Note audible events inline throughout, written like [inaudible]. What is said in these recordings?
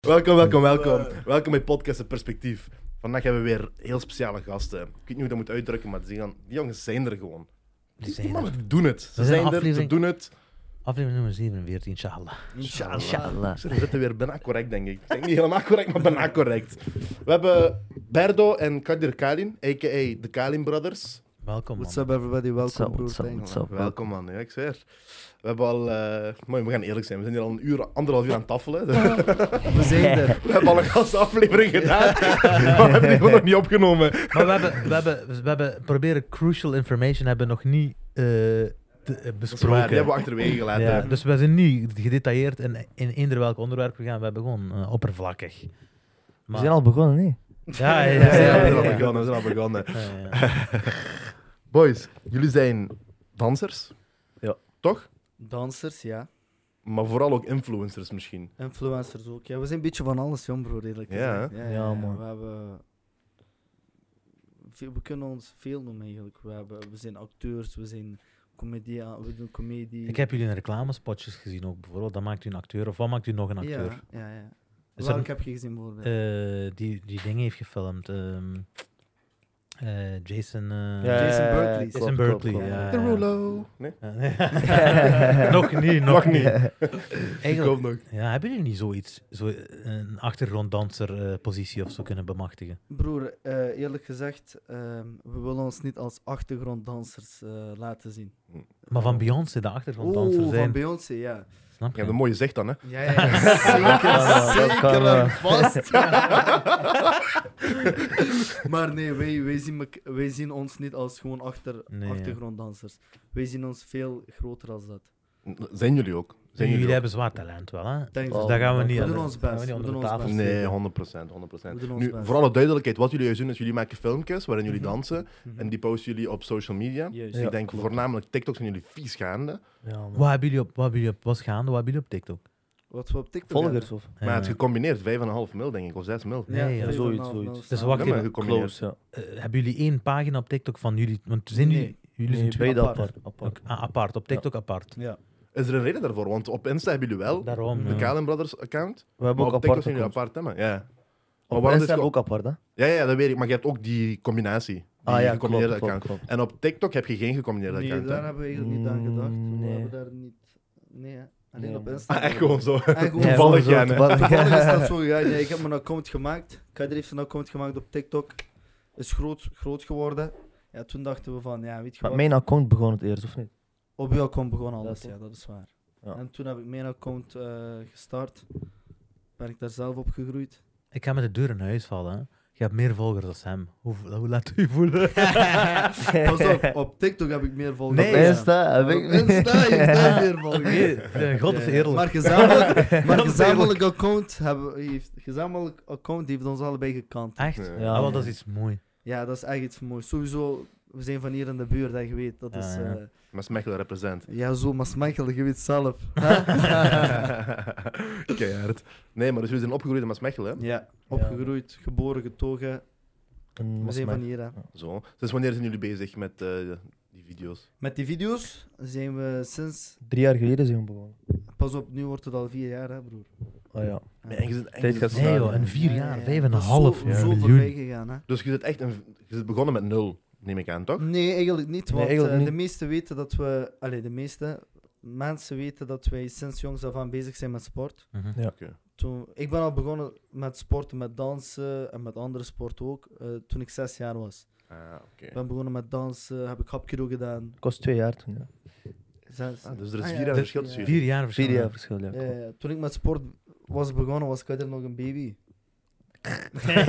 Welkom, welkom, welkom. Welkom bij Podcast Het Perspectief. Vandaag hebben we weer heel speciale gasten. Ik weet niet hoe ik dat moet uitdrukken, maar die, gaan, die jongens zijn er gewoon. Die, die zijn mannen doen het. Ze een zijn er, ze aflevering. doen het. Aflevering nummer 47, inshallah. Inshallah. Ze zitten weer bijna correct, denk ik. Ik denk niet helemaal correct, maar bijna correct. We hebben Berdo en Kadir Kalin, a.k.a. de Kalin Brothers. Welkom, man. What's up everybody, What's up, welkom broer. what's up, Thanks. what's up? Welkom, man. Ja, ik zweer. We hebben al... eh, maar we gaan eerlijk zijn, we zijn hier al een uur, anderhalf uur aan tafel. hè. We zijn [laughs] er. We hebben [laughs] al een gastaflevering gedaan, maar we hebben die gewoon nog niet opgenomen. Maar we hebben, we, hebben, we hebben proberen crucial information hebben nog niet eh, te- eh, Dat is waar, besproken. die hebben we achterwege gelaten. Ja, dus we zijn niet gedetailleerd in, in eender welk onderwerp gegaan. We hebben gewoon eh, oppervlakkig. We Maar- zijn al begonnen, nee? Ja, ja, Ja, [laughs] ja. we ja, zijn al ja, begonnen, we zijn al begonnen. ja, ja. Boys, jullie zijn dansers. Ja. Toch? Dansers, ja. Maar vooral ook influencers misschien. Influencers ook. Ja, we zijn een beetje van alles, jong broer, eerlijk Ja, gezegd. hè? Ja, man. We hebben... Veel- We kunnen ons veel noemen eigenlijk. We, hebben, we zijn acteurs, we zijn comedia, we doen comedie. Ik heb jullie in reclamespotjes gezien ook bijvoorbeeld. Dan maakt u een acteur. Of wat maakt u nog een acteur? Ja, ja, ja. Is Welk dat- heb je gezien bijvoorbeeld? Eh, die, die dingen heeft gefilmd. ehm, eh, Jason... eh, Ja, Jason Berkeley. Jason Berkeley, ja. De Rulo. Nee, nog niet, nog nog, niet. niet. Die Eigenlijk, komt nog. ja, hebben jullie niet zoiets, zo een achtergronddanser eh positie of zo kunnen bemachtigen? Broer, eh, eerlijk gezegd, ehm, we willen ons niet als achtergronddansers eh, laten zien. Maar van Beyoncé, de achtergronddanser Oeh, zijn, van Beyoncé, ja. snap Je je? hebt een mooie zicht dan, hè? Ja, ja, ja. zeker, dat kan zeker wel. en [laughs] vast. [laughs] maar nee, wij, wij, zien mek- wij zien ons niet als gewoon achter, Nee, ja. achtergronddansers. Wij zien ons veel groter als dat. Zijn jullie ook? Zijn jullie jullie ook? hebben zwaar talent wel, hè? Thanks. Dus daar gaan we niet We aan- doen ons gaan we best, niet we onder doen de ons tafel best. steken. Nee, 100%. 100%. We doen ons Nu, best. voor alle duidelijkheid, wat jullie juist doen, is jullie maken filmpjes waarin jullie Mhm. dansen. En die posten jullie op social media. Juist. Dus Ja, ik denk klopt. voornamelijk TikTok zijn jullie vies gaande. Ja, man. Wat hebben jullie op, wat hebben jullie op, wat is gaande, wat hebben jullie op TikTok? Wat we op TikTok Volgers of? Maar het Eh, is gecombineerd 5,5 mil, denk ik, of 6 mil. Nee, ja, zoiets, zoiets. Dus wacht Ja, even, maar gecombineerd. Close, ja. eh, hebben jullie één pagina op TikTok van jullie? Want zijn Nee. jullie, jullie Nee, zijn twee beide apart. apart. apart. Ook- ah, apart, op TikTok apart. Ja. Is er een reden daarvoor? Want op Insta hebben jullie wel Daarom. eh, de ja. Kalen Brothers account. We hebben Maar ook op TikTok apart. zijn jullie accounts. apart, hè? maar- Ja. Maar Op waarom is Insta het- ook apart, hè? Ja, ja, dat weet ik. Maar je hebt ook die combinatie. Die Ah ja, klopt, gecombineerde klopt, account. klopt. En op TikTok heb je geen gecombineerde Nee, account. hè? daar hebben we eigenlijk niet aan gedacht. Mm, We nee. hebben daar niet... Nee, hè. alleen Nee, op man. Instagram. Ah, [laughs] echt [laughs] gewoon zo. Eigenlijk gewoon Ja, Toevallig, gewoon ja, zo, nee. toevallig. Toevallig is [laughs] dat zo gegaan. Ja, ik heb mijn account gemaakt. Kader heeft een account nou gemaakt op TikTok. Is groot, groot geworden. Ja, toen dachten we van, ja, weet je Maar wat? mijn account begon het eerst, of niet? Op jouw account begon alles, Dat is- ja, dat is waar. Ja. En toen heb ik mijn account eh, gestart. Ben ik daar zelf op [laughs] gegroeid. Ik ga met de deur in huis vallen, hè. Je hebt meer volgers dan hem. Hoe, hoe laat u voelen? Pas op, op TikTok heb ik meer volgers. Nee, op dan Insta heb Op ik... [laughs] Insta heeft [laughs] hij meer Nee, volgers. eh, God is Ja, eerlijk. Maar [laughs] gezamenlijk, maar Dat is gezamenlijk account hebben, heeft, gezamenlijk account heeft ons allebei gekant. Echt? Ja. Ja, Ja, want dat man. is iets mooi. Ja, dat is echt iets moois. Sowieso, we zijn van hier in de buurt, dat je weet. Dat Ja, is... ja. eh, Maar Smechel [laughs] represent. Ja, zo, maar smechel, je weet zelf. [laughs] Keihard. Nee, maar dus jullie zijn opgegroeid in Maasmechel, hè? Ja, opgegroeid, geboren, getogen. Een We zijn masma- van hier, hè. Zo. Sinds wanneer zijn jullie bezig met eh, die video's? Met die video's zijn we sinds... Drie jaar geleden zijn we begonnen. Pas op, nu wordt het al vier jaar, hè, broer. Ah ja. Ja. En je zit echt- Tijd gaat Nee snel, joh, ja. in vier Ja, ja, jaar, ja. vijf en een Dat is half zo, jaar, zo voorbij miljoen. gegaan, hè. Dus je zit echt een, je zit begonnen met nul, neem ik aan, toch? Nee, eigenlijk niet, Nee, want eigenlijk eh, niet. de meesten weten dat we... Allee, de meeste mensen weten dat wij sinds jongs af aan bezig zijn met sport. Mhm. Ja. Toen, ik ben al begonnen met sporten, met dansen en met andere sporten ook, eh, toen ik zes jaar was. Ah, oké. Ik ben begonnen met dansen, heb ik hapkido gedaan. Kost twee jaar toen, ja. Zes. Ah, dus er is Ah, ja, vier jaar dat- verschil tussen ja. jullie. Vier jaar verschil. Vier ja. jaar verschil, ja. Ja, klopt. ja, toen ik met sport was begonnen, was Kader nog een [laughs] baby.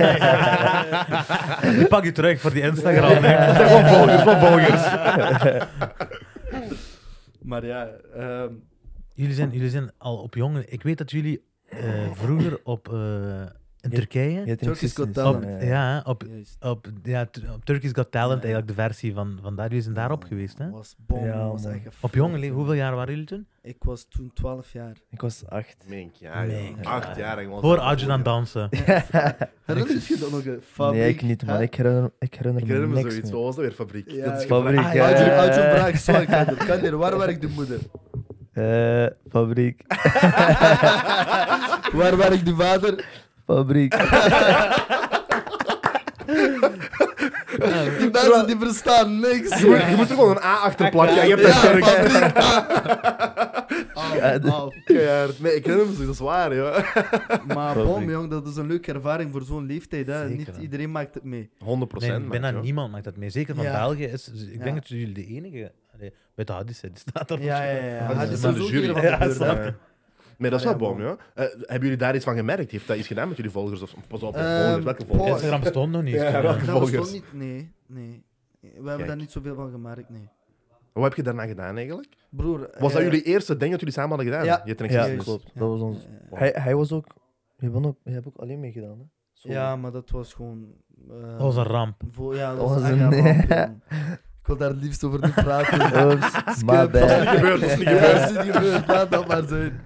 [laughs] Ik Pak je terug voor die Instagram. [laughs] hè. Wat volgers, wat volgers. Maar ja, ehm, Jullie zijn, jullie zijn al op jongen. Ik weet dat jullie eh, vroeger op eh, in Ja. Turkije, Je hebt Turkish niks Got gezien, Talent. ja, ja, ja. hè, op, juist. op, ja, t- op Turkish Got Talent, eigenlijk de versie van, van daar. Jullie zijn daarop geweest, hè? Was bom, Ja, was man. echt een Op jongen, fuck. leeftijd, hoeveel jaar waren jullie toen? Ik was toen 12 jaar. Ik was acht. Mink, ja, Nee, joh. Acht jaar. ik was- Voor Arjun aan dansen. Herinner je dat nog? een Fabriek, nee, ik niet, man. hè? Ik herinner, ik herinner Ik herinner me me niks zoiets. meer. Wat was dat weer, fabriek? Ja, Dat is Fabriek, gevraagd. Ah, ja. ja, Adjo- Adjo vraagt zo, Kader. Kader, waar werkt de moeder? Eh, [laughs] fabriek. Waar werkt die vader? Fabriek. Die mensen die verstaan niks. Je moet, je moet er gewoon een A achter plakken. Ja, je hebt Ja, dat kerk. fabriek. [laughs] Ah, Au, Ja, de- au. Keihard. Nee, ik herinner me zo, dat is waar, joh. Maar Fabriek. bom, jong, dat is een leuke ervaring voor zo'n leeftijd. Hè. Zeker, Niet hè. iedereen maakt het mee. 100 Nee, procent. bijna niemand maakt dat mee. Zeker van Ja. België. Is, is- ik Ja. denk dat jullie de enige... Allee, buiten Hadis, hè, die staat er Ja, ja, ja. Maar dat Ah, dit is is naar ook de jury. hier wat Ja, gebeurt, hè. snap je. Nee, dat is Ah, wel ja, bom, joh. Eh, hebben jullie daar iets van gemerkt? Heeft dat iets gedaan met jullie volgers? Of, pas op, Ehm, volgers. Welke volgers? Paul. Instagram stond nog niet. dus- Ja, toen, hè. welke Dat was Volgers. toch niet... Nee, nee. We hebben Kijk. daar niet zoveel van gemerkt, nee. Wat heb je daarna gedaan, eigenlijk? Broer... Was dat eh, jullie eerste ding dat jullie samen hadden gedaan? Ja. Je trekt Ja, zes. klopt. Dat was ons. eh, Hij, hij was ook... Je, bent ook, je hebt ook alleen meegedaan, hè? Solo. Ja, maar dat was gewoon... eh, Dat was een ramp. Voor, ja, dat Dat was was echt een- een [laughs] ramp, jong. Ik wil daar het liefst over niet [laughs] praten. Oops, my Dat is Dat is niet bad. gebeurd, dat is niet Ja, gebeurd. dat is niet gebeurd, laat dat maar zijn.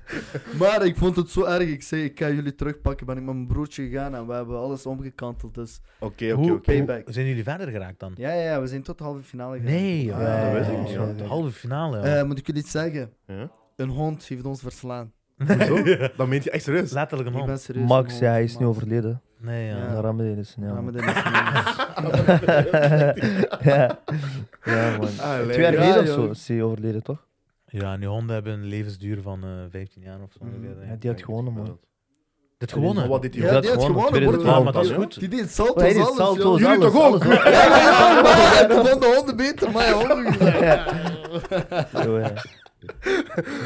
Maar ik vond het zo erg. Ik zei, ik ga jullie terugpakken. Ben ik met mijn broertje gegaan en we hebben alles omgekanteld. Dus Oké, Hoe- oké, oké. payback. hoe- Zijn jullie verder geraakt dan? ja, ja, ja, we zijn tot de halve finale gegaan. Nee, joh. Ja, dat weet ik Oh, niet, ja. De halve finale. joh. Eh, moet ik jullie iets zeggen? Ja. Een hond heeft ons verslaan. [laughs] Hoezo? Dat meent je echt serieus. Letterlijk een Ik hond. ben serieus. een Max, hond. ja, hij is nu Max. overleden. Nee, ja. Ja. Ja. Ramadan is ja, Ja, maar man. dat is niet- [laughs] ja. ja, man. Ah, Twee leuk. jaar Ja, geleden of joh. zo is hij overleden, toch? Ja, en die honden hebben een levensduur van eh 15 jaar of zo. Mhm. ongeveer, denk Ja, ik. die had gewonnen, man. Dit Maar gewonnen. Wat dit Ja, die had gewonnen, broer. Ja, maar dat is Ja. goed. Die deed salto's, Hij is alles, salto's, Jullie alles, toch ook? alles, joh. Ja, ja, ja, maar ik vond de honden beter, maar ja, honden gezegd. Zo, [laughs] ja.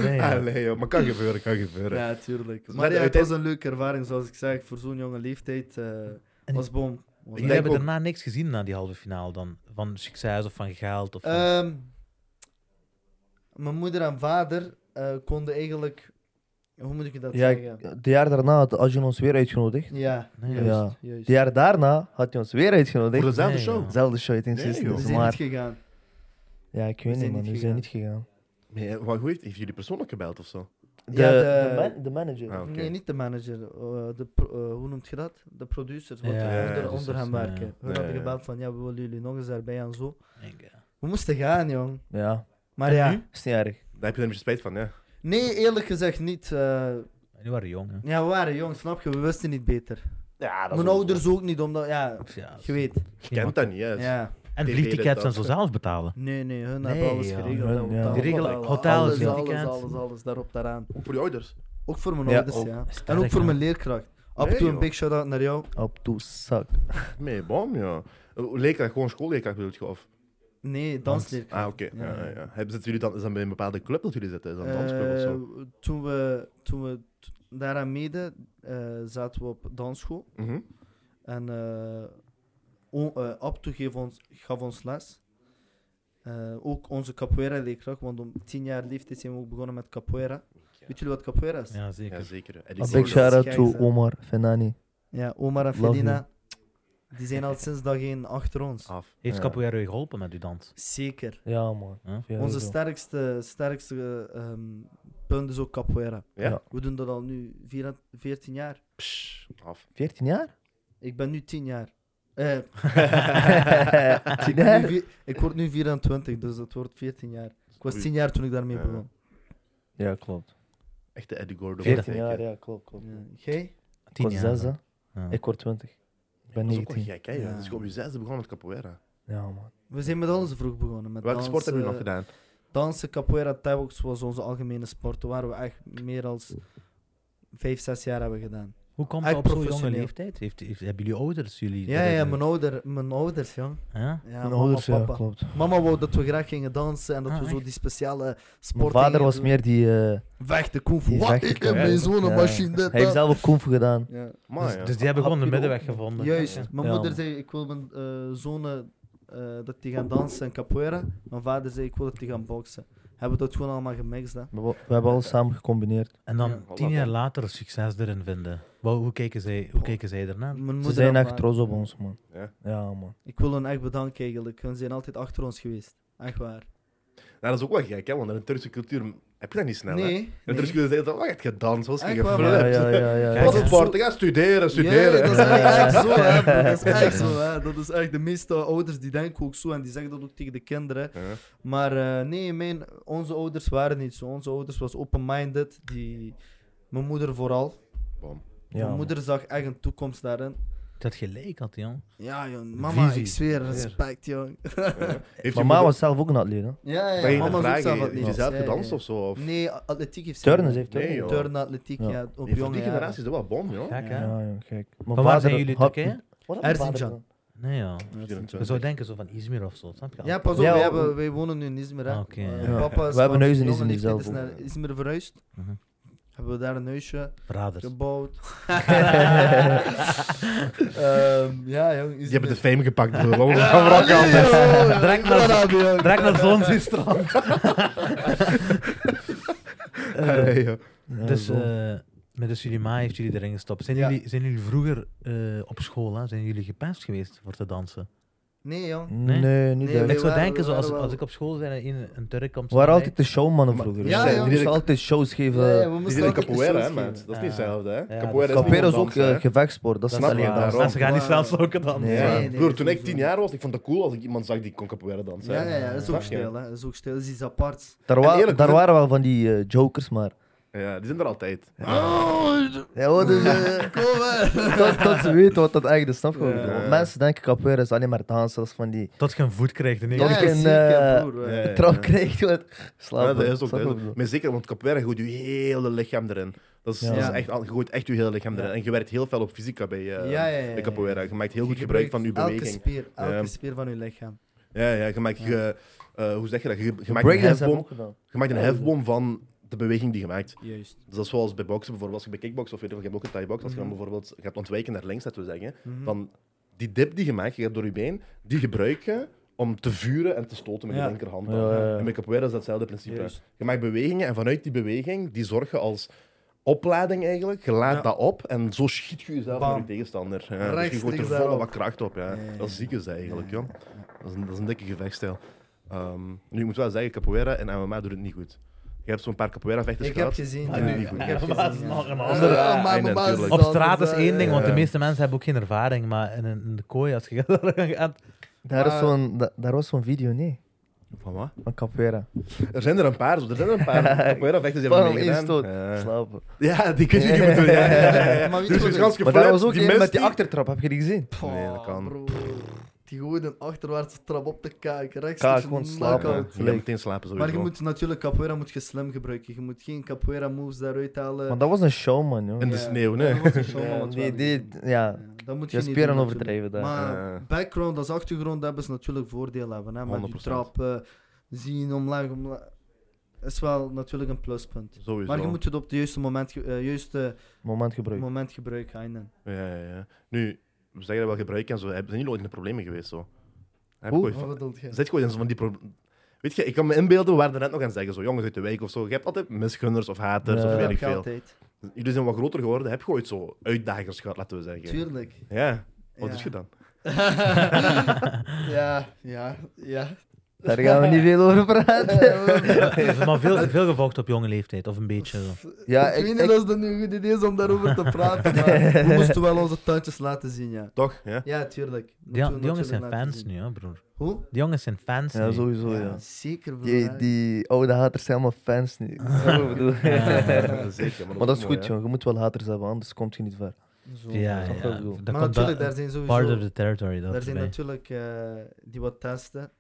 Nee, ja. Ah, nee, joh. Maar kan gebeuren, kan gebeuren. Ja, tuurlijk. Dus Maar net ja, het uiteen- was een leuke ervaring, zoals ik zeg, voor zo'n jonge leeftijd. eh, En- was bom. Was Ik Jullie denk hebben ook- daarna niks gezien na die halve finale dan? Van succes of van geld? Of van... Ehm, mijn moeder en vader eh, konden eigenlijk. Hoe moet ik dat Ja, zeggen? ik- de jaar daarna had Ajun ons weer uitgenodigd. Ja, Nee, juist, ja. juist. De jaar daarna had hij ons weer Voor uitgenodigd. dezelfde Nee, show. joh. Zelfde show, ik denk Nee, sinds- joh. We dat sinds zijn niet maart. gegaan. Ja, ik We weet zijn niet, man. niet We zijn niet gegaan. Nee, maar hoe heeft, heeft jullie persoonlijk gebeld of zo? De, Ja, de- de, man- de manager. Ah, oké. Nee, niet de manager. eh, de pro- eh, hoe noemt je dat? De producers. Want Ja, we ja, onder, ja, onder hem ja, ja. werken. We Ja, hadden ja. gebeld van ja, we willen jullie nog eens daarbij en zo. Ik denk, eh, ja. We moesten gaan, jong. Ja, Maar En ja. nu? is niet erg. Daar heb je er een beetje spijt van, ja. Nee, eerlijk gezegd niet. eh, Nu waren we jong. hè. ja, we waren jong, snap je? We wisten niet beter. Ja, Mijn ouders ook niet, omdat. Ja, Of ja, je weet. Je kent dat niet, hè. Ja. En Die vliegtickets deden en dat. zo zelf betalen. Nee, nee, hun Nee, hebben alles joh. geregeld. Hun, dat we ja. daar- Die regelen alles, hotels, alles, alles, vliegtickets. alles, alles, daarop, daaraan. Ook voor je ouders. Ook voor mijn Ja, ouders, ook. ja. En Sterk, ook voor man. mijn leerkracht. Af en Nee, toe een joh. big shout-out naar jou. Op to suck. Nee, bom, ja. Eh, Leerkracht, gewoon schoolleerkracht bedoelt je, of? Nee, dansleerkracht. Ah, oké. Ja, Ja, ja. ja, ja. Hebben- Zitten jullie dan, is dat bij een bepaalde club dat jullie zitten? Is dat een dansclub of zo? Eh, toen we, toen we t- daaraan mede eh, zaten we op dansschool. Mhm. En eh o- eh, Abtu geef ons, gaf ons les. Eh, ook onze capoeira-leerkracht, want om tien jaar leeftijd zijn we ook begonnen met capoeira. Weet jullie wat capoeira is? Ja, zeker. Ja, zeker. En die A Is big zo- scholen- shout out Kijk, to hè. Omar Fenani. Ja, Omar en Love you. Felina, die zijn al sinds dag één achter ons. af. Heeft Ja. Capoeira u geholpen met uw dans? Zeker. Ja, man. Huh? Ja, Onze zo. sterkste, sterkste ehm, punt is ook capoeira. Ja? We doen dat al nu vier- 14 jaar. Psh, af. 14 jaar? Ik ben nu 10 jaar. Eh, ik, [laughs] 10 ben nu jaar? vi- ik word nu 24, dus dat wordt 14 jaar. Ik was Oei. 10 jaar toen ik daarmee Ja. begon. Ja, klopt. Echt de Eddie Gordo. 14 Dat jaar, ja, klopt. klopt. Ja. Jij? Ik Tien word jaar. 6, hè. dan. Ja. Ik word 20. Ik ben is ook wel 19. gek, hè. joh. Ja. Dus ik op je zesde begonnen met capoeira. Ja, man. We zijn met alles vroeg begonnen. Met Welke sport dansen, hebben jullie nog gedaan? Dansen, capoeira, thaibox was onze algemene sport. Daar waren we echt meer dan 5, 6 jaar hebben gedaan. Hoe komt Echt dat op zo'n jonge professioneel. leeftijd? Heeft, heeft, hebben jullie ouders jullie... Ja, ja, mijn, man. ouder, mijn ouders, jong. Ja? Ja, Mijn mama, ouders, ja, papa. klopt. Mama wou dat we graag gingen dansen en dat Ah, we zo echt? die speciale sport. Mijn vader gingen was doen. meer die... eh, Vechten, kung fu. Die Wat? vechten, Ik kung heb fu. mijn zoon een Ja. machine. Dit, Hij heeft dat. zelf ook kung fu gedaan. Ja. Maar Dus, ja. dus die hebben gewoon de Heb je ook- middenweg gevonden. Juist. Ja. Mijn Ja, moeder man. zei: Ik wil mijn eh, zonen eh, dat die gaan dansen en capoeira. Mijn vader zei: Ik wil dat die gaan boksen. Hebben we dat gewoon allemaal gemixt? Hè? We, we hebben alles samen gecombineerd. En Ja, dan voilà, tien jaar voilà. later succes erin vinden. Wat, hoe, kijken zij, hoe kijken zij daarna? Mijn moeder Ze zijn en echt vader. trots op ons, man. Ja. Ja, man. Ik wil hen echt bedanken eigenlijk. Hun zijn altijd achter ons geweest. Echt waar. Nou, dat is ook wel gek, hè? Want in de Turkse cultuur Heb je dat niet snel, hè? nee. En nee. er is de hele tijd, wat heb "Oh, je gedaan? Zoals je Echt waar, geflirt. maar- Ja, ja, ja. ja, Kijk, Pas hè. op, Bart, ga studeren, studeren. Ja, dat is echt Ja. zo, hè, [laughs] bro. Dat is echt zo, hè. Dat is echt de meeste ouders die denken ook zo en die zeggen dat ook tegen de kinderen. Ja. Maar eh, nee, mijn, onze ouders waren niet zo. Onze ouders was open-minded. Die, mijn moeder vooral. Bam. Ja, mijn moeder zag echt een toekomst daarin. Dat gelijk had, jong. Ja, jong. Mama, Visie. ik zweer, respect, jong. Heeft je Mijn ma moeder- was zelf ook een atleet, hè. Ja, Mag je ja, dat mama zoekt vragen? zelf wat Heeft niet. je zelf Ja, gedanst ja. of zo? Of... Nee, a- atletiek heeft ze Turnen, niet. ze heeft Nee, joh. ook. Turnen, atletiek, Ja. ja. op Nee, voor jonge die jaren. generatie is dat wel bom, joh. Gek, hè? Ja, ja, kijk. Mijn Van waar zijn jullie had- Turken? Wat had mijn vader Erzincan. gedaan? Nee, ja. Je 24. zou denken zo van Izmir of zo, snap je? Ja, pas op, Ja, wij, we- hebben, wij wonen nu in Izmir. Hè. Oké, Eh, ja. Papa is We hebben van huis in jonge Izmir leeftijd zelf is ook, naar ja. Izmir verhuisd. Mhm. Hebben we daar een huisje Verraders. gebouwd. Ehm, ja, jong. Die Izmir. hebben de fame gepakt [laughs] door de longen. Direct naar- Direct naar zo'n strand. Nee, joh. [laughs] Ja, Dus zo. eh, met de jullie ma heeft jullie erin gestopt. Zijn, Ja. jullie, zijn jullie vroeger eh, op school, hè, zijn jullie gepest geweest voor te dansen? Nee, jong. nee? Nee, niet Nee, echt. ik we zou waren- denken, we zo, als, waren wel- als ik op school ben en een, een Turk komt... We waren bij altijd de showmannen Maar- vroeger. Ja, hè. ja. Die moesten altijd shows geven. Nee, Ja, we Die moesten deden altijd capoeira, hè, shows maat. geven. Dat is Ja. niet hetzelfde, hè. Ja, Capoeira is dat- gewoon is ook dansen, hè. eh, gevechtsport. Dat is Dat Snap is je? alleen waar. Daarom. daarom. Mensen gaan niet snel slokken dan. Nee. Ja. Nee, nee, Broer, toen ik sowieso. 10 jaar was, ik vond dat cool als ik iemand zag die kon capoeira dansen. Ja, hè. ja, ja, dat is ook Snap je? stil, hè. Dat is ook stil. Dat is iets aparts. Daar, En wa- eerlijk, daar we- waren wel van die eh, jokers, maar. Ja, die zijn er altijd. Ja, hoor, dus, eh, Oh, [laughs] Kom, hè. [laughs] dat, dat ze weten wat dat eigenlijk is. Snap je wat ik Ja. bedoel? Mensen denken capoeira is alleen maar dansen. Dat is van die Tot je een voet krijgt in één [laughs] Dat keer. ik een, zeker, eh, broer. Ja, hè. ja, ja. trap krijgt. wat- Slaap. Ja, dat hoor. is ook. Dat is Snap je wat ik ook. bedoel? Maar zeker, want capoeira gooit je hele lichaam erin. Dat is, Ja. dat is Ja. echt, al- je gooit echt je hele lichaam erin. En je werkt heel veel op fysica bij eh, Ja, ja, ja, bij ja. capoeira. Je maakt heel Je goed gebruik van je gebruikt beweging. Elke spier, elke Ja. spier van je lichaam. Ja, ja, je maakt, je, eh, hoe zeg je dat? Je, je maakt, een Breakdance hebben we hefboom, ook gedaan. je maakt een Ja, hefboom van de beweging die je maakt. Juist. Dus dat is zoals bij boksen bijvoorbeeld, als je bij kickbox of weet ik veel, je hebt ook een thai-box, als je dan Mhm. bijvoorbeeld gaat ontwijken naar links, laten we zeggen, Mhm. dan die dip die je maakt, je hebt door je been, die gebruik je om te vuren en te stoten met je Ja. linkerhand. Ja, dan. ja, ja. En bij capoeira is dat hetzelfde principe. Juist. Je maakt bewegingen en vanuit die beweging, die zorg je als oplading eigenlijk. Je laat Ja. dat op en zo schiet je jezelf Bam. naar je tegenstander. Ja, dus je Rechtstreeks gooit er volle daarop. wat kracht op. Ja. Ja, ja, ja. Dat is ziek is dat eigenlijk, Ja, joh. Dat is een, dat is een dikke gevechtsstijl. Ehm, nu, ik moet wel zeggen, capoeira en MMA doen het niet goed. Je hebt zo'n paar capoeira-vechters Ik heb gehad. gezien. Ah, ja. nee, niet goed. Ik Ja, heb gezien, maar dat is ja. nog een Ja, andere- ja, maar Ah, nee, mijn baas is natuurlijk. Op dat, straat dus, is eh, één ding, want de ja. meeste mensen hebben ook geen ervaring. Maar in, een- in de kooi, als je [laughs] [laughs] gaat... Daar, is Maar- zo'n, da- daar was zo'n video, nee, Van wat? van capoeira. Er zijn er een paar, zo. er zijn er een [laughs] paar capoeira-vechters die hebben Bam, één meegedaan. stoot. Ja. Slapen. Ja, die kun je niet doen. Ja, ja, ja, ja. Maar weet Die is je waarschijnlijk wat Maar daar geflipt, was ook die één mist met die achtertrap, heb je die gezien? Pah, Nee, dat kan. broer. Die gooit een achterwaartse trap op de kaak. Rechts Kaak, is een gewoon knockout. slapen. Je gaat meteen slapen sowieso. Maar je moet natuurlijk capoeira moet je slim gebruiken. Je moet geen capoeira moves daaruit halen. Maar dat was een show, man. Joh. In de Ja. sneeuw, Ja, nee. dat was een show, Ja, man, wat die, wel. die, ja. Ja, dat moet je Je niet spieren doen, overdrijven daar. natuurlijk. Maar Ja. background als achtergrond hebben ze natuurlijk voordeel hebben. Hè? Met die 100%. trap eh, zien omlaag, omlaag. Is wel natuurlijk een pluspunt. Sowieso. Maar je moet het op het juiste moment, ge- eh, juiste Moment gebruikt. moment gebruiken. Heinen. Ja, ja, ja. Nu, we zeggen dat wel gebruiken en zo. Hebben- Zijn jullie ooit in de problemen geweest? Zo? Heb Hoe? je ooit Wat van- bedoel je? Zit gewoon in zo van die problemen. Weet je, ik kan me inbeelden, we waren er net nog aan het zeggen, zo jongens uit de wijk of zo. Je hebt altijd misgunners of haters Ja. of Dat weet heb ik ik veel. altijd. Jullie zijn wat groter geworden, heb je ooit zo uitdagers gehad, laten we zeggen. Tuurlijk. Ja, wat Ja. is je dan? [laughs] ja, ja, ja. Daar gaan we niet veel over praten. [laughs] Is er maar veel, veel gevochten op jonge leeftijd, of een beetje zo. Ja, ik ik, weet ik- niet of het nu een goed idee is om daarover [laughs] te praten, maar we moesten wel onze tandjes laten zien, ja. Toch? Ja? Ja, tuurlijk. Die, Moeten we die jongens zijn natuurlijk laten fans zien. nu, hè, broer. Hoe? Die jongens zijn fans ja, nu. sowieso, ja. Ja, zeker. broer, Die, hè. die oude haters zijn allemaal fans [laughs] nu. Snap je wat ik bedoel? [laughs] Zeker. Maar dat is mooi, goed, hè. joh. Je moet wel haters hebben, anders komt je niet ver. Zo. Ja, Snap ja. je wat ik bedoel? Dat maar komt natuurlijk, wel- daar zijn part of sowieso... the territory. Dat Daar zijn erbij. natuurlijk eh, die wat testen.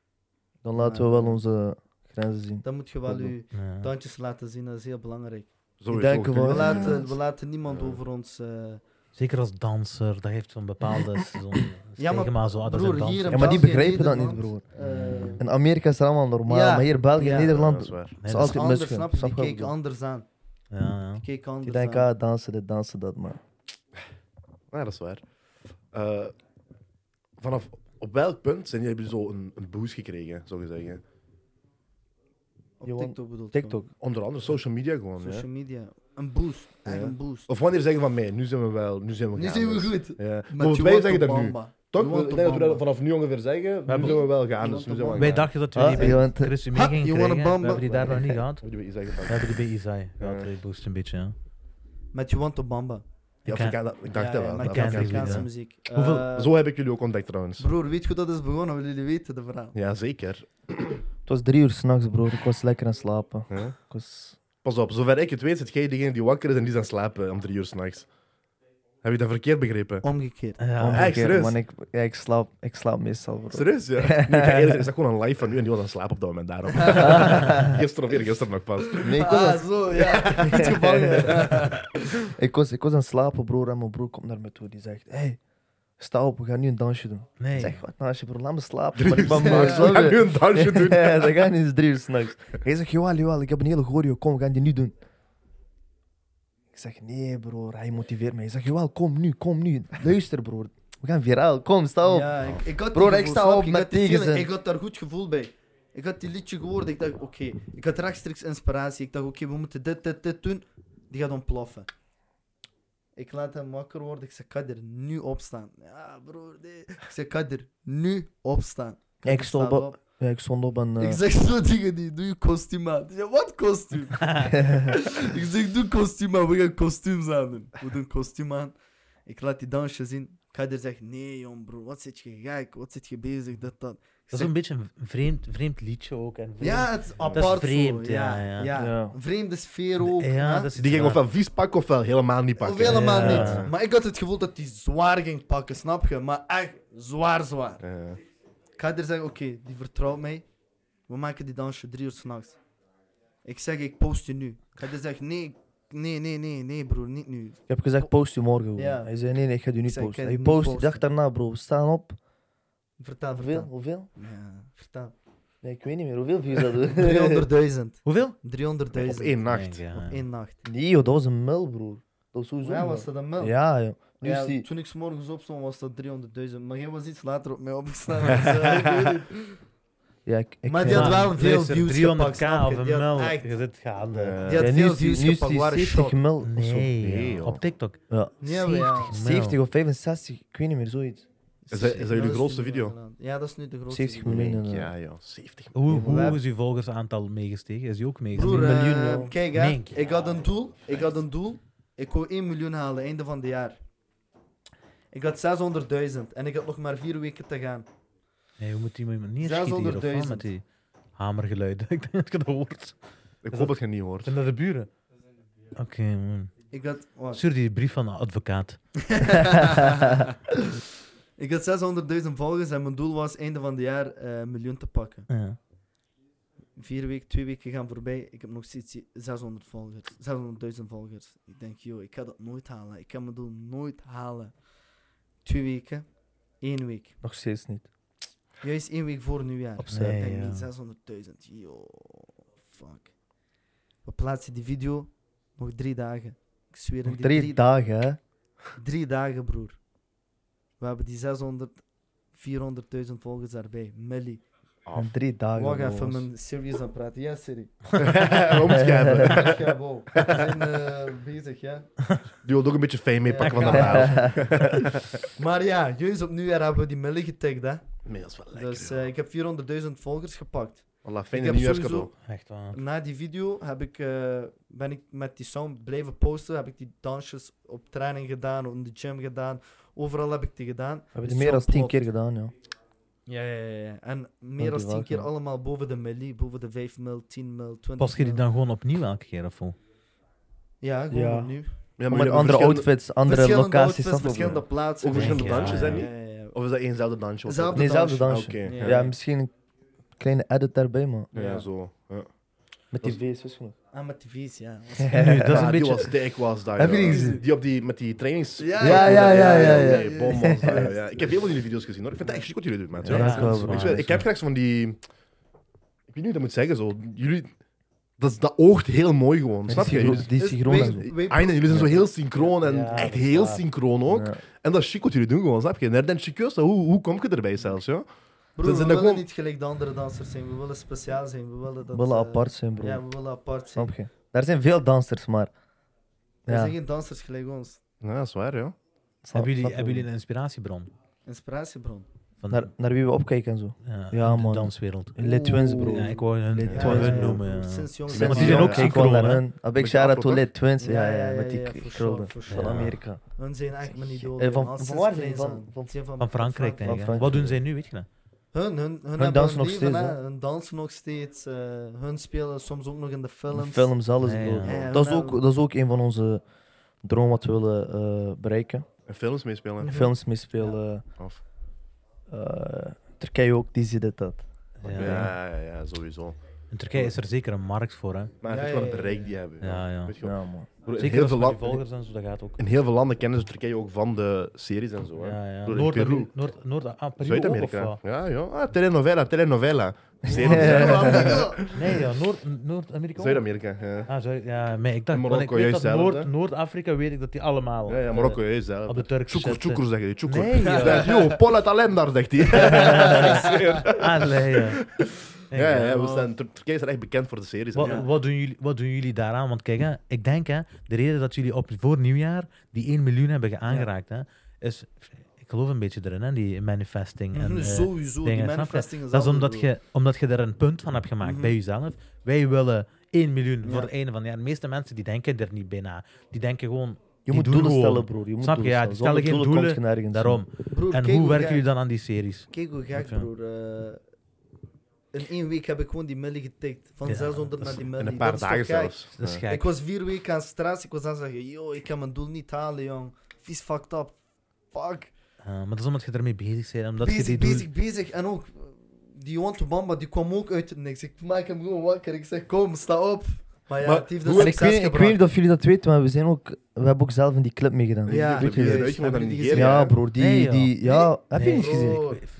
Dan laten we wel onze grenzen zien. Dan moet je wel Klopt. je Ja. tandjes laten zien, dat is heel belangrijk. Sowieso, denken kun je van- We dat- Ja. laten, we laten niemand Ja. over ons... eh, Zeker als danser, dat heeft zo'n [laughs] bepaalde zo'n Ja, maar stigma. Zo, ah, dat is een broer, hier danser. in Ja, maar die België, begrijpen dat niet, Nederland, eh, In Amerika is het allemaal normaal, Ja. maar hier België, Ja. Ja, Nederland, dat is waar. Nee, is dat altijd is- Anders, misgun. snap je? Snap Die je wat ik keken bedoel? anders aan. ja, ja. Die keken Die anders aan. denken, ah, dansen dit, dansen dat, maar... Ja, dat is waar. Eh, vanaf op welk punt zijn jullie zo een, een boost gekregen, zou je zeggen? Op Johan, TikTok bedoelt. TikTok. Onder andere social media gewoon. Social Ja? media. Een boost. Echt Ja. een boost. Of wanneer zeggen van mij, nu zijn we wel, nu zijn we Nu gaan, zijn we dus. goed. Ja. Met Maar Johan wij zeggen dat nu. Obama. Toch? Johan Ik denk dat we dat Bamba. vanaf nu ongeveer zeggen. Nu hebben- zullen we wel gaan. Dus nu Johan zijn we Wij gaan. dachten dat we Ah, die bij je bent- Chris mee Ha, gingen Johanna krijgen. We Bamba. hebben die daar nog [laughs] niet gehad. Wat doen we hier zeggen? We hebben die bij Isai. Ja, Ja. het boost een beetje. Ja. Met Juan Bamba. Ja, Ik Afrika- ken- ik dacht dat wel. met Afrikaanse Afrikaanse lied, Afrikaanse ja. muziek. Hoeveel- Eh, Zo heb ik jullie ook ontdekt trouwens. Broer, weet je hoe dat is begonnen? Willen jullie weten de verhaal? Ja, zeker. Het was drie uur s'nachts, broer. Ik was lekker aan het slapen. Ja. Ik was... Pas op, zover ik het weet, zit jij degene die wakker is en die is aan het slapen om drie uur s'nachts. Heb je dat verkeerd begrepen? Omgekeerd. Oh, Ja, echt, keer, serieus? man, ik, ja, ik, slaap, ik slaap meestal, broer. Serieus, [laughs] ja. Nee, ik ga eerlijk zeggen, is dat gewoon een live van u en die was aan het slapen op dat moment daarom. gisteren of eergisteren nog pas. Nee, ik was, aan- Ah, [laughs] zo, ja. [laughs] Iets gevangen. [laughs] ik, was, ik was aan het slapen, broer. En mijn broer komt naar me toe. Die zegt, hey, sta op, we gaan nu een dansje doen. Ik nee. zeg, wat een dansje, broer? Laat me slapen. Drie Maar uur ik ben s'nachts. moe, We snap gaan nu je? een [laughs] dansje [laughs] doen. Ja, dat gaat niet, het is drie uur s'nachts. Hij zegt, jawel, jawel, ik heb een hele choreo, kom, we gaan die nu doen. Ik zeg, nee broer, hij motiveert mij. Hij zegt, jawel, kom nu, kom nu. Luister broer, we gaan viraal, kom, sta op. Ja, ik, ik had die Broer, ik gevoel, sta snap je? op Ik met had die feeling, tegenzin. Ik had daar goed gevoel bij. Ik had die liedje gehoord. Ik dacht, oké. Ik had rechtstreeks inspiratie. Ik dacht, oké, we moeten dit, dit, dit doen. Die gaat ontploffen. Ik laat hem wakker worden. Ik zeg, Kader, nu opstaan. Ja, broer. Nee. Ik zeg, Kader, nu opstaan. Ja, ik, stond Staat op, ja, ik stond op en... eh, Ik zeg zo dingen die, doe je kostuum aan. Die zegt, wat kostuum? ik zeg, doe kostuum aan, we gaan kostuums aan doen. We doen kostuum aan. Ik laat die dansje zien. Kader zegt, nee jong broer, wat zit je gek? Wat zit je bezig, dat, dat. Ik Dat is zeg, een beetje een vreemd, vreemd liedje ook. En vreemd- ja, het is apart zo, vreemd, ja, ja, ja. Ja. Een vreemde sfeer ook. ja, hè? dat is iets Die ging raar. ofwel vies pakken ofwel helemaal niet Of pakken. helemaal Ja. niet. Maar ik had het gevoel dat hij zwaar ging pakken, snap je? Maar echt zwaar, zwaar. Ja. Ik ga er zeggen, oké, die vertrouwt mij. We maken die dansje drie uur s'nachts. Ik zeg, ik post je nu. Ik ga er zeggen, nee, nee, nee, nee, nee, broer, niet nu. Ik heb gezegd, post je morgen. broer. Ja. Hij zei, nee, nee, ik ga die Ik nu zei, ik posten. ga Hij die post niet die dag posten. daarna bro, we staan op. Vertel, Hoeveel, vertel. hoeveel? Ja, [laughs] vertel. Nee, ik weet niet meer, hoeveel views dat [laughs] doen? [laughs] 300.000. Hoeveel? 300.000. Op één Denk, nacht. ja. Eén nacht. Nee joh, dat was een mil broer. Dat was sowieso Ja, een was mil. dat een mil? Ja joh. Nu Ja, is die... toen ik 's morgens opstond was dat 300.000. Maar jij was iets later op mij [laughs] opgestaan. dus, eh, ik [laughs] weet het. Ja, ik, ik Maar die ja. had wel veel Luister, views gepakt, 300k snap of je? een Die had mil. echt- Je zit gaande. Die had Ja, nu veel is die, views nu is gepakt, die waren 70 shocked. mil of zo. Nee, joh. op TikTok. Ja. Ja, maar ja. 70 mil. 70 of 65, ik weet niet meer, [laughs] zoiets. [laughs] Is dat- is dat jullie nu grootste de video? land. Ja, dat is nu de grootste 70 video. miljoen. eh, Ja, joh. 70 Hoe, Ja, hoe maar- is uw volgersaantal meegestegen? Is die ook meegestegen? Broer, Een eh, miljoen, joh. kijk hè, Mink. ik had een doel, ik had een doel, ik wou 1 miljoen halen einde van het jaar. Ik had 600.000 en ik had nog maar 4 weken te gaan. Nee, hoe moet die met neerschieten hier of wat 600.000. met die hamergeluiden? [laughs] ik denk dat ik het hoort. Ik Is hoop dat- dat je het niet [laughs] hoort. Zijn dat de buren? Oké, man. Ik had, wacht. Stuur die brief van de advocaat. ik had 600.000 volgers en mijn doel was einde van het jaar eh, een miljoen te pakken. Ja. 4 weken, 2 weken gaan voorbij, ik heb nog steeds die 600 volgers, 600.000 volgers. Ik denk, joh, ik ga dat nooit halen, ik kan mijn doel nooit halen. 2 weken, 1 week. Nog steeds niet. Juist één week voor nieuwjaar. Opzij, Ik denk ja. niet 600.000. Yo, fuck. We plaatsen die video nog drie dagen. Ik zweer Nog het. drie dagen, hè? drie dagen, broer. We hebben die 600, 400.000 volgers daarbij. Millie. Af. Nog drie dagen. Wacht jongens. even, mijn serious aan praten. Ja, Siri. Om het [laughs] schijven. Ja, wow. We zijn eh, bezig, ja. Die wil ook een beetje fame meepakken Ja, van dat [laughs] verhaal. Maar ja, juist op nieuwjaar hebben we die Millie getagd, hè. Nee, dat is wel lekker. Dus joh. eh, ik heb 400.000 volgers gepakt. Wallah, ik fijne heb nieuwjaarscadeau. Echt waar. Na die video heb ik, eh, ben ik met die sound blijven posten. Heb ik die dansjes op training gedaan, of in de gym gedaan. Overal heb ik die gedaan. We hebben Die het meer dan sound tien klopt. keer gedaan, ja. Ja, ja, ja. ja. En meer dan die 10 wel, keer ja. allemaal boven de milli, boven de 5 mil, 10 mil, 20 Pas je die mil. dan gewoon opnieuw elke keer of hoe? Ja, gewoon Ja. opnieuw. Ja, Met jullie andere verschillende- outfits, andere verschillende locaties. outfits, snap je? verschillende plaatsen. Ook verschillende Ja, dansjes, hè? ja, niet? ja. Of is dat éénzelfde dansje? of- Zelfde Nee, zelfde Ah, dansje. Oké. Ja. Ja, misschien een kleine edit daarbij, man. Ja, Ja. zo. Ja. Met die V's is genoeg. Ah, met [laughs] tv's, ja. Nu, dat is Ah, Die een beetje... was dik, was dat. Heb joh. je die gezien? Die op die, met die trainings... Ja, ja, ja, ja, ja, Nee, ja. bom was dat, joh, ja. Ik heb veel van jullie video's gezien, hoor. Ik vind het echt chic wat jullie doen, maat. Ja, joh. dat dat is wel is waar. Ik, waar. zweer, ik heb graag zo van die... Ik weet niet hoe ik dat moet zeggen, zo. Jullie... Dat, is- dat oogt heel mooi gewoon, Die snap je? synchro- Jullie- Die synchroon en wees- zo. Wij- Einde, jullie zijn zo heel synchroon en Ja, echt dat is heel waar. synchroon ook. Ja. En dat is chic wat jullie doen gewoon, snap je? En dan chiqueus, hoe, hoe kom je erbij zelfs, joh? Broer, Dat we zijn willen dat gewoon- niet gelijk de andere dansers zijn. We willen speciaal zijn. We willen We dat... willen eh, apart zijn, bro. Ja, we willen apart zijn. Snap je? Daar zijn veel dansers, maar. Er zijn Ja, geen dansers gelijk ons. Ja, dat is waar, joh. snap- Hebben jullie, snap je Dus hebben wel. jullie een inspiratiebron? Inspiratiebron. Van Naar, naar wie we opkijken en zo. ja, Ja, de man. danswereld. Litwins, Oeh. bro. Ja, ik wou hun, Lid ik Ja, wou ja, hun ja. noemen. eh, Ja. Sinds jongs. Maar Mensen die zijn ook ik synchroon, wil naar hè? hun. Heb ik Beetje shout out to afro, toch? Lit Twins, ja, Ja, ja, ja, met die ja, ja, voor krullen sure, voor van sure. Amerika. Hun zijn echt mijn idool. Eh, van- jongen, al van sinds waar zijn die? kleins Van- aan. van- Ze zijn Van Frankrijk, denk ik. hè. Frankrijk, Wat doen ja. zij nu, weet je dat? Hun, hun, hun, hebben dansen hun nog leven, steeds, hè. hè? Hun dansen nog steeds. eh, hun spelen soms ook nog in de De films. Films, alles, Ja, ja. bro. Ja, ja, dat, is maar- ook, dat is ook een van onze dromen wat we willen eh, bereiken. En films meespelen. Mhm. Films meespelen. Af. eh, Turkije ook, die ziet dit, dat. Ja. Ja, ja, ja, sowieso. In Turkije is er zeker een markt voor, hè? Maar Ja, het is ja, gewoon ja, het ja. rijk die hebben. Ja, ja. Weet je wel. Ja, man. Broer, in, Zeker heel als veel met die landen, volgers en zo, dat gaat ook. in heel veel landen kennen ze Turkije ook van de series en zo. Hè. Ja, ja. Door in Noord- Peru. Noord- Noord- ah, Peru ook, of Zuid-Amerika. wat? Ja, ja. Ah, telenovela, [laughs] telenovela. Series. Nee, ja, Noord- Noord-Amerika ook. Zuid-amerika. Ja. Ah, Zuid- ja, maar ik dacht, En want ik Marokko, weet dat juist zelf, Noord, hè? Noord-Afrika weet ik dat die allemaal Ja, ja, eh, Marokko, juist zelf. op de Turkse Tjoekur, zetten. [laughs] tjoekur, zeg je. Tjoekur. Nee, ja. Zeg, yo, Paul uit daar zegt hij. Allee, Ah, ja. Ja, ja, we staan, Tur- Turkije is er echt bekend voor de series. Wat, Ja. wat, doen jullie, wat doen jullie daaraan? Want kijk, hè, ik denk hè, de reden dat jullie op voor nieuwjaar die 1 miljoen hebben aangeraakt, hè, is, ik geloof een beetje erin, hè, die manifesting. En, eh, Mhm, Sowieso, die dingen, snap je? manifesting is dat is altijd omdat zo. je, omdat je er een punt van hebt gemaakt Mhm. bij jezelf. Wij willen 1 miljoen Ja. voor het einde van het jaar. De meeste mensen die denken er niet bij na. Die denken gewoon, Je Die moet doen doelen gewoon. stellen, broer. Je moet Snap je? doelen Ja, die stellen. Zonder stellen geen doelen, komt je nergens. daarom. Broer, En kijk hoe werken gek- jullie dan aan die series? Kijk hoe gek, Oké. broer. eh, in één week heb ik gewoon die milli getikt. Van Ja, 600 naar die milli. In een Dat paar is toch dagen gek? zelfs. Dat is Ja. gek. Ik was vier weken aan stress. Ik was aan het zeggen, yo, ik kan mijn doel niet halen, jong. Vies fucked up. Fuck. Eh, maar dat is omdat je ermee bezig bent. Omdat je bezig, die doel- bezig, bezig. En ook, eh, die Juan Bamba, die kwam ook uit het niks. Ik maak hem gewoon wakker. Ik zeg, kom, sta op. Maar ja, Maar het heeft hoe- dus En ik, succes weet, ik weet gebracht. niet of jullie dat weten, maar we, zijn ook, we hebben ook zelf in die clip meegedaan. Ja, Die Weet je hebben dat? die uitgemaakt Hebben aan die Nigeria. gezien? Ja, broer. Die, Nee, ja. die, ja, Nee. heb je Nee, niet bro. gezien?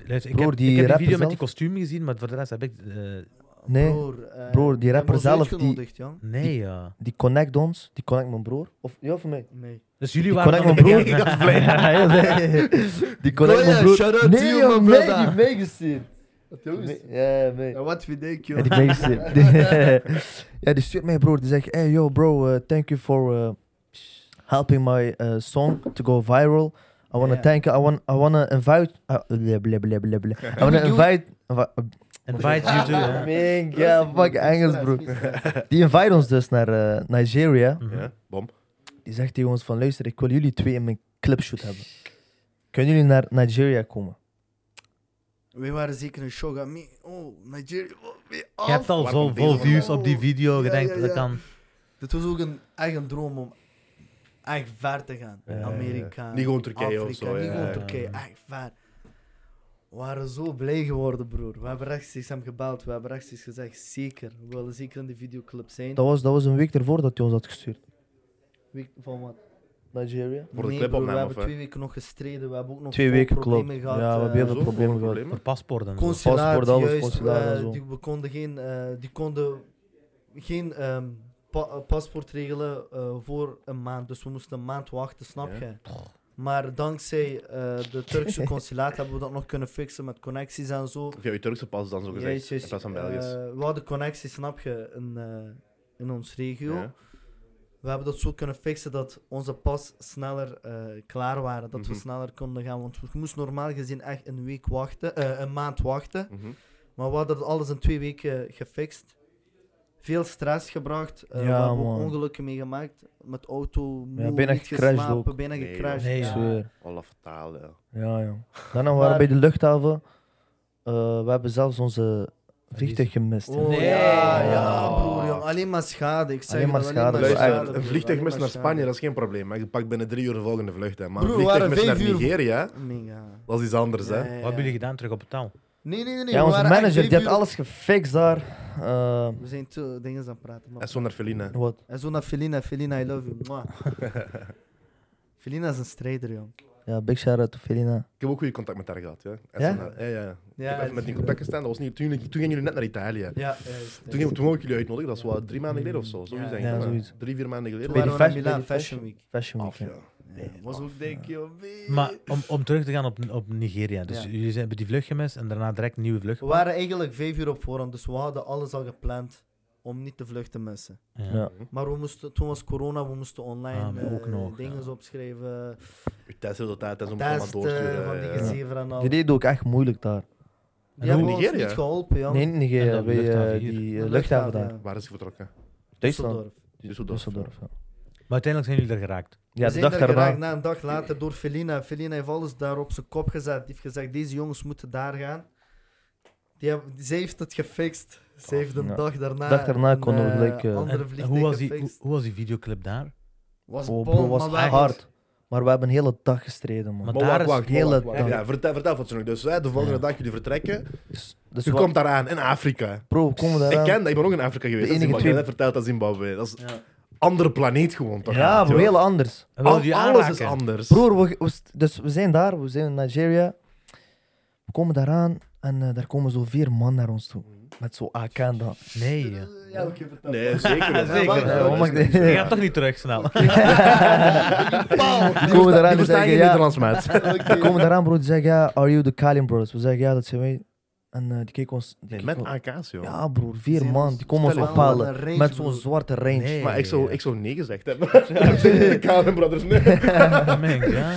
Ik, luister, ik Broer, heb, die ik heb die rapper video met die zelf? kostuum gezien, maar voor de rest heb ik... eh, Nee. Broer, eh, Broer, die ik heb rapper ons zelf, uitgenodigd, jong. nee, ja. Die connect ons, die connect mijn broer. Of, ja, voor mij. Nee. Dus jullie Die waren... connect dan [laughs] mijn broer. bekend- [laughs] Ja, ja, nee. Die connect Goeie, mijn broer. shout out Oh to nee, you, joh, my mij, brother. die heeft meegestuurd. Jongens, Ja, mee. ja, wat vind ik, Ja, joh. die meegestuurd. Die- [laughs] ja, die stuurt mij broer. Die zegt, hey yo bro, eh, thank you for eh, helping my eh, song to go viral. I wanna Ja. thank you. I want I wanna invite. Uh, blah, blah, blah, blah, blah. I wanna invite. eh, Invite you [laughs] to... hè. Man, ja, fuck Engels bro. [laughs] Die invite ons dus naar eh, Nigeria. Mhm. Ja, bom. Die zegt tegen ons van, luister, ik wil jullie twee in mijn clipshoot hebben. Kunnen jullie naar Nigeria komen? We waren zeker in shock. Me, oh, Nigeria. Oh, we af. Je hebt al Waar zo komt veel deze views vandaan? op die video, je Ja, denkt ja, dat ja. kan... Dit was ook een eigen droom om echt ver te gaan. Ja, ja, ja. Amerika. Niet gewoon Turkije of Afrika, zo, Niet ja, gewoon ja. Turkije, echt ver. We waren zo blij geworden, broer. We hebben rechtstreeks hem gebeld. We hebben rechtstreeks gezegd, zeker. We willen zeker in de videoclip zijn. Dat was, dat was een week ervoor dat hij ons had gestuurd. Week van wat? Nigeria? Voor de nee, broer, clipopname, we hebben of, hè? twee weken nog gestreden. We hebben ook nog Twee veel weken klopt. problemen gehad. Ja, we hebben eh, heel veel Zo, problemen gehad. problemen. Voor paspoorten. en zo. consulaat, Paspoort, alles, juist, consulaat en eh, zo. Die, we konden geen, eh, die konden geen ehm, pa- eh, paspoort regelen eh, voor een maand. Dus we moesten een maand wachten, snap Ja. je? Maar dankzij eh, de [laughs] Turkse consulaat hebben we dat nog kunnen fixen met connecties en zo. Via je Turkse pas dan, zo gezegd. Juist, juist, in plaats van eh, Belgisch. we hadden connecties, snap je, in, eh, in ons regio. Ja. We hebben dat zo kunnen fixen dat onze pas sneller eh, klaar waren. Dat we Mhm. sneller konden gaan. Want we moesten normaal gezien echt een week wachten, eh, een maand wachten. Mhm. Maar we hadden dat alles in twee weken gefixt. Veel stress gebracht. eh, Ja, we hebben ook man. ongelukken meegemaakt. Met auto, moe, bijna niet gecrashed geslapen, ook. bijna Nee, gecrashed. joh. Nee, Ik Ja. zweer. Alle vertalen. ja. Ja, ja. Daarna waren we bij de luchthaven. Eh, we hebben zelfs onze vliegtuig gemist. Oh, Nee. ja, ja, Ja. broer. jong. Alleen maar schade. Ik zeg Alleen het, maar schade. Alleen maar Luister, Luister, schade, een broer, vliegtuig alleen mis naar maar Spanje, dat is geen probleem. Maar je pakt binnen drie uur de volgende vlucht. Hè. Maar Broer, een we vliegtuig waren mis naar vijf uur- Nigeria, schade. Mega. dat is iets anders. Ja, Hè. ja, Wat ja. hebben jullie gedaan terug op taal? Nee, nee, nee. nee, Ja, we onze waren echt manager die vijf had uur- alles gefixt daar. Eh, We zijn te dingen aan het praten. man. En zo naar Feline. wat? En zo naar Felina. Felina, I love you. [laughs] Mwah. Felina is een strijder, jong. Ja, big shout out to Felina. Ik heb ook goede contact met haar gehad. Ja? En Ja? zo naar- ja, ja. Ik Ja, heb even met die in contact gestaan. Dat was niet, toen, jullie- toen gingen jullie net naar Italië. Ja, juist. Toen, gingen- toen wou ik jullie uitnodigen, dat is wat drie maanden geleden of zo. Zoiets Ja, denk ik, ja, hè. zoiets. Drie, vier maanden geleden. Toen Bij waren die we naar fashion- bij Milaan, die Fashion Fashion Week. Week. Af, ja. ja. Nee, was ook denk je, joh, nee. Maar om, om terug te gaan op, op Nigeria. Dus Ja. jullie zijn- hebben die vlucht gemist en daarna direct een nieuwe vlucht. We waren eigenlijk vijf uur op voorhand, dus we hadden alles al gepland. om niet de vlucht te missen. Ja. Ja. Maar we moesten, toen was corona, we moesten online Ah, maar ook eh, nog, dingen ja. opschrijven, Je testresultaat is om allemaal testen doorsturen. eh, van die ja. gezever en al. Die deed ook echt moeilijk daar. Die hebben ook ons Nigeria? niet geholpen, ja. Nee, niet Nigeria, En dan bij eh, luchthaven hier. die De eh, luchthaven daar. ja. Waar is hij vertrokken? Duitsland. Düsseldorf. Düsseldorf. Düsseldorf, ja. Maar uiteindelijk zijn jullie er geraakt. Ja, we de zijn dag daar geraakt daarna. na een dag later door Felina. Felina heeft alles daar op zijn kop gezet. Die heeft gezegd, deze jongens moeten daar gaan. Die hebben, zij heeft het gefixt. Ze heeft de Ja. dag daarna... Dag daarna een, konden we eh, gelijk, eh, andere En vliegtuig hoe was, die, hoe, gefixt. hoe was die videoclip daar? Was Oh, bom, bro, was maar we echt hebben- hard. Maar we hebben een hele dag gestreden, man. Maar Maar daar wacht, is wacht, hele wacht, wacht. dag. Ja, vertel, vertel wat ze nog. Dus hè, de volgende Ja. dag jullie vertrekken. Dus, dus Je wa- komt daaraan in Afrika. Bro, we komen daaraan. Ik ken dat, ik ben ook in Afrika geweest. De Dat is Zimbabwe. enige twee- Ik heb net verteld dat Zimbabwe. Dat is een andere planeet gewoon toch? Ja, bro, joh. heel anders. En Al- wilden jullie alles is aanraken? anders. Broer, we, we st- dus we zijn daar, we zijn in Nigeria. We komen daaraan en eh, daar komen zo vier man naar ons toe. Met zo'n AK en dat. Nee. eh. Ja, oké, vertel. Nee, [laughs] zeker. niet. Zeker. wacht, Ja, joh. Eh, mag Die ik- Je gaat toch niet terug snel? We komen daaraan en verstaan zeggen je ja. Nederlands, maat. We komen daaraan, broer, die zeggen ja, are you the Kalim brothers? We zeggen ja, dat zijn wij. En eh, die keken ons. die Nee, keken met ons- AK's, joh. Ja, broer, vier Zien man. ons- Die komen ons Stel eens aan een ophalen. range, Met zo'n broer. zwarte range. Nee. Maar ik zou, ik zou nee gezegd [laughs] hebben. de Karen Brothers, nee. Meng, ja.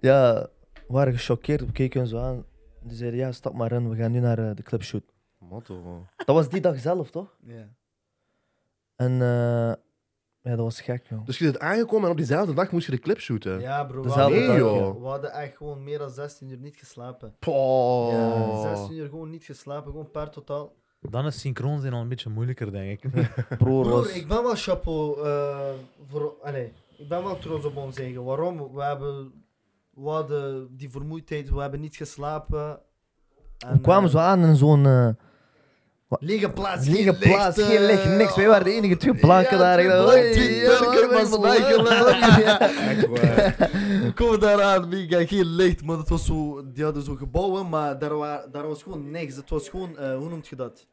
Ja, we waren gechoqueerd. We keken ons aan. Die zeiden ja, stap maar in, we gaan nu naar eh, de clipshoot. [laughs] Motto. Dat was die dag zelf, toch? Ja. En eh, ja, dat was gek, [laughs] joh. Dus je zit aangekomen en op diezelfde dag moest je de clip shooten. Ja, bro. We Dezelfde hadden, dag, joh. we hadden echt gewoon meer dan 16 uur niet geslapen. Poh. Ja, 16 uur gewoon niet geslapen, gewoon per totaal. Dan is synchroon zijn al een beetje moeilijker, denk ik. Broer Broer, was... ik ben wel chapeau eh, voor... Allee, ik ben wel trots op ons eigen. Waarom? We hebben... We hadden die vermoeidheid, we hebben niet geslapen. En, We kwamen eh, zo aan in zo'n... eh, Lege plaats, geen Lege plaats, licht, geen eh, licht, niks. Wij waren de enige twee blanken daar. Ik dacht, blanken, hey, die ja, Turker wij was zijn [laughs] lachen. Ja. Echt waar. We komen daaraan, mega, geen licht, maar dat was zo, die hadden zo gebouwen, maar daar, wa- daar was gewoon niks. Het was gewoon, eh, hoe noemt je dat?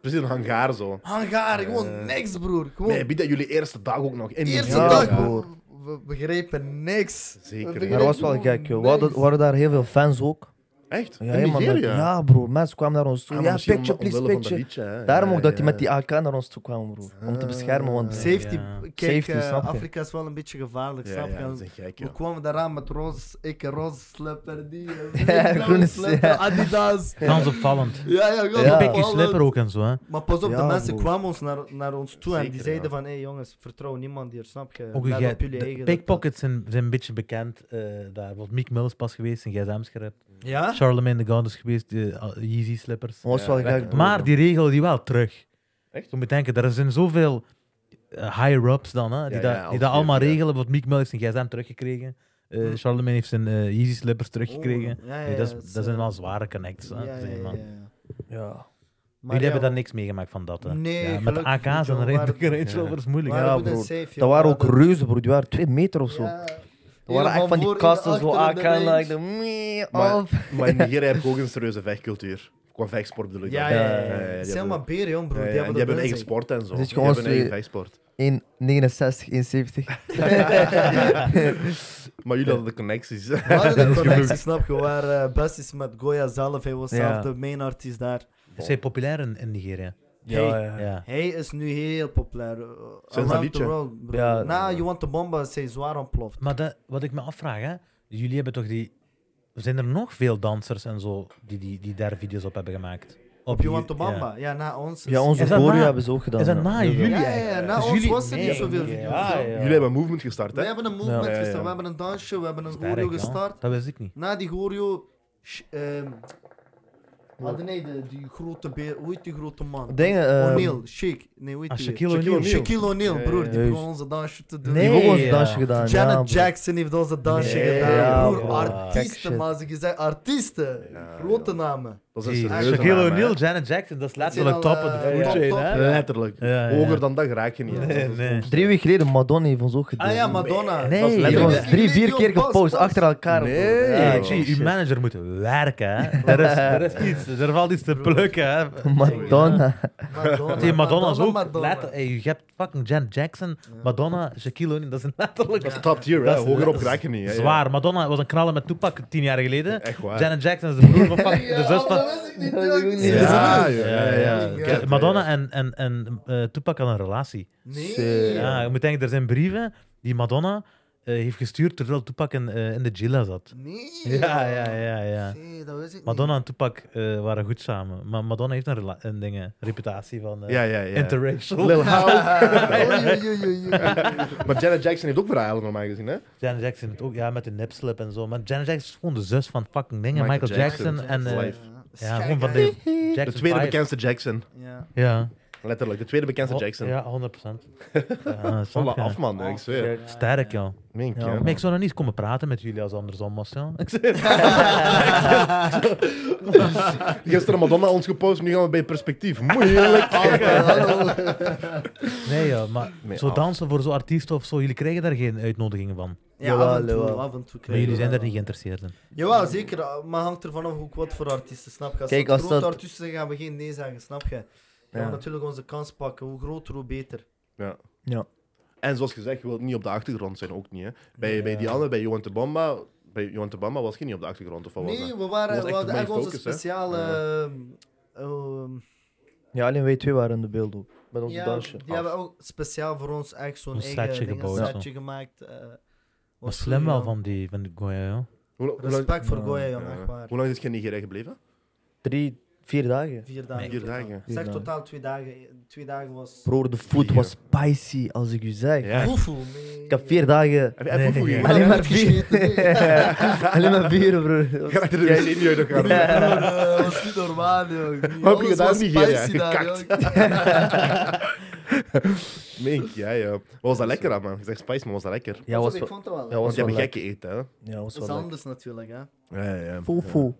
Precies een hangar zo. Eh, Hangaar, gewoon niks, broer. Gewoon, Nee, bied dat jullie eerste dag ook nog in die eerste hangar. dag, ja. broer. We begrepen niks. Zeker, We ja. Maar dat was wel begrepen gek, joh. We gewoon hadden, niks. waren daar heel veel fans ook. Echt? Ja, in helemaal met- Nigeria? ja bro. Mensen kwamen naar ons toe. Ah, ja, misschien om- picture, please, omwille van dat picture. liedje, hè. Daarom Ja, ook dat die ja. met die AK naar ons toe kwamen, bro. Om te beschermen, want... Safety, Ja. kijk, Safety, eh, snap je? Afrika is wel een beetje gevaarlijk, Ja, snap je? ja, dat is een gek, We joh. kwamen daaraan met roze, ik een roze slipper, die eh, groene blauwe slipper, [laughs] slipper, ja. Adidas. Gans opvallend. Ja, ja, Ja. ja. Pikkie slipper ook en zo, hè. Maar pas op, de Ja, mensen broer. kwamen ons naar, naar ons toe en die Zeker, zeiden ja. van, hé hey, jongens, vertrouw niemand hier, snap je? Ook Let jij- op jullie de eigen. Pickpockets zijn, zijn een beetje bekend. eh daar wordt Mick Mills pas geweest in gsm's gerept. Ja? Charlemagne the God is geweest, de eh, Yeezy slippers. Dat was wel Ja, gek, bro. Maar die regelen die wel terug. Echt? Je moet denken, er zijn zoveel eh, higher-ups dan, hè, die, Ja, dat- ja, die als dat je- allemaal ja. regelen. Want Mick Mill heeft zijn gsm teruggekregen. Eh, Hm. Charlemagne heeft zijn eh, Yeezy slippers teruggekregen. Oh, ja, ja, Nee, dat, is- het is, dat zijn eh, wel zware connects. Hè, ja, ja, zeg maar. ja, ja. Ja. Maar Jullie ja, hebben oh. daar niks meegemaakt van dat. Hè. Nee, Ja, met de gelukkig AK's niet, en joh. de Waar- Range Ja. Rovers is we moeilijk. Waar- waren ja, goed en broer. safe, joh. Dat waren ook We hadden- reuzen, bro. Die waren twee meter of zo. Ja. Dat waren Hier echt van voor, die hier kasten, zo achter in AK. de En dan range. ik dacht, mee, Maar- af. Maar in Nigeria heb je ook een serieuze vechtcultuur. Qua vechtsport bedoel ik Ja, dan. ja, ja. Ja, ja, ja, die Het zijn hebben- maar beren, jong, broer. Ja, ja, Die en hebben die hebben een dat in eigen zich. sport en zo. Dus Die gewoon hebben een eigen twee- [laughs] vechtsport. 1,69, 1,70. Maar jullie hadden de connecties. [laughs] We hadden de connectie, snap je, waar eh, best is met Goya zelf. Hij was Ja. zelf de main artiest daar. Ze zijn populair in, in Nigeria. Hey, Ja. Hij is nu heel populair. eh, dat Around the liedje? world, broer. Ja. Na You Want The Bomba is hij zwaar ontploft. Maar dat, wat ik me afvraag, hè, jullie hebben toch die. Zijn er nog veel dansers en zo die, die, die daar video's op hebben gemaakt? Op You Want The ja. Bomba. Ja, na ons. is- Ja, onze Is dat choreo na- hebben ze ook gedaan. Is dat ja. na Ja. jullie? Ja, ja, ja, eigenlijk? na Dus ons jullie- was er niet zoveel nee, video's. ja, Ah, ja. Jullie hebben een movement gestart, We hè? hebben een movement Ja, ja, ja. gestart, we hebben een dansje, we hebben een Sterk, choreo ja. gestart. Dat wist ik niet. Na die choreo... sh- ehm, ah, nee, de- die grote beer, hoe heet die grote man? Dingen, eh, O'Neill, Sheik. Nee, hoe heet Ah, die? Shaquille Shaquille O'Neal. O'Neal. eh, Shaquille O'Neal, Ja, broer, ja, die juist. begon onze dansje te doen. Nee, Die hebben ook ons ja. dansje gedaan. ja, Janet bro. Jackson heeft onze dansje Nee, gedaan. ja, broer, bro. Kijk, artiesten, shit. maar ze gezegd artiesten. Ja, grote ja. namen. Dat is een Hey, serieuze Ah, Shaquille naam, hè. O'Neal, Janet Jackson, dat is zijn letterlijk al, top of the eh, food top, chain, top, hè? ja. Letterlijk. Ja, ja. Hoger dan dat raak je niet. hè. Nee, Dat is- nee. Drie weken geleden Madonna heeft ons ook gedaan. Ah ja, Madonna. Nee. Dat is Die Letterlijk. was drie, vier Video, keer pas, gepost pas. achter elkaar. bro. Nee. Ja, Hey, Oh, gee, shit. uw manager moet werken, [laughs] hè? Er is, er is iets, er valt iets te plukken, hè? Madonna. Madonna, Hey, Madonna is ook. Madonna. Letter, hey, je hebt fucking Janet Jackson, Madonna, Shaquille O'Neal, dat is letterlijk. Dat is top tier, hè. Dat is- Hoger op dat is raak je niet. hè. Ja. Zwaar. Madonna was een knallen met Toepak tien jaar geleden. Echt waar. [laughs] Janet Jackson is de broer van fucking de zus van wist ik niet. Dat wist ik joh. niet. Ja, Ja, joh. ja, Ja, ja. ja. Kijk, Madonna en, en, en eh, Tupac hadden een relatie. Sick. Ja, je moet denken, er zijn brieven die Madonna eh, heeft gestuurd terwijl Tupac in, eh, in de Gila zat. Nee. Ja, ja, ja, ja. Nee, dat wist ik Madonna en Tupac eh, waren goed samen. Maar Madonna heeft een, rela- een ding, eh, reputatie van eh, Ja, ja, ja. interracial. Lil How. niet. maar Janet Jackson heeft ook verhalen normaal gezien, hè? [laughs] Janet Jackson het ook, ja, met de nipslip en zo. Maar Janet Jackson is gewoon de zus van fucking dingen. Michael Michael, Jackson. Jackson, en... eh, Life. ja, gewoon van de Jackson De tweede Five. bekendste Jackson. Ja. Ja. Letterlijk, de tweede bekendste Oh, Jackson. Ja, [laughs] 100%. Ja, Volle snap je? af, man. Ik zweer. Ja, Sterk, joh. Mink, Ja, ja. Maar ik zou nog niet komen praten met jullie als het andersom was, ja. Ik zeg- Gisteren Madonna ons gepost, nu gaan we bij perspectief. Moeilijk. Nee, joh, maar Nee, zo af. dansen voor zo'n artiest of zo, jullie krijgen daar geen uitnodigingen van. Ja, Jawel, af en toe, jawel. af en toe Maar krijg je jullie zijn wel. daar niet geïnteresseerd in. Jawel, zeker. Maar hangt er vanaf ook wat voor artiesten, snap je? Als Kijk, er als grote dat- artiesten zijn, gaan we geen nee zeggen, snap je? We Ja. gaan natuurlijk onze kans pakken. Hoe groter, hoe beter. Ja. Ja. En zoals gezegd, je wilt niet op de achtergrond zijn, ook niet. Hè. Bij, bij die andere, bij Johan de Bamba, bij Johan de Bamba was je niet op de achtergrond, of wat was Nee, dat? we, waren, was we echt hadden de echt main onze focus, hè? speciale... Ja. ehm, ehm, Ja, alleen wij twee waren in de beeld ook. Met onze ja, dansje. die hebben ook speciaal voor ons echt zo'n Een eigen setje ding, gebouwd, een zo. setje gemaakt. eh, Maar was slim goed, wel ja. van die, van die Goya, joh. Hoe, hoe lang, Respect voor Ja. Goya, jong, ja. echt waar. Hoe lang is je in Nigeria gebleven? Drie, vier dagen. Vier dagen. Vier totaal. dagen. Ik Zeg Vier totaal twee dagen. Twee dagen was... Broer, de food Vier. was spicy, als ik u zeg. Ja. Hoeveel? Nee. Ik heb vier dagen [laughs] Heb je even Nee. nee, [laughs] alleen maar bier. Uitgescheten, nee. alleen maar bier, [laughs] broer. Ga achter de wc niet uit elkaar. Dat was niet normaal, joh. Wat heb je Alles gedaan was in Nigeria? spicy daar, joh. Gekakt. Mink, ja, ja. Wat was dat lekker aan, man? Ik zeg spice, maar was dat lekker? Ja, was ik wel, vond het wel. ja, Want was je wel hebt lekker. gekke eten, hè? Ja, was dat is wel lekker. anders natuurlijk, hè. Ja, ja. Fufu.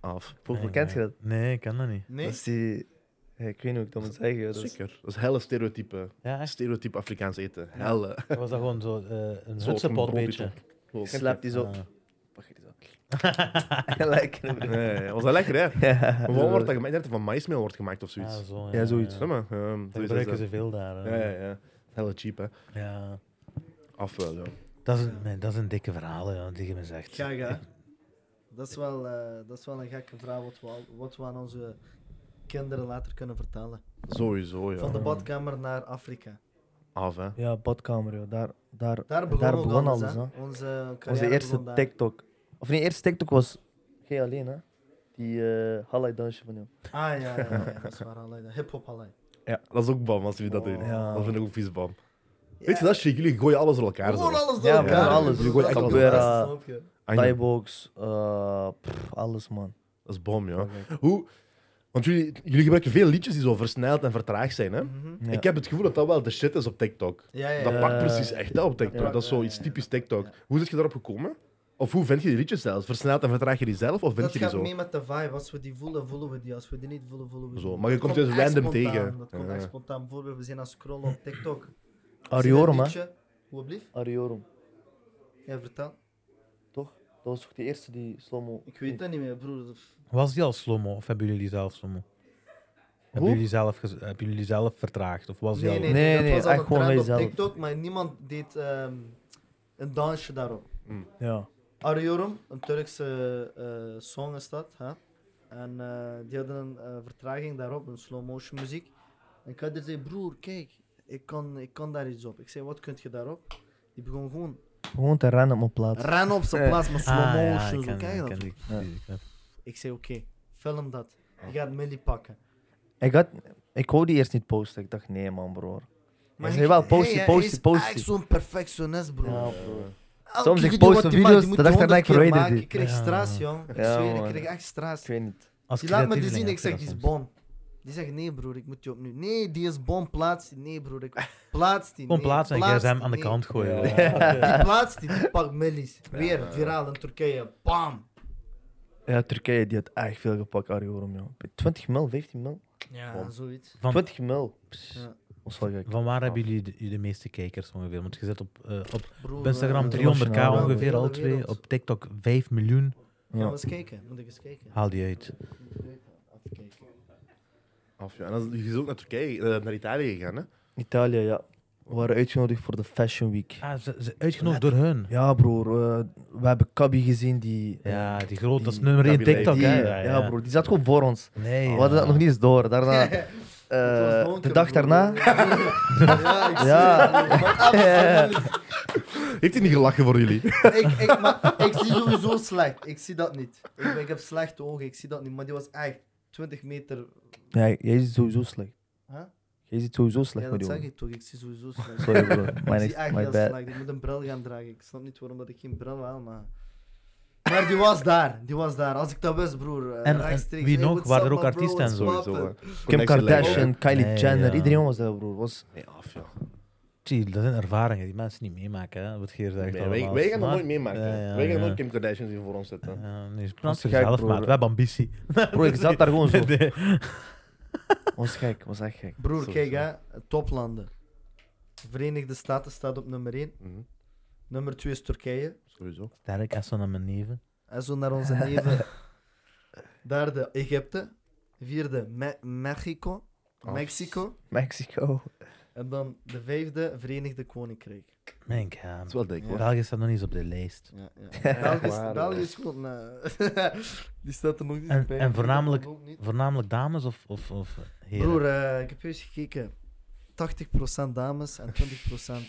Af. Fufu, Nee, kent je nee. dat? Nee, ik ken dat niet. Dat Nee? is die... Ja, ik weet niet hoe ik dat moet zeggen. joh. Dat is- Zeker. Dat is helle stereotype. Ja, echt. Stereotype Afrikaans eten. Helle. Was dat gewoon zo eh een Zo op een hutsenpot broodje beetje? Zo. Ik slap die zo. Ah. Pak je die zo. [laughs] lekker, broer. Ja, ja, ja. Was dat lekker, [laughs] hè? Ja, Maar wat wordt dat gemaakt? Ik denk dat het van maïsmeel wordt gemaakt of Ah, zoiets. zo, Ja, zoiets. Zeg maar. ehm, Dat zoiets is gebruiken dat. ze veel daar. Ja, hè. ja, ja. Helle cheap, hè? Ja. Af wel, ja. Dat is, een, nee, dat is een dikke verhaal, ja, die je me zegt. Gek, hè. Dat is wel, eh, dat is wel een gekke vraag wat we, al- wat we aan onze kinderen later kunnen vertellen. Sowieso, ja. Van de badkamer naar Afrika. Af, hè? Ja, badkamer, joh. Daar, daar, Daar begon, ook begon alles, alles, hè. hè. Onze, carrière Onze begon eerste daar. TikTok. Of nee, eerste TikTok was... Jij alleen, hè? Die eh Hallei dansje van jou. Ah, ja, ja, ja, ja, dat is waar. Allee, de Hip-hop alleen. Dat is ook bam als jullie dat doen. Ja. Dat vind ik ook vies bam. Weet je dat, shit? Jullie gooien alles door elkaar. Zo. Gewoon alles door Ja, elkaar. gewoon alles. broer. Gewoon Dat is echt het beste, Capoeira. snap je? Ah, ja. Thaibox, eh, pff, alles, man. Dat is bom, ja. Hoe... Want jullie, jullie gebruiken veel liedjes die zo versneld en vertraagd zijn, hè? Mhm. Ja. Ik heb het gevoel dat dat wel de shit is op TikTok. Ja, ja, Dat ja. pakt precies echt hè, op TikTok. Eh, Ja. dat is zoiets Ja, ja, typisch TikTok. Hoe zit je daarop gekomen? Of hoe vind je die liedjes zelfs? Versneld en vertraag je die zelf? Of vind Dat je die gaat zo? mee met de vibe. Als we die voelen, voelen we die. Als we die niet voelen, voelen we die. Zo, niet. maar je Dat komt dus echt random spontaan. tegen. Dat komt Ja, Ah, echt ja. spontaan. Bijvoorbeeld, we zijn aan het scrollen op TikTok. Ariorum, hè? hè? Hoe blieft? Ariorum, Ja, vertel. toch? Dat was toch die eerste die slomo... Ik weet dat niet meer, broer. Was die al slomo of hebben jullie zelf slomo? Hebben Hoe? jullie zelf, gez- hebben jullie zelf vertraagd? Of was die Nee, al... nee, Nee, nee. nee, Dat was al echt een gewoon trend op mijzelf. TikTok, maar niemand deed ehm, een dansje daarop. Ja. Ariorum, een Turkse eh, song is dat. Hè? En eh, die hadden een eh, vertraging daarop, een slow motion muziek. En Kader zei, broer, kijk, ik kan, ik kan daar iets op. Ik zei, wat kunt je daarop? Die begon gewoon Gewoon te rennen op mijn plaats. rennen op Eh. zijn plaats met Ah, slow ja, motion. ik zo, ken- kijk ik dat. ken die- Ja. die clip. Ik zei, oké, film dat. Je gaat Millie pakken. Ik, had, ik wou die eerst niet posten. Ik dacht, nee man, broer. Maar zei hij- wel, post die, hij- post hij die, is post echt die. zo'n perfectionist, broer. Elke Soms ik video post een wat hij maakt, video's, die moet dat hij dacht ik, 100 keer ik verwijder maken. die. Ik kreeg Ja, straas, jong. Ik Ja, zweer, ik man. kreeg echt straas. Ik weet niet. Als Die laat me die creatieveling zien, heb ik zeg, dat die is soms. bom. Die zegt, nee broer, ik moet die opnieuw. Nee, die is bom, plaats die. Nee broer, ik plaats die. Gewoon nee, plaatsen en jij plaats ze hem die, aan de nee. kant gooien. Ja. Ja. Die plaats die, die pakt millies. Weer viraal in Turkije, bam. Ja, Turkije die had echt veel gepakt, Ariorum, joh. 20 mil, 15 mil? Ja, Bom. zoiets. [laughs] Van, 20 mil. Pss, Ja. was wel gek. van waar hebben jullie de, de meeste kijkers ongeveer? Want je zit op, eh, op Broer, Instagram eh, internationaal, 300k ja, ongeveer, heel al de twee. wereld. Op TikTok 5 miljoen. Gaan we Ja. eens kijken, moet ik eens kijken. Haal die uit. Even kijken. Af, ja. En dan, je is ook naar Turkije, eh, naar Italië gegaan, hè? Italië, ja. We waren uitgenodigd voor de Fashion Week. Ah, ze, ze uitgenodigd door hun. Ja, broer. eh, we hebben Kabi gezien die... Ja, die groot, dat is Die- nummer 1 Kabinet. TikTok, die- hè? ja, broer. Die zat gewoon voor ons. Nee, We ja. hadden dat nog niet eens door. Daarna... [laughs] eh, de dag daarna... ja, ik zie Ja. het. Wat aan het doen. Heeft hij niet gelachen voor jullie? ik, ik, ah, maar, ik zie sowieso slecht. Ik zie dat niet. Ik, ben- ik heb slechte ogen, ik zie dat niet. Maar die was echt 20 meter. Nee, jij ziet sowieso slecht. Huh? Jij ziet sowieso Ja, slecht, met die dat zeg jongen. ik toch. Ik zie sowieso slecht. Sorry, [laughs] bro. ik My, zie next, echt heel my bad. slecht. Ik moet een bril gaan dragen. Ik snap niet waarom dat ik geen bril haal, maar... Maar die was daar. Die was daar. Als ik dat wist, broer. eh, En- en rechtstreeks, wie hey, nog? what's Waren er up, ook man, bro? artiesten en eh? What's sowieso, poppin'? Kim Kardashian, Kylie Nee, Jenner, ja. iedereen was daar, broer. Was, Nee, af, ja. Zie, dat zijn ervaringen die mensen niet meemaken, hè? Wat Geer zegt. Nee, wij, allemaal. wij gaan dat Maar- nooit meemaken. Ja, ja, wij gaan ja. nooit Kim Kardashian zien voor ons zitten. Ja, nee, is Dat is prachtig gek, zelf, broer. maar we hebben ambitie. bro, ik zat daar [laughs] gewoon zo. Nee. Was gek, was echt gek. Broer, Sowieso. kijk hè. Toplanden. Verenigde Staten staat op nummer 1. Mhm, Nummer 2 is Turkije. Sowieso. Sterk, echt zo naar mijn neven. En zo naar [laughs] onze neven. Derde, Egypte. Vierde, Me- Mexico. Ah. Mexico. Mexico. En dan de vijfde, Verenigde Koninkrijk. Mijn god. Dat is wel dik, hoor. België staat nog niet eens op de lijst. Ja, [laughs] ja. Ja, België, is- waar, België hè. is gewoon... eh, die staat er nog niet En- bij. en [laughs] voornamelijk- Ook niet. Voornamelijk dames of, of, of heren? [laughs] Broer, eh, ik heb eens gekeken. 80% dames en 20%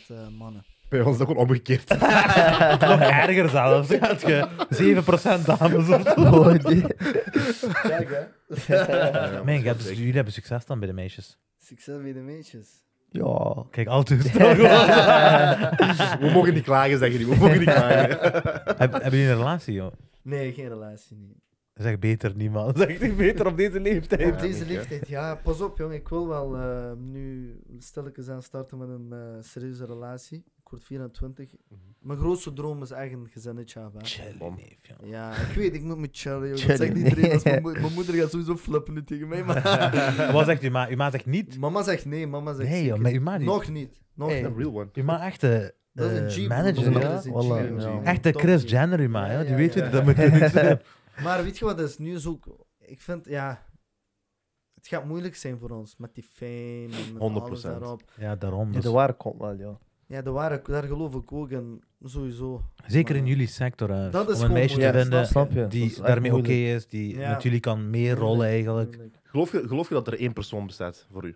eh, mannen. Bij ons is dat gewoon [laughs] omgekeerd. Nog erger zelfs. Had je 7% dames of [laughs] zo. Oh, die- Kijk hè. Ja, Mijn god, dat dus is dik. jullie hebben succes dan bij de meisjes. Succes bij de meisjes. Ja. Kijk, altijd. [laughs] Heb- [laughs] We mogen niet klagen, zeggen die. We mogen niet klagen. [laughs] Hebben jullie een relatie, joh? Nee, geen relatie. Nee. Zeg beter niet, man. Zeg ik beter op deze leeftijd. Op deze denk ik, hè. leeftijd, ja, pas op jongen. Ik wil wel eh, nu stilletjes aan starten met een eh, serieuze relatie. Ik word 24. Mhm. Mijn grootste droom is echt een gezinnetje hebben. hè. Chill, Bom. neef, joh. Ja, ik weet, ik moet met chillen, jongen. Chillen, Dat zegt iedereen. nee. [laughs] Als mijn, moe- mijn moeder gaat sowieso flippen nu tegen mij. Maar... [laughs] Wat zegt uw ma? Uw ma zegt niet. mama zegt nee, mama zegt Nee, joh, zeker. maar uw ma niet. Nog niet. Nog Hey. Een niet. real one. Uw ma echt eh, Dat is een eh, Jeep. manager, Dat is ja. een- Voilà, ja. Echt de Chris Jenner, uw ma, Ja, ja. Die ja, weet ja. jullie [laughs] dat moet doen. Maar weet je wat, dat is nu is ook... Ik vind, ja... Het gaat moeilijk zijn voor ons, met die fame en met alles 100%. daarop. Ja, daarom. Ja, dus- de waar komt wel, ja. Ja, de ware, daar geloof ik ook in, sowieso. Zeker in Maar- jullie sector, hè. om Dat is een gewoon meisje moeilijk, te vinden snap je? Dat is die echt daarmee oké moeilijk. is, die Ja. Mm. met jullie kan meerollen eigenlijk. Geloof je, geloof je dat er één persoon bestaat voor u?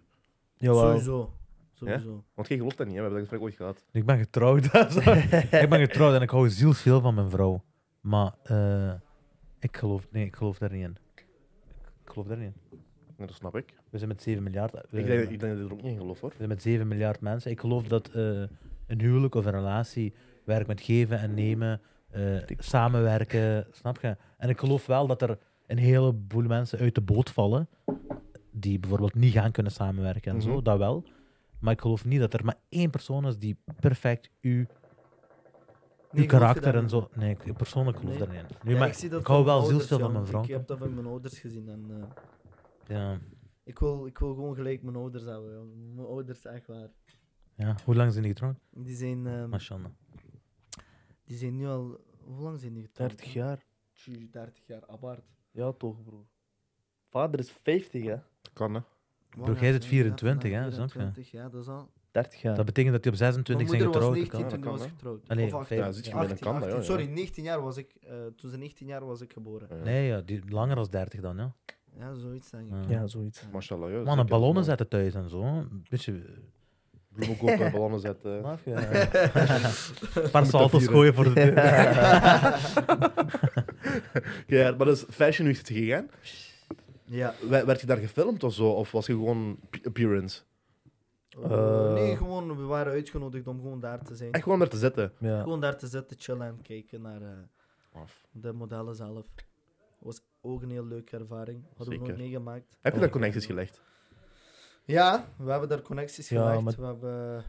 Jawel. Sowieso. Sowieso. Want jij gelooft dat niet, hè? we hebben dat gesprek ooit gehad. Ik ben getrouwd. [laughs] [laughs] ik ben getrouwd en ik hou zielsveel van mijn vrouw. Maar eh, ik geloof, nee, ik geloof daar niet in. Ik geloof daar niet in. Ja, dat snap ik. We zijn met 7 miljard. eh, we- Ik denk, ik denk dat je er ook niet in gelooft, hoor. We zijn met 7 miljard mensen. Ik geloof dat eh, een huwelijk of een relatie werkt met geven en nemen, eh, samenwerken, snap je? En ik geloof wel dat er een heleboel mensen uit de boot vallen die bijvoorbeeld niet gaan kunnen samenwerken en Mhm. zo, dat wel. Maar ik geloof niet dat er maar één persoon is die perfect uw, uw Nee, geloof je karakter daarin? en zo. Nee, ik persoonlijk geloof Nee. daarin. Nu, Ja, maar ik, zie dat hou van wel ouders, zielsveel van jongen. mijn vrouw. Ik heb dat van mijn ouders gezien. En, eh, Ja. ik, wil, ik wil gewoon gelijk mijn ouders hebben. jongen. Mijn ouders, echt waar. ja. Hoe lang zijn die getrouwd? Die zijn, ehm, Mashallah. die zijn nu al... Hoe lang zijn die getrouwd? 30 jaar. Tjie, 30 jaar, apart. Ja, toch, broer. Vader is 50, hè. Kan, hè? Broer, jij zit 24, hè, snap je? 24, ja, dat is al. 30 jaar. Dat betekent dat hij op 26 mijn zijn moeder was getrouwd. 19 kan. toen Ja, die dat was kan, hè. getrouwd. Allee, of 18, vijf- Ja, zit je ja. binnen 18, kan, dat, ja, 18, ja. sorry, 19 jaar was ik... eh, toen ze 19 jaar was ik geboren. Nee, ja, die, langer dan 30 dan, ja. Ja, zoiits denk ik. Ja. Ja, zoiets. Mashallah, ja. Mannen, zeker. ballonnen zetten thuis en zo. Een [laughs] beetje. Bloemen kopen, ballonnen zetten. [laughs] Een paar salto's gooien voor de [laughs] deur. Ja, maar dus Fashion Week is het gegaan. Ja. W- Werd je daar gefilmd of zo? Of was je gewoon p- appearance? Eh. nee, gewoon, we waren uitgenodigd om gewoon daar te zijn. Echt gewoon daar te zitten? [laughs] Ja. Gewoon daar te zitten, chillen en kijken naar eh, de modellen zelf. was ook een heel leuke ervaring. Hadden we nog Zeker. meegemaakt. Heb je daar connecties gelegd? Ja, we hebben daar connecties Ja, gelegd. maar- We, hebben,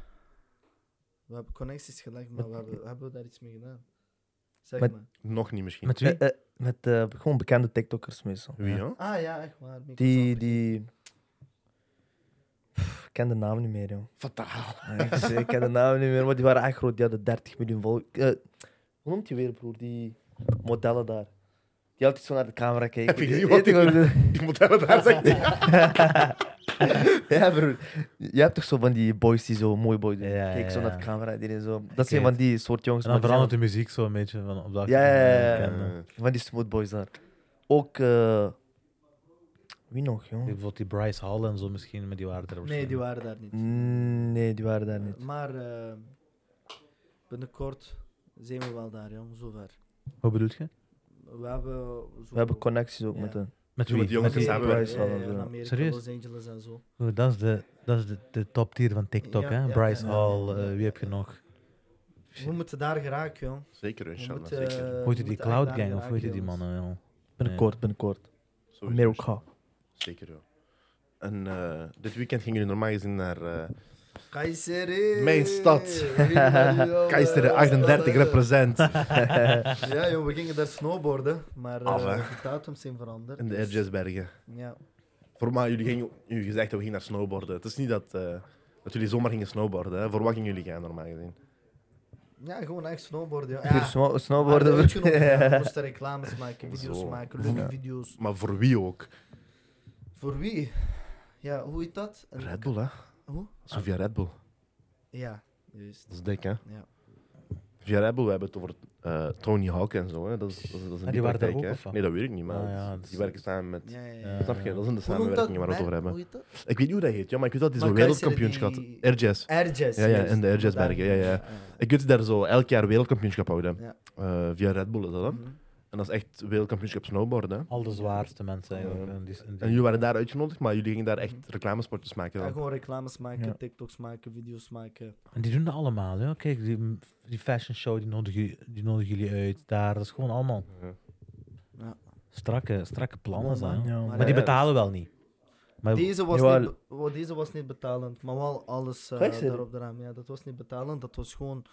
we hebben connecties gelegd, maar we hebben, hebben we daar iets mee gedaan? Zeg Met- maar. Nog niet misschien. Met wie? Eh, eh, met eh, gewoon bekende TikTokkers meestal. Wie, ja? Ah ja, echt waar. Mikkel Die, Zandberg. die... Pff, ik ken de naam niet meer, joh. Fataal. [laughs] Nee, ik zeg, ik ken de naam niet meer, maar die waren echt groot. Die hadden 30 miljoen volgers. hoe noemt die weer, broer? Die modellen daar. Die altijd zo naar de camera kijken. Heb je gezien Weet wat je die- Die modellen daar zijn. Ja, broer. Je hebt toch zo van die boys die zo mooi boy doen. Ja, Kijk zo ja, naar ja. de camera. Die zo. Dat weet zijn van die soort jongens. En dan maar die zijn verandert de muziek zo een beetje van op dat Ja, ja, ja, ja. Ik Eh, Van die smooth boys daar. Ook. eh, wie nog, jong? Bijvoorbeeld die Bryce Hall en zo misschien, maar die waren er Nee, die waarschijnlijk. waren daar niet. Mm, Nee, die waren daar niet. Maar eh, binnenkort zijn we wel daar, jong, zover. Wat bedoelt je? We hebben, zo- We hebben connecties ook Ja. met hen. Met Zo wie? met die jongens Met in wie? samen- samenwerking. Ja, ja, ja, Ja, in eh, Amerika, Serieus? Los Angeles en zo. Oeh, Dat is de, dat is de, de top tier van TikTok, Ja, hè? ja, Bryce ja, ja, Hall, ja. eh, wie heb je nog? We moeten daar geraken, jong. Zeker, We inshallah. moeten, eh, Zeker. we Hoe heet moeten die, die echt Cloud daar Gang of geraken, hoe heet die jongens. mannen? joh? Binnenkort, binnenkort. Sowieso, America. Zeker, joh. En eh, dit weekend gingen jullie normaal gezien naar... eh, Kayseri! Mijn [laughs] stad. [laughs] Keizer 38 represent. Ja, joh, we gingen daar snowboarden, maar eh, Af, hè? de datums zijn veranderd. In de dus- Erjesbergen. Ja. Voormaal, jullie gingen... Jullie gezegd dat we gingen naar snowboarden. Het is niet dat, eh, dat jullie zomaar gingen snowboarden. Hè. Voor wat gingen jullie gaan, normaal gezien? ja, gewoon echt snowboarden. Ja. Puur Ja, snow- maar snowboarden. weet je [laughs] nog, [laughs] ja, we moesten reclames maken, video's Zo. maken, leuke Ja. video's. Maar voor wie ook? Voor wie? Ja, hoe heet dat? Een- Red Bull, hè? Hoe? Zo via Red Bull. Ja, juist. Dat is dik, hè? Ja. Via Red Bull, we hebben het over eh, Tony Hawk en zo. Hè. Dat is, dat is, dat is een Ah, die waren daar praktijk, ook, hè. of wat? Nee, dat weet ik niet, maar Ah, het- ja, dat is- die werken samen met... Ja, ja, ja. Ja. Snap je? Dat zijn de Hoe noemt dat? samenwerkingen waar we het over Mer- hebben. Hoe heet dat? Ik weet niet hoe dat heet, ja, maar ik weet dat hij Maar zo'n Keizer wereldkampioenschap... die- Air Jazz. Airjazz. Ja, ja, juist. in de Airjazz Daar- Bergen, ja, ja. Ik weet dat ze daar zo elk jaar wereldkampioenschap houden. Ja. Eh, via Red Bull is dat, hè? Mhm. En dat is echt wereldkampioenschap snowboarden, hè? Al de zwaarste mensen eigenlijk. Ja. en die- en die- En jullie waren daar uitgenodigd, maar jullie gingen daar echt reclamespotjes Ah, maken. Ja, Dan. gewoon reclames maken, Ja. TikToks maken, video's maken. En die doen dat allemaal, hè? Kijk, die, die fashion show die nodigen, ju- die nodigen jullie uit daar. Dat is gewoon allemaal Ja. Ja. strakke, strakke plannen. Gewoon, zijn, man. hè. Ja, Maar die ja, betalen wel niet. Ah, Maar Deze was, Jawel. niet, be- wel, deze was niet betalend, maar wel alles eh, Kijk, ze- daarop eraan. Ja, dat was niet betalend, dat was gewoon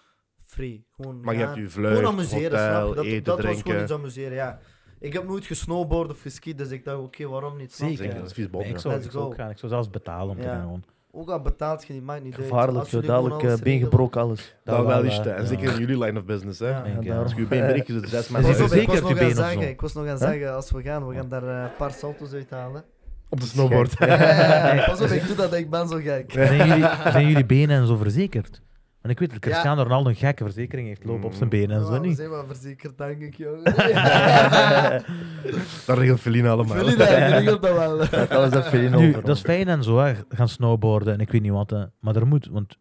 free. Gewoon, Maar je ja, hebt je vlucht, gewoon amuseren, snap je? hotel, Dat, eten, dat was drinken. gewoon iets amuseren, ja. Ik heb nooit gesnowboard of geskiet, dus ik dacht, oké, waarom niet? snap je? Zeker, dat is vies bom, Nee, ik ja. zou, Let's ik zou ook go. gaan. Ik zou zelfs betalen om te Ja. gaan. Gewoon. Ook al betaalt je niet, maakt niet uit. Gevaarlijk, Als zo jullie gewoon dadelijk eh, alles been regelen- gebroken, alles. Dat, wel hè. is het. En Ja. zeker in jullie line of business, hè? Ja. Denk ik, Ja, ja. Als daarom. je je been breekt, is het [laughs] zes Dus Pas maanden [laughs] is op, uit. zeker ik was heb je nog aan been of zo. zeggen, ik was nog aan zeggen, als we gaan, we gaan daar eh, een paar salto's uithalen. op de [laughs] snowboard. [laughs] Ja, ja, ja, Pas op, ik doe dat, ik ben zo gek. Zijn, jullie, zijn jullie benen en zo verzekerd? En ik weet dat Ja. Cristiano Ronaldo een gekke verzekering heeft lopen op zijn benen en Oh, zo We niet. zijn wel verzekerd, denk ik, jongen. [laughs] Dat regelt Feline allemaal. [laughs] Jullie dat, jullie dat wel. [laughs] Dat [laughs] alles dat veel in Nu, over. dat is fijn en zo, hè, gaan snowboarden en ik weet niet wat. hè. Maar er moet, want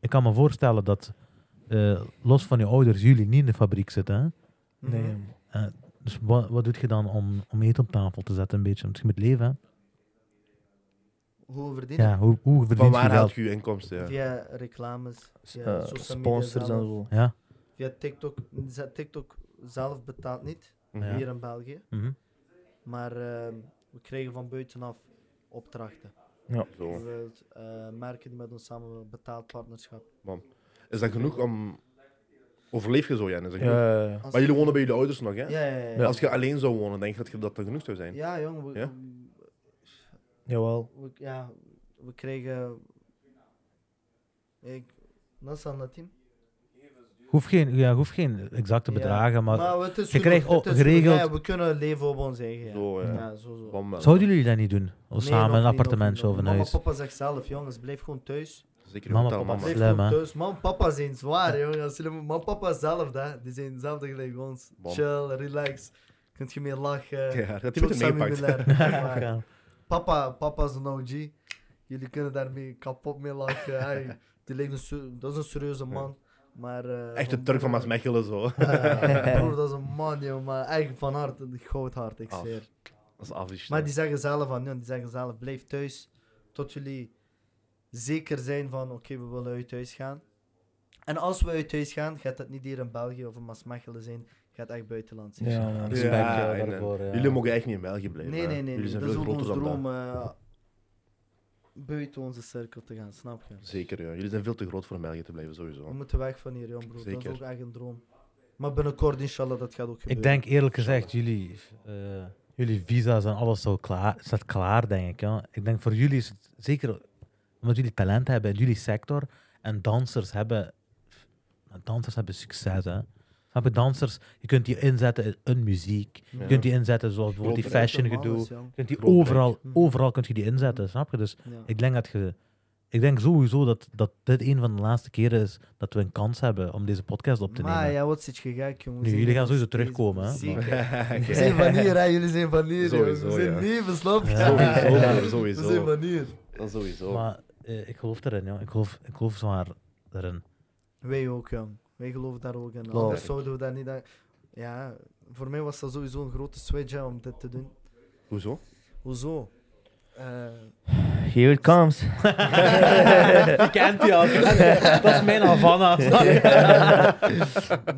ik kan me voorstellen dat eh, los van je ouders jullie niet in de fabriek zitten. Hè? Nee, Mhm. man. Dus wat, wat doe je dan om, om eten op tafel te zetten een beetje? Want je moet leven, hè? Hoe verdienen? Ja, hoe, hoe Van verdient je waar haalt geld? je je inkomsten? Ja. Via reclames, via Eh, social media sponsors en zelf, zo. Ja? Via TikTok. Z- TikTok zelf betaalt niet, Ja. hier in België. Mhm. Maar ehm, we krijgen van buitenaf opdrachten. Zo. Bijvoorbeeld eh, merken die met ons samen betaald partnerschap. Is dat genoeg om... Overleef je zo, Jan? Is dat genoeg? Ja, ja, ja. Als- Maar jullie wonen bij jullie ouders nog, hè? Ja, ja, ja. Ja. ja. Als je alleen zou wonen, denk je dat je dat dan genoeg zou zijn? Ja, jong. We, Ja? Jawel. we- ja, we kregen... Ik... Nassan Natim? Hoeft geen, ja, hoeft geen exacte Ja. bedragen, maar, het is je krijgt genoeg, ook het is genoeg. geregeld- Ja, we kunnen leven op ons eigen. Ja. Zo, ja. Ja, zo, zo. Bam, wel. zouden jullie dat niet doen? Of Nee, nog samen niet, een nog appartementje niet, of een nog niet. huis? Mama, papa zegt zelf, jongens, blijf gewoon thuis. Zeker in Mama, hotel, papa, mama. Blijf Slim, gewoon hè? thuis. Mama en papa zijn zwaar, jongens. Jullie- Mama en papa zelf, hè. die zijn zelf gelijk ons. Bam. Chill, relax. Kunt je meer lachen. Ja, dat heb je Chill, goed Sammy meegepakt. Miller. [laughs] Maar Ja. Papa, papa is een OG. Jullie kunnen daarmee kapot mee lachen. [laughs] Hey, die lijkt een ser- dat is een serieuze man. Maar, [laughs] eh, Echt de mijn Turk van broer- Maasmechelen, zo. Ja, [laughs] [laughs] broer, dat is een man, joh, maar eigenlijk van hart, een groot hart, ik Af. zweer. Dat is afwisch. Maar die zeggen zelf van, ja, die zeggen zelf, blijf thuis tot jullie zeker zijn van, oké, we willen uit huis gaan. En als we uit huis gaan, gaat dat niet hier in België of in Maasmechelen zijn, gaat echt buitenland zijn. Ja, Ja, respect Ja, ja, en- eh, daarvoor. ja. Jullie mogen echt niet in België blijven. Nee, hè. nee, nee, Jullie nee. zijn dat is veel ook ons groter dan dat. droom, eh, buiten onze cirkel te gaan, snap je? Zeker, ja. Jullie zijn veel te groot voor in België te blijven, We sowieso. moeten weg van hier, jong broer. Dat Zeker. is ook echt een droom. Maar binnenkort, inshallah, dat gaat ook gebeuren. Ik denk eerlijk gezegd, jullie, eh, jullie visa's en alles zo klaar, staat klaar, denk ik. Ja. Ik denk voor jullie is het zeker omdat jullie talent hebben in jullie sector en dansers hebben, dansers hebben succes. Hè. Snap je? Dansers, je kunt die inzetten in muziek. Je Ja. kunt die inzetten zoals bijvoorbeeld die Groot fashion Echt normaal gedoe. is, ja. Je kunt die Groot rek. overal, Mhm. overal kunt je die inzetten, snap je? Dus Ja. ik denk dat je... Ik denk sowieso dat, dat dit een van de laatste keren is dat we een kans hebben om deze podcast op te nemen. Maar ja, wat zit je gek, jongen. Nu, Zeker jullie gaan sowieso nog steeds. terugkomen, hè? [laughs] Zeker. Oké. We [laughs] zijn van hier, hè. Jullie zijn van [laughs] hier, Sowieso, jongens. We zijn ja. hier, snap je? [laughs] Sowieso, Ja. broer, We zijn sowieso. van hier. Dat sowieso. Maar eh, ik geloof erin, joh. Ik geloof, ik geloof zwaar erin. Wij ook, jong. Wij geloven daar ook in. Klopt. Anders zouden we dat niet... aan- Ja, voor mij was dat sowieso een grote switch, hè, om dit te doen. Hoezo? Hoezo? Eh, Here it comes. [laughs] Die kent hij al. [laughs] Dat is mijn Havana.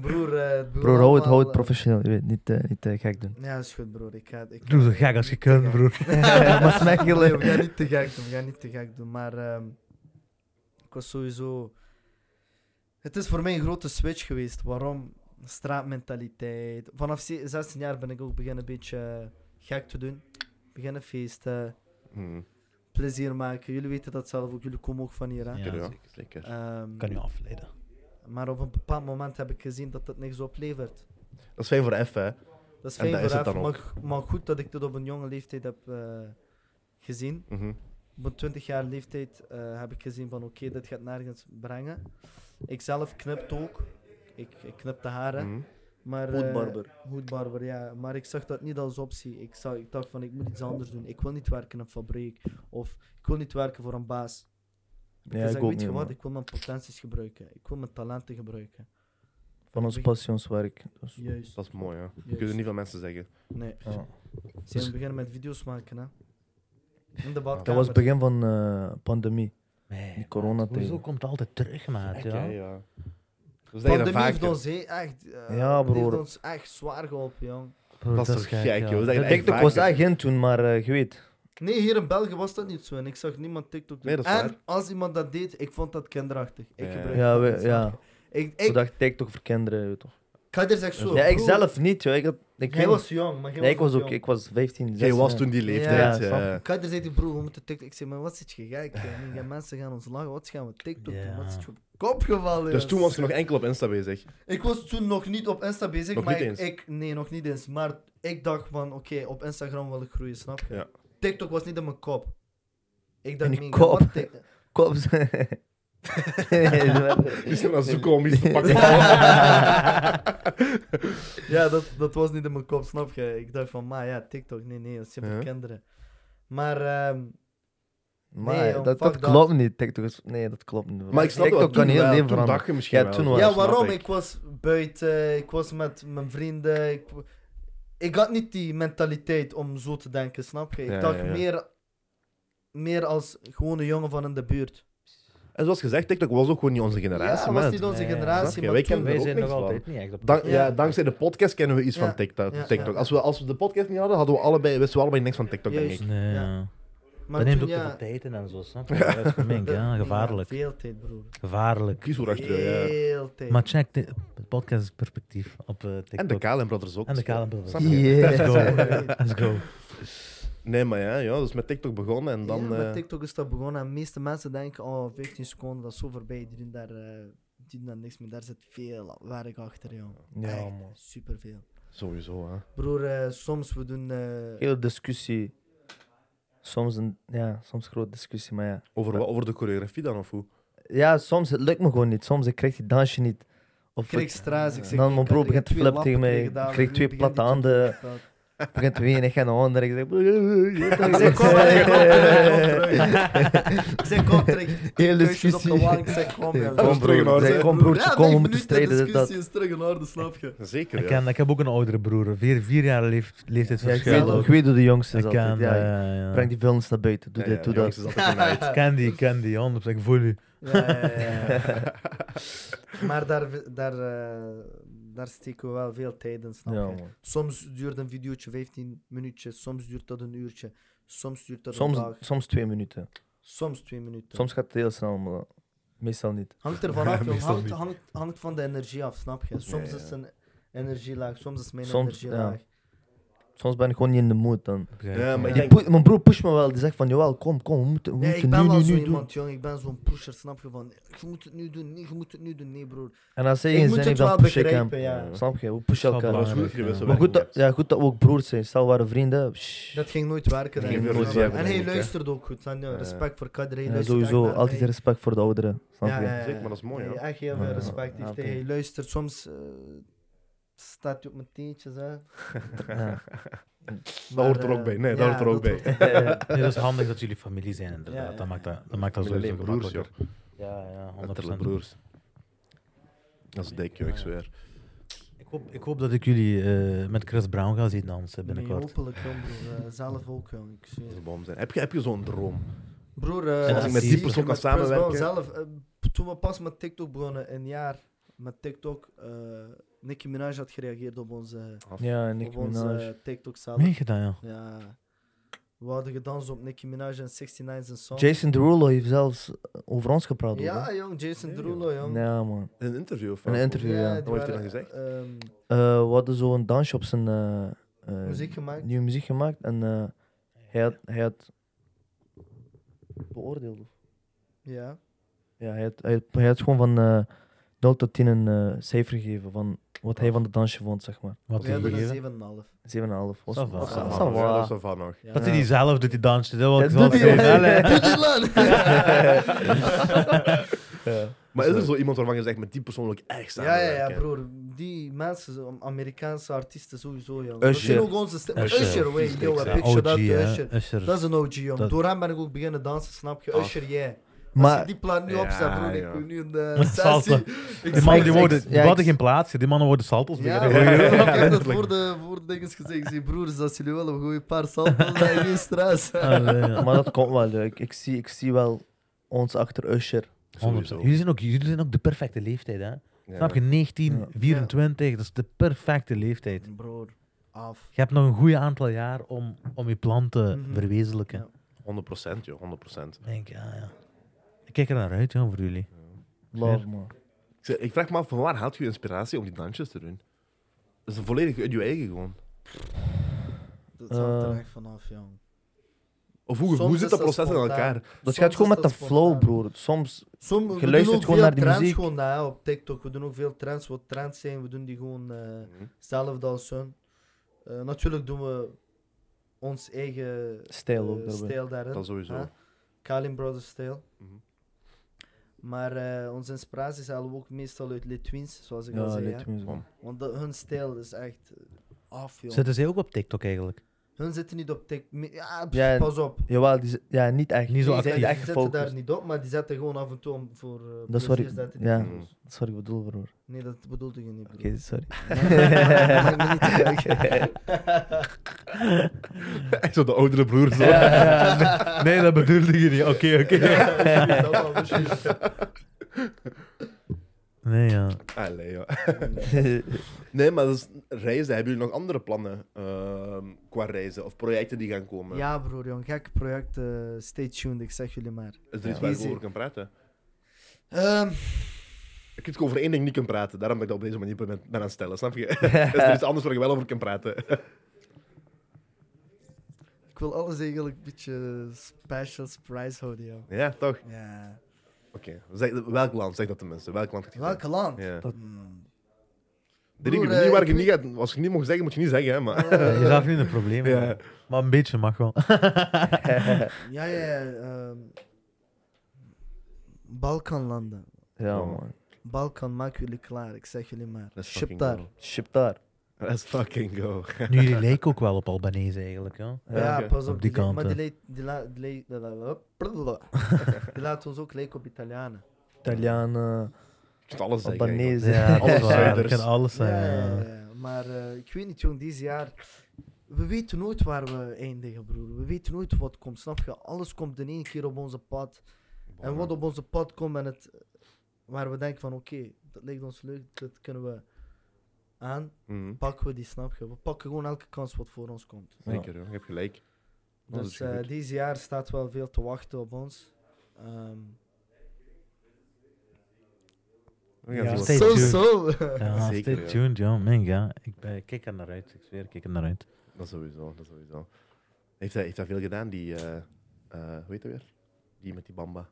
broer, eh, het Bro, hou het, hou het allemaal- professioneel. Je weet, niet, eh, niet eh, gek doen. Ja, is goed, broer. Ik ga, ik Doe zo gek als je kunt, [laughs] broer. maar Nee, we smakelijk. gaan niet te gek doen, we gaan niet te gek doen. Maar ehm, ik was sowieso... Het is voor mij een grote switch geweest. Waarom? Straatmentaliteit. Vanaf ze- 16 jaar ben ik ook beginnen een beetje eh, gek te doen. Beginnen feesten, Hm, plezier maken. Jullie weten dat zelf ook, jullie komen ook van hier. Hè? Ja, zeker, ja. zeker, Zeker. Ehm, Kan je afleiden. maar op een bepaald moment heb ik gezien dat dat niks oplevert. Dat is fijn voor F, hè. Dat is En fijn dat voor is het dan even, maar, maar goed dat ik dit op een jonge leeftijd heb eh, gezien. Mhm. op mijn 20 jaar leeftijd eh, heb ik gezien van oké, dit gaat nergens brengen. Ik zelf knipte ook. Ik, ik knipte haren. Mhm. Maar, eh, Hoedbarber. hoedbarber, ja. Maar ik zag dat niet als optie. Ik, zag, ik dacht van ik moet iets anders doen. Ik wil niet werken in een fabriek. Of ik wil niet werken voor een baas. Ja, ik ik zeg, ook weet niet, je wat, man. ik wil mijn potenties gebruiken. Ik wil mijn talenten gebruiken. Van ons passionswerk. Dus, Juist. Dat is mooi, hè. Dat Juist. kunnen niet veel mensen zeggen. Nee. ja. Ze zijn beginnen met video's maken, hè. In de badkamer. Dat was het begin van eh pandemie. Nee. Die coronatijd. Hoezo komt het altijd terug, maat? Oké, Ja? ja. Dus dat je dat Pandemie vaak... heeft ons hé, echt... eh, Ja, die heeft broer. ons echt zwaar geholpen, jong. Broer, Dat is toch gek, ja. joh. Dat is echt- TikTok vaak, was hè. eigenlijk in toen, maar eh, je weet. Nee, hier in België was dat niet zo. En ik zag niemand TikTok doen. Nee, dat is en waar. als iemand dat deed, ik vond dat kinderachtig. Ik Ja. gebruik Ja, dat we, niet, snap ja. je? Ik, Ik ik, dacht TikTok voor kinderen. weet toch. ik had er zeg zo. Ja, ik broer, zelf niet, joh. Ik, had, ik, Jij weet was niet. jong, maar jij Nee, ik was nog ook jong. ik was 15, 16. Jij was ja. toen die Ja, leeftijd. snap eh. Kader zei die broer, we moeten TikTok. Ik zei, maar wat zit je gek? joh? Die gaan mensen gaan ons lachen. Wat gaan we TikTok Ja. doen? Wat zit je op kop gevallen? Dus joh? toen was je nog enkel op Insta bezig. Ik was toen nog niet op Insta bezig. Nog maar niet ik, eens? ik- nee, nog niet eens. Maar ik dacht van, oké, op Instagram wil ik groeien, snap je? Ja. TikTok was niet in mijn kop. Ik dacht, In je mega, kop? wat tik- Kop. [laughs] [laughs] Die is naar zoeken om iets te pakken. Ja, dat, dat was niet in mijn kop, snap je? Ik dacht van, maar ja, TikTok, nee, nee, dat is voor Ja. kinderen. Maar, ehm, maar Nee, dat, jong, dat fuck dat. klopt niet. TikTok is, nee, dat klopt niet. Maar ik snap TikTok dat kan heel leven Toen veranderen. dacht je misschien Ja, wel. toen Dat was- ja, snap waarom? Ik. was buiten, ik was met mijn vrienden. Ik, ik had niet die mentaliteit om zo te denken, snap je? Ik Ja, dacht ja, ja. Meer, meer als gewoon een jongen van in de buurt. En zoals gezegd, TikTok was ook gewoon niet onze generatie, ja, was man. niet onze Nee, snap je? generatie, maar Wij toen- kennen Wij ook zijn niks nog van. altijd niet echt op Dank- Ja. ja, dankzij de podcast kennen we iets Ja. van TikTok. Ja, TikTok. ja. Als, we, als we de podcast niet hadden, hadden we allebei, wisten we allebei niks van TikTok, denk ik. Juist. Nee, Ja. ja. maar Dat neemt toen, ook te ja, veel tijd in en zo, snap je? Dat is gemeen, ja, gevaarlijk. [laughs] Ja, veel tijd, broer. Gevaarlijk. Kies hoe raar je terug, ja. Veel tijd. Maar check de- het podcastperspectief op eh, TikTok. En de KLM Brothers ook. En de Kalen Brothers. Snap je? Yeah. Let's go. Let's go. Nee, maar ja, ja, dus met TikTok begonnen en dan... ja, eh, met TikTok is dat begonnen en de meeste mensen denken, oh, 15 seconden, dat is zo voorbij, die doen daar, eh, die doen daar niks meer. Daar zit veel werk achter, joh. Ja, Echt, man. superveel. Sowieso, hè. Broer, eh, soms we doen... eh, Hele discussie. Soms een ja, soms grote discussie, maar ja. Over, wat- over de choreografie dan, of hoe? Ja, soms het lukt me gewoon niet. Soms ik krijg die dansje niet. Of ik kreeg ik- straat, ik zeg... dan ik mijn had broer er begint te twee flippen tegen lappen mij. gedaan, Ik kreeg nu twee begint platte die handen. TikTok. Ik begint te wenen, ik ga naar onder. Ik zeg... [laughs] [laughs] Ik zeg, kom maar, ik kom terug. Ik zeg, kom terug. [laughs] Hele Kusjes op discussie. de wang, ik zeg, kom, joh. Dat is Kom, terug in broer. orde. Zeg, Kom, Ja, broertje, kom, vijf we minuten moeten strijden. Dit, dat. discussie is terug in orde, snap je? Zeker, Ik, ja. ken, ik heb ook een oudere broer, vier, vier jaar leeft, Ja, ik, leeftijdsverschil. weet, ook. ik weet hoe de jongste is ik eh, ken, altijd. Ja, ja, ja. Breng die vuilnis naar buiten. Doe Ja, dit, ja, doe jongens, dat. is [laughs] altijd een night. Ik ken die, ik ken die, 100%. Ik voel u. Ja, ja, ja, ja. [laughs] maar daar, daar, eh, daar steken we wel veel tijd in, snap Ja, je? man. Soms duurt een videootje 15 minuutjes, soms duurt dat een uurtje, soms duurt dat een Soms, dag, soms twee minuten. soms twee minuten. Soms gaat het heel snel, maar meestal niet. Hangt ervan af, jong. Meestal hangt, niet. hangt, hangt van de energie af, snap je? Soms Ja, ja. is een energielaag, soms is mijn Soms, energielaag. Soms ben ik gewoon niet in de mood dan. Ja, maar ik Die denk... pu- mijn broer pusht me wel, die zegt van, jawel, kom, kom, we moeten, we Nee, ik moeten ben nu, wel nu, zo nu doen. iemand, jong. Ik ben zo'n pusher, snap je? Van, je moet het nu doen, nee, je moet het nu doen. Nee, broer. En als hij Ik geen moet zin heeft, het dan wel push ik hem. begrijpen, ja. Snap je? We pushen Dat elkaar. is Dat is goed dat je belangrijk, ja. zo Maar goed, dat, werkt. ja, goed dat we ook broers zijn. Stel, we waren vrienden. psh. Dat ging nooit werken, Nee, denk ik. nooit broer. werken, En denk hij ik, hè. luistert ook goed. En, ja, respect voor Kadri. hij Ja, luistert sowieso, echt naar altijd mij. respect voor de ouderen. Snap je? Zeker, maar dat is mooi, Nee, ja. Echt heel veel Ja, respect. ja, heeft oké. hij. Hij luistert soms... eh, staat hij op mijn teentjes, hè. Ja. Dat hoort er ook bij. eh, Nee, dat hoort er ook bij. Nee, dat is handig dat jullie familie zijn, inderdaad. Ja, ja, Dat maakt dat, dat, maakt dat Met sowieso alleen broers, joh. gemakkelijker. Ja, ja, 100%. Letterlijk broers. Dat is dik, joh, ik zweer. Ik, hoop, ik hoop dat ik jullie eh, met Chris Brown ga zien [laughs] dansen binnenkort. hopelijk, jong, broer. Eh, zelf ook, jong. Ik zweer. Dat is bom zijn. Heb je, heb je zo'n droom? Broer, eh, Zoals ik met die zie- persoon kan met Chris Brown samenwerken. Zelf, eh, toen we pas met TikTok begonnen, een jaar met TikTok, eh Nicki Minaj had gereageerd op onze, Ja, en op ik onze Minaj. TikTok zelf. Meegedaan, ja. Ja. We hadden gedanst op Nicki Minaj en 69 zijn song. Jason Derulo heeft zelfs eh, over ons gepraat. hoor. ja, jong, Jason Nee, Derulo, jong. Ja, man. In Een interview of In een wat? interview. ja. die Wat heeft hij waren, dan gezegd? ehm, Eh, we hadden zo'n dansje op zijn eh, eh, muziek gemaakt. nieuwe muziek gemaakt. En eh, hij, had, hij had beoordeeld. of- Ja. Ja, hij had, hij had, hij had gewoon van eh 0 tot 10 een eh, cijfer gegeven van wat hij van het dansje vond, zeg maar. Wat We heb je hebben gegeven? een 7,5. 7,5. Was Ça va. Ja, was- was- dat is wel- was- Dat is wel nog. [laughs] Ja. Dat [laughs] hij die zelf doet, die dansje. Dat wil ik Dat wel doet zeggen. hij, Wel, hè. [laughs] Ja. Maar is er zo iemand waarvan je zegt, met die persoon wil ik echt Ja, samenwerken? ja, ja, broer. Die mensen, zo- Amerikaanse artiesten sowieso, jong. Dat Usher. zijn ook onze stem. Usher, Usher, way, vies yo, dik, I ja. picture that OG, to hè. Usher. Usher. Dat is een OG, jong. Dat- Door hem ben ik ook beginnen dansen, snap je? Af. Usher, jij. Als je Maar die plaat nu Ja, opzet, broer, ja. ik ben nu in de Salsa. sessie. Ik Die mannen die zeg- worden, ja, die ik- hadden geen plaats. Die mannen worden saltos. Ja, beginnen. broer, ik heb [laughs] dat letterlijk. voor de, voor de dinges gezegd. Ik zeg, broers, als jullie wel een goede paar salto's zijn, geen [laughs] stress. Allee, ja. Maar dat komt wel. ja. Ik, ik, zie, ik zie wel ons achter Usher. 100%. Sowieso. Jullie zijn, ook, jullie zijn ook de perfecte leeftijd, hè? Ja. Snap je? 19, Ja. 24, dat is de perfecte leeftijd. Broer, af. Je hebt nog een goede aantal jaar om, om je plan te Mhm. verwezenlijken. Ja. 100% joh, 100%. Ik Denk, ja, ja. Ik kijk er naar uit, ja, voor jullie. Love, man. Ik, zeg, ik vraag me af, van waar haalt je inspiratie om die dansjes te doen? Dat is volledig uit je eigen gewoon. Dat hangt er Eh. echt vanaf, jong. Of hoe, Soms hoe is zit dat dat proces in spontaan. elkaar? Dat Soms Dus gaat gewoon is met de dat flow, spontaan. broer. Soms, Som, we Je doen luistert ook gewoon veel naar die trends muziek. Gewoon, hè, op TikTok. We doen ook veel trends. Wat trends zijn, we doen die gewoon eh Mhm. zelf als hun. Eh, natuurlijk doen we ons eigen Stijl ook eh, daarbij. stijl daarin. Dat sowieso. hè. Kalim Brothers stijl. Mhm. Maar eh, onze inspiraties halen we ook meestal uit Litwiens, zoals ik ja, al zei. let hè. me zo. Want dat- hun stijl is echt eh, af, joh. Zitten zij ook op TikTok eigenlijk? Hun zitten niet op TikTok. Ja, pff, Ja, pas op. Jawel, die, z- ja, niet echt. Niet zo Die zijn die actief. echt zitten daar gefocust. niet op, maar die zetten gewoon af en toe om voor. eh, Dat is wat plezier ik- zetten die ja. Mhm. video's. Dat is wat ik bedoel, broer. Oké, Nee, dat bedoelde je niet. broer. [laughs] sorry. Maak me niet kijken. [laughs] Echt zo de oudere broer. Zo. [laughs] Nee, dat bedoelde je niet. Oké, oké. Dat wel, precies. Nee, ja. Allee, [laughs] joh. Nee, maar dat is, reizen, hebben jullie nog andere plannen ehm, qua reizen? Of projecten die gaan komen? Ja, broer, jong, gek project. eh, stay tuned, ik zeg jullie maar. Is er iets Ja. waar je Easy. over kan praten? Ehm, Ik kan over één ding niet kan praten, daarom ben ik dat op deze manier ben, ben aan het stellen, snap [laughs] je? is er iets anders waar je wel over kan praten? ik wil alles eigenlijk een beetje special surprise houden, joh. ja, toch? Ja. Oké. Zeg- Welk land? Zeg dat tenminste. Welk land gaat je Welk land? Ja. Dat- Hmm. De dingen Broer, eh, niet waar ik je niet gaat, als je niet mag zeggen, moet je niet zeggen, hè, maar... [laughs] Je is zelf niet een probleem. Ja. man. Maar een beetje mag wel. [laughs] Ja, ja, ja. ehm, Balkanlanden. Ja, Oh. man. Balkan, maak jullie klaar, ik zeg jullie maar. Let's Ship fucking daar. go. Ship daar. Let's fucking go. Nu, jullie lijken ook wel op Albanese eigenlijk, ja. Ja, oké. pas op, Op die die kant, Maar hè. die, leed- die, la- die, leed- [laughs] die laten ons ook lijken op Italianen. Italianen, Je kunt alles zeggen. Albanese. Ja, dat is Alles waar. Het Zuiders. kan alles zijn. Ja, ja, ja. ja, ja. Maar eh, ik weet niet, jong, deze jaar. We weten nooit waar we eindigen, broer. We weten nooit wat komt. Snap je? Alles komt in één keer op onze pad. En wat op onze pad komt en het. Waar we denken van oké, dat lijkt ons leuk, dat kunnen we aan. Mhm. Pakken we die, snap je? We pakken gewoon elke kans wat voor ons komt. Zeker, joh. je hebt gelijk. Oh, dat Dus is goed. eh, deze jaar staat wel veel te wachten op ons. Ehm, We gaan Ja, zien wat- Stay zo, tuned. zo. [laughs] Ja, Zeker, stay ja. eh, tuned, ja. Man, ja. Ik, ben- ik kijk er naar uit. Ik zweer, ik kijk er naar uit. Dat sowieso, dat sowieso. Heeft hij, heeft hij veel gedaan, die... eh eh, hoe heet hij weer? Die met die bamba.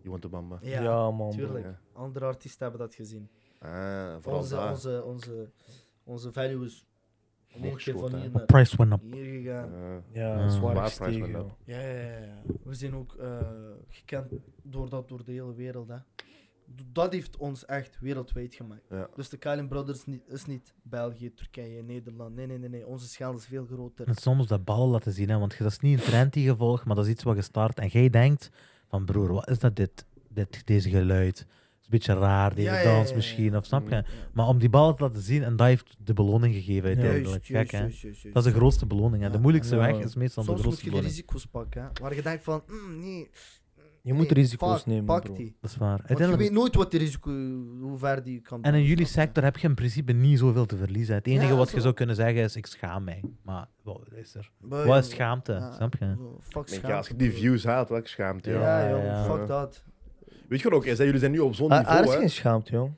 Die want de bamba. [laughs] Ja, man. bro. tuurlijk. Andere artiesten hebben dat gezien. Ja. Ah, vooral Onze, daar. onze, onze, onze value is omhoog keer van Neergeschoten, hier hè. Maar naar price went up. hier gegaan. Eh, Ja, Ah. zwaar Waar gestegen, prijs went joh. Ja, ja, ja, ja. We zijn ook eh, gekend door dat door de hele wereld. Hè. D- Dat heeft ons echt wereldwijd gemaakt. Ja. Dus de Kalin Brothers niet, is niet België, Turkije, Nederland. Nee, nee, nee, nee. Onze schaal is veel groter. En soms dat bal laten zien, hè, want dat is niet een trend die je volgt, maar dat is iets wat je start. En jij denkt van broer, wat is dat dit, dit deze geluid? Het is een beetje raar, deze Ja, ja, ja, dans ja, misschien, ja. of snap je? Mm. Maar om die bal te laten zien, en dat heeft de beloning gegeven Ja. uiteindelijk. Gek, hè? Dat is de grootste beloning. Hè? De Ja. moeilijkste Ja. weg is meestal de Soms moet grootste je de beloning. risico's pakken. Hè. Waar je denkt van, mm, nee. Je moet nee, risico's fuck, nemen, Pak bro. die. Dat is waar. Want je Uiteindelijk- weet nooit wat de risico, hoe ver die kan En in gaan, jullie snap je? sector heb je in principe niet zoveel te verliezen. Het enige Ja, wat je zo. zou kunnen zeggen is: ik schaam mij. Maar wat is er? Maar Wat is Oh, ja, schaamte? ja. Snap je? bro, Oh, Fuck ik denk, schaamte. ja, als je die bro. views haalt, welke schaamte. Ja, Ja. Ja, joh, ja. fuck dat. Weet je wat ook is? Hè? Jullie zijn nu op zo'n Ah, ah, Er niveau, is hè? geen schaamte, joh.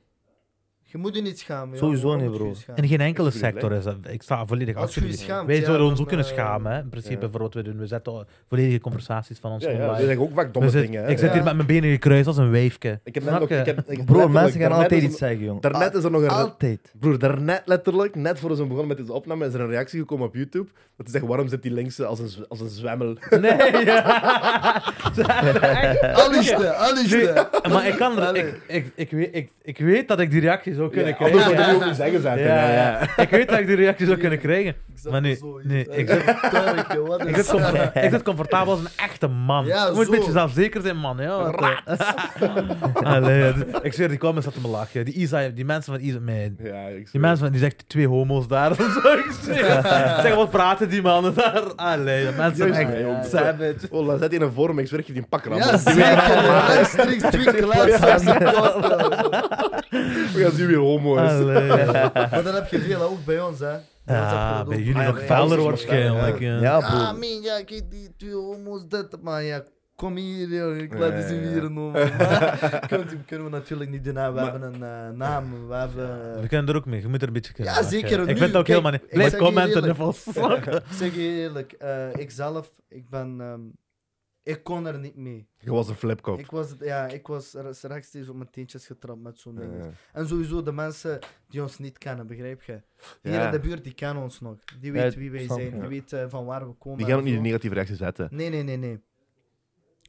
Je moet je niet schamen. joh. Sowieso Waarom niet, moet je bro. je schamen? In geen enkele Is jullie sector is dat. Ik sta volledig Als achter je je jullie. schaamt, Wij ja, zouden ons dan, ook kunnen eh, [laughs] schamen, hè, in principe, ja. voor wat we doen. We zetten al volledige conversaties van ons Ja, ja, online. we zeggen ook vaak domme We zit- dingen. Hè? ik zit Ja. hier met mijn benen gekruist als een [laughs] wijfke. Ik heb net Snap nog... je? Ik heb, ik heb Bro, letterlijk- mensen gaan daarnet altijd is iets zeggen, jong. er- Daarnet is er nog een... Altijd. Broer, daarnet letterlijk, net voor we zijn begonnen met deze opname, is er een reactie gekomen op YouTube. Dat ze zeggen, waarom zit die linkse als een, z- als een zwemmel? Nee, ja. [laughs] Alles te, alles te. Maar ik kan er- ik, ik, ik, weet, ik, ik weet dat ik die reactie zou kunnen Ja, krijgen. anders zou je Ja. er niet op zeggen zijn. Ja, ja. Ik weet dat ik die reactie zou kunnen krijgen. Maar nee, nee, eh, ik zit- [laughs] Ik zit, comfort- ik zit comfortabel als een echte man. Ja, je moet zo. een beetje zelfzeker zijn, man. Ja, want, eh, [laughs] Allee, dus- ik zweer, die comments zaten me lachen. Die, Isa, die mensen van Isa... Nee, Ja, ik die mensen van, die zegt twee homo's daar. of zo, [laughs] ik zweer. [laughs] zeg, wat praten die mannen daar? Allee, de mensen zijn Juist, echt nee, joh. savage. Oh, laat zet die in een vorm, ik zweer, ik geef die een pak ramp. Ja, Die weten zeker. allemaal. Rechtstreeks twee [laughs] [laughs] We gaan zien wie homo Ah. is. Allee. Maar dan heb je veel, hè, ook bij ons, hè. Ja, Ah, bij jullie nog vuil. vuiler waarschijnlijk. Ja. Ja, Ah, bro. min, ja, kijk, die twee homo's, dat, maar ja, kom hier, joh, ik laat Ja, eens ja, ja. hier een homo. Maar [laughs] Kunnen kunnen we natuurlijk niet doen, hè. we hebben een eh, naam, we hebben... We kunnen er ook mee, je moet er een beetje kunnen Ja, lachen. zeker, Ik nu, vind het ook kijk, helemaal niet. ik Blijf zeg jullie commenten, eerlijk. nuffels. Ik zeg je eerlijk, eh ik zelf, ik ben, ehm, ik kon er niet mee. Je was een flipkop. Ik was, ja, ik was er- rechtstreeks op mijn teentjes getrapt met zo'n ding. Ja. En sowieso de mensen die ons niet kennen, begrijp je? Hier Ja. in de buurt, die kennen ons nog. Die Ja, weten wie wij snap zijn, ik, die ja. weten van waar we komen. Die gaan en ook niet de zo. negatieve reactie zetten. Nee, nee, nee, nee.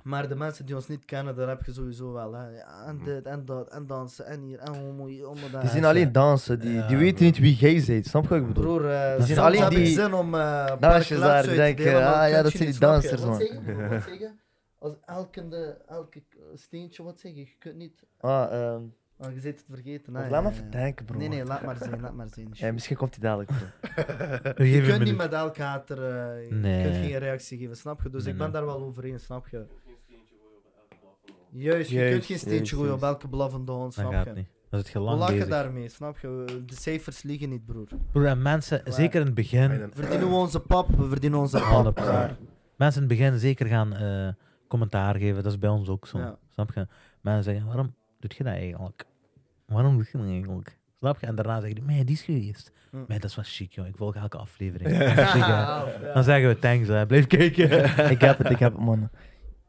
Maar de mensen die ons niet kennen, daar heb je sowieso wel. Hè. Ja, Mm. en dit, en dat, en dansen, en hier, en homo, hier, homo, daar. Die zien alleen dansen. Die, die weten niet wie jij bent. Snap je wat ik bedoel? Broer, eh, Die zien soms alleen heb ik die zin om eh een paar dansjes klaps daar, uit te denken, delen, maar ah, dat ja, kun dat je zijn niet, die snap je? dansers, Wat man. zeg je, [laughs] broer? Wat zeg je? Als elke, de- elke eh, steentje, wat zeg je? Je kunt niet... Ah, ehm, Oh, je zit het vergeten. hè. laat Ja, me ja, ja. even denken, bro. Nee, nee, laat maar zien, laat maar zien. [laughs] Ja, misschien komt hij dadelijk. bro. je kunt niet met elk hater... eh, Nee. Je kunt geen reactie geven, snap je? Dus Nee, ik ben nee. daar wel over eens, snap je? Juist, je Juist, kunt geen juist, steentje gooien op juist. elke blaffende hond, Dat snap gaat je? niet. Dan zit je We lang lachen bezig. daarmee, snap je? De cijfers liegen niet, broer. Broer, en mensen, Waar? zeker in het begin, Verdienen we onze pap, we verdienen onze pap. 100%. mensen in het begin zeker gaan eh, commentaar geven. Dat is bij ons ook zo. Ja. Snap je? Mensen zeggen, waarom doet je dat eigenlijk? Waarom doe je dat eigenlijk? Snap je? En daarna zeggen die, mij die is geweest. Hm. Maar dat is wel chic, joh. Ik volg elke aflevering. Echt chic, hè. [laughs] Dan zeggen we thanks, hè. blijf kijken. ik heb het, ik heb het, man.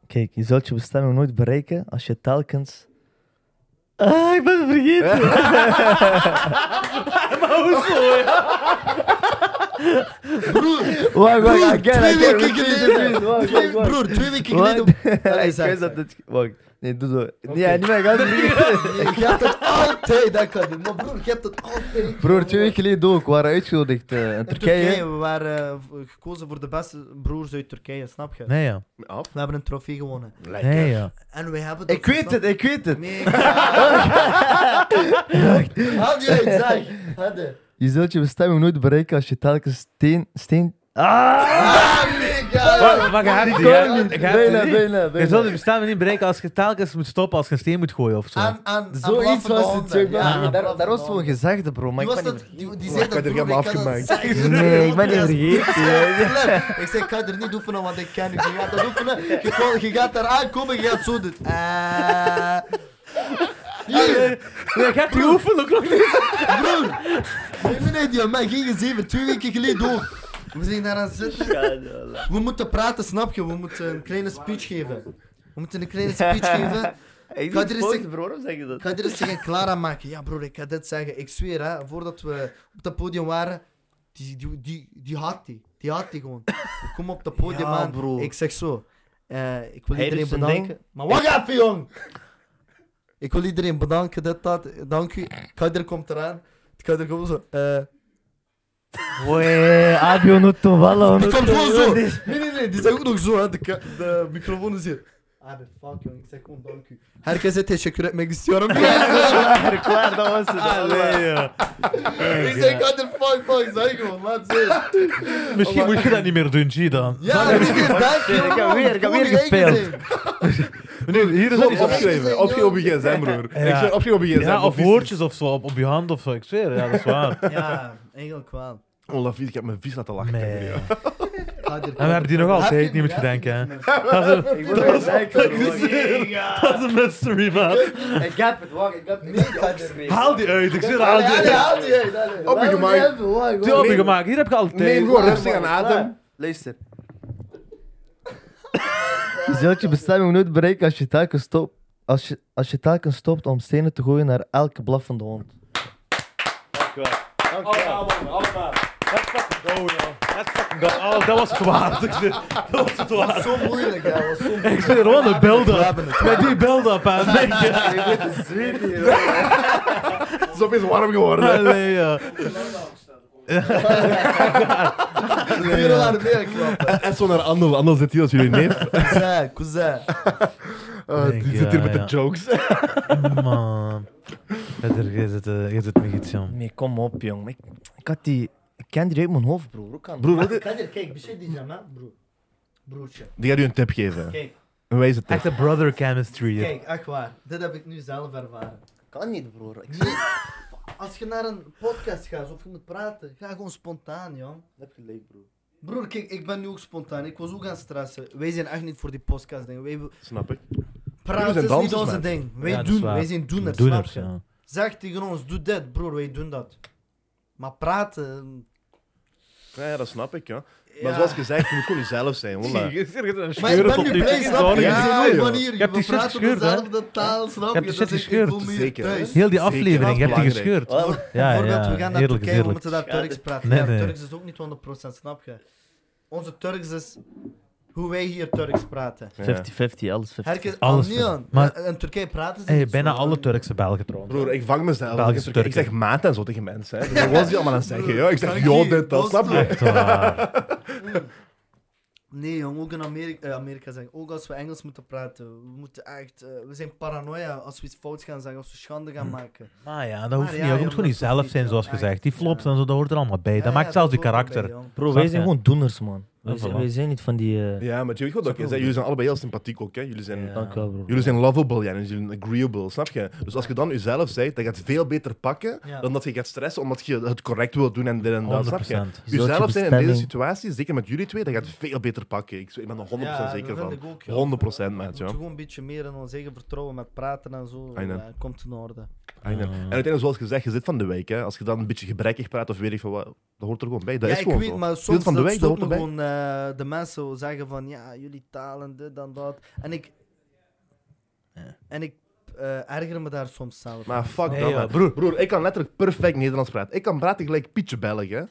Kijk, je zult je bestemming nooit bereiken als je telkens. Ah, ik ben het vergeten. Broer, Wacht, wacht, Broer, again, twee again, weken repeat it, geleden. please. Wacht, twee- wacht, wacht. broer, twee weken geleden... [laughs] Wacht. Allee, Ik zeg, wist zeg. dat het. Wacht, nee, doe zo. Ja, niet meer, ga het [laughs] vergeten. Ik heb het altijd, dat kan niet. Maar broer, ik heb het altijd. Broer, twee weken geleden ook, we waren uitgenodigd eh, in In Turkije. we waren eh, v- gekozen voor de beste broers uit Turkije, snap je? Nee, joh. Af. We hebben een trofee gewonnen. Lekker. Nee, joh. En wij hebben dat Ik weet het, verstand- ik weet het. [laughs] Nee, ik- Had je het, zeg. Hadden. Je zult je bestemming nooit bereiken als je telkens steen. steen. Ah! Ah, mega. Maar, maar je hebt die, Kom hè. niet. Je hebt die Bijna, niet. bijna, Je zult bijna. het bestaan niet bereiken als je telkens moet stoppen als je een steen moet gooien of zo. Aan, aan, Zoiets was het, joh. Ja, Daar daar was zo'n gezegde, bro. Maar Die, ik was ben niet dat, die, die zei Ik dat werd er broer, helemaal ik kan dat afgemaakt. zeggen. Nee, ik ben niet [laughs] vergeten, [laughs] Ik zeg, ik ga er niet oefenen, want ik ken u. Je gaat dat oefenen, je, kon- je gaat daar aankomen, je gaat zo doen. Eh. Hier, Nee, je hebt die oefenen ook nog niet. broer. Nee, nee, nee, die man ging zeven, twee weken geleden ook. We zijn daar aan het zitten. Ja, We moeten praten, snap je? We moeten een kleine speech geven. We moeten een kleine speech [laughs] geven. Ik doe Ga er het eens fout, zeggen- bro. Waarom zeg je dat? Ik ga er eens tegen Clara maken. Ja, broer, ik ga dit zeggen. Ik zweer, hè, voordat we op dat podium waren, die, die, die, die had die. Die had die gewoon. Ik kom op dat podium Ja, aan. broer. Ik zeg zo. eh, ik wil Hij iedereen doet zijn bedanken. Maar wacht even, jong! Ik wil iedereen bedanken, dit, dat. Dank u. Kader komt eraan. Kader komt zo. eh, Oei, Abio no Tovala. die komt gewoon zo. Nee, nee, nee. Die zijn ook nog zo, hè. De, ka- de microfoon is hier. Ah, de fuck, jong. Ik zeg gewoon dank u. Herkes het, hij schakert me Klaar, dat was het. Ah, Allee, ja. Ik zeg, what the fuck, fuck, zeg gewoon, laat zien. Misschien moet je dat niet meer doen, G dan. Ja, ik heb weer, Ik heb weer- ik heb weer gespeeld. Nee, hier is Klopt, alles op- opgeschreven. op- Opgeschreven op je gsm, broer. Ja. Ik zeg opgeschreven op je gsm. Ja, of vies. woordjes of zo, op, op je hand of zo. Ik zweer, ja, dat is waar. Ja, eigenlijk wel. Oh, Lafie, ik heb mijn vies laten lachen. Nee. Ja. En we hebben die nog altijd, niet moet je denken. hè. Dat is een- Ik wil het zeggen, bro. [laughs] dat is een mystery, man. Ik heb het, wacht. Ik heb het niet opgeschreven. Haal die uit, ik zweer, haal die uit. haal die uit. haal die uit. Op je Haal die gemaakt. uit, wacht, wacht. Die heb je gemaakt, hier heb je altijd. Neem gewoon rustig aan Klaar. adem. Luister. Je zult je bestemming nooit bereiken als je telkens stopt. Als je, als je telkens stopt om stenen te gooien naar elke blaffende hond. Allemaal, allemaal. Let's fucking go, joh. Oh, Let's fucking go. Oh, dat was het waard. Ik zweer, dat was het waard. Zo moeilijk, ja. was zo Ik zweer, wat een build-up. Met [laughs] die build-up aan [laughs] het denken. Het is opeens warm geworden. Allee, ja. moeilijk. aan de benen klappen. En zo naar Andel. Andel zit hier als jullie neef. Cousin, cousin. Eh, Denk, die zit hier ja, met de ja. jokes. Man. Verder, jij zit, eh, jij zit met iets, jong. Nee, kom op, jong. Ik, ik had die... Ik ken die uit mijn hoofd, broer. Hoe kan dat? Broer, wat- Kader, kijk, bezit die jam, hè, broer. Broertje. die gaat u een tip geven. Kijk, Een wijze tip. Echte brother chemistry. hier. kijk, echt waar. Dit heb ik nu zelf ervaren. kan niet, broer. Ik Nee, Als je naar een podcast gaat of je moet praten, ga gewoon spontaan, jong. heb gelijk, broer. Broer, kijk, ik ben nu ook spontaan. Ik was ook aan het stressen. Wij zijn echt niet voor die podcast dingen. Wij Snap ik. Jullie praten zijn is niet dansers, onze man. ding. Wij Ja, dat is doen, waar. wij zijn doeners, Doeners, snap je? ja. Zeg tegen ons, doe dit, broer, wij doen dat. Maar praten... ehm, Ja, ja, dat snap ik, ja. ja. Maar zoals gezegd, je moet gewoon jezelf zijn. Voilà. Maar ik ben nu blij, snap je? Ja, Ja, joh. van hier, Je hebt we die shit praten gescheurd, hè? dezelfde taal, snap hebt die je? shit Dat is- ik gescheurd. voel me hier Zeker, hè? thuis. Heel die Zeker, aflevering, je hebt die belangrijk. gescheurd. Ja, Bijvoorbeeld, ja, we gaan naar heerlijk, Turkije, we heerlijk. moeten daar Turks praten. Nee, ja, nee. Turks is ook niet 100%, snap je? Onze Turks is hoe wij hier Turks praten. Ja. 50-50, alles 50. Herkes, Alles Alles vinden. Maar, Maar- in Turkije praten ze Hey, niet bijna zo. alle Turkse Belgen trouwens. Broer, ik vang mezelf. Belgische Ik zeg- ik zeg Turken. maat en zo tegen mensen. Hè. Dus dat was die allemaal aan het zeggen. Ja. Ik zeg, Dankie, joh, dit, dat. Snap je? Echt [laughs] waar. Nee, jong, ook in Amerika, eh, Amerika zeggen. Ook als we Engels moeten praten. We moeten echt. eh, we zijn paranoia als we iets fouts gaan zeggen. Als we schande Hm. gaan maken. Maar ja, dat hoeft Maar niet. Je ja, joh, moet gewoon dat hoeft jezelf niet, zijn, joh. zoals Echt, gezegd. Die flops en zo, dat hoort er allemaal bij. Ja, Dat maakt zelfs je hoort erbij, karakter. jong. Bro, Snap wij je? zijn gewoon doeners, man. Ja, Wij, zijn- voilà. wij zijn niet van die... eh, Ja, maar je weet goed wat ik zeg. Jullie zijn allebei heel sympathiek ook. Hè. Jullie zijn... Ja. Dank u wel, broer. Jullie zijn lovable, ja, en jullie zijn agreeable, snap je? Dus als je dan jezelf bent, dat gaat het veel beter pakken Ja. dan dat je gaat stressen omdat je het correct wil doen en dit en dat, snap je? 100%. Je zult Jezelf je zijn in bestemming- deze situatie, zeker met jullie twee, dat gaat veel beter pakken. Ik, ik ben er 100% Ja, zeker dat vind van. ik ook, joh. 100% We maat, moeten ja. gewoon een beetje meer in ons eigen vertrouwen met praten en zo. I know. Ja, komt in orde. I know. En uiteindelijk, zoals gezegd, je zit van de wijk. Hè. Als je dan een beetje gebrekkig praat of weet ik van wat, dat hoort er gewoon bij. Dat ja, is ik gewoon weet, zo. maar Je zit soms van de dat wijk, dat stoort hoort me erbij. gewoon eh, de mensen zeggen van ja, jullie talen, dit en dat. En ik. En ik eh, erger me daar soms zelf. Maar fuck Nee, dat, joh, man. Broer. broer. ik kan letterlijk perfect Nederlands praten. Ik kan praten gelijk Pietje Belg, hè.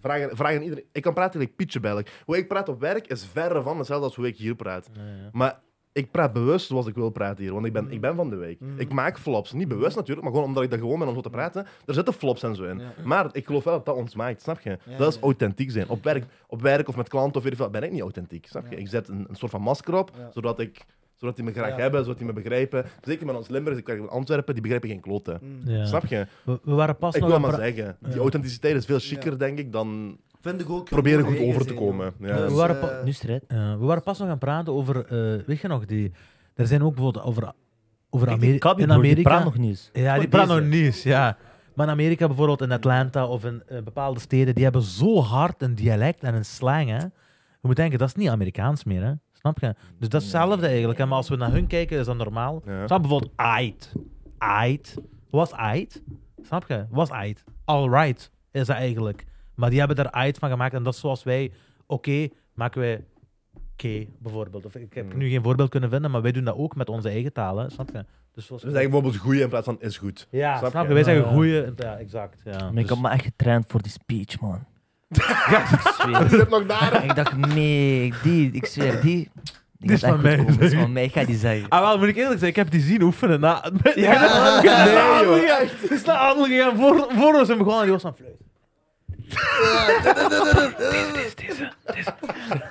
Vraag, aan- vraag aan iedereen. Ik kan praten gelijk Pietje Belg. Hoe ik praat op werk is verre van hetzelfde als hoe ik hier praat. Maar ik praat bewust zoals ik wil praten hier, want ik ben, Mm. ik ben van de week. Ik maak flops. Niet bewust natuurlijk, maar gewoon omdat ik dat gewoon ben om zo te praten. Er zitten flops en zo in. Ja. Maar ik geloof wel dat dat ons maakt, snap je? Ja, dat is ja. authentiek zijn. Op werk, op werk of met klanten of weet ik veel, ben ik niet authentiek, snap je? Ja. Ik zet een, een soort van masker op, Ja. zodat ik zodat die me graag Ja. hebben, zodat die me begrijpen. Zeker met ons Limburgers, ik werk in Antwerpen, die begrijpen geen kloten. Mm. Ja. Snap je? We, we waren pas ik nog wil aan maar pra- zeggen, die Ja. authenticiteit is veel chiquer, denk ik, dan Vind ik ook. proberen joh, goed over te eigen zin, joh. komen. Ja. Ja. We Dus, waren eh, pa- Nu strijd. Eh, we waren pas nog aan het praten over, eh, weet je nog, die, er zijn ook bijvoorbeeld over, over Ik Ameri- denk, Kabi, in broer, die Amerika. praat nog niet eens. Ja, die praat nog niet, ja. Maar in Amerika bijvoorbeeld, in Atlanta of in eh, bepaalde steden, die hebben zo hard een dialect en een slang, hè. Je moet denken, dat is niet Amerikaans meer, hè. Snap je? Dus dat is hetzelfde eigenlijk. hè. Maar als we naar hun kijken, is dat normaal. Ja. Snap je? bijvoorbeeld ait. Ait. Was ait? Snap je? Was ait. Alright is dat eigenlijk. Maar die hebben daar uit van gemaakt. En dat is zoals wij, oké, maken wij K bijvoorbeeld. Of, ik heb Mm. nu geen voorbeeld kunnen vinden, maar wij doen dat ook met onze eigen talen. Snap je? Dus zoals Dus eigenlijk bijvoorbeeld goeie in plaats van is goed. ja, snap snap, je? je? Wij zeggen Ja. goeie. Ja, exact. Ja. Maar ik Dus- heb me echt getraind voor die speech, [laughs] man. ik zweer. Zit nog daar. Ik dacht, nee, die, ik zweer, die. Die, is gaat echt van mij. goed komen. Die is van mij, ik ga die zeggen. Ah, wel, moet ik eerlijk zijn, ik heb die zien oefenen. Na, [laughs] Ja. Nee, joh. nee, Het is naar Adel gegaan, voor, voor ons hem gewoon aan Jos aan fluit. Dat is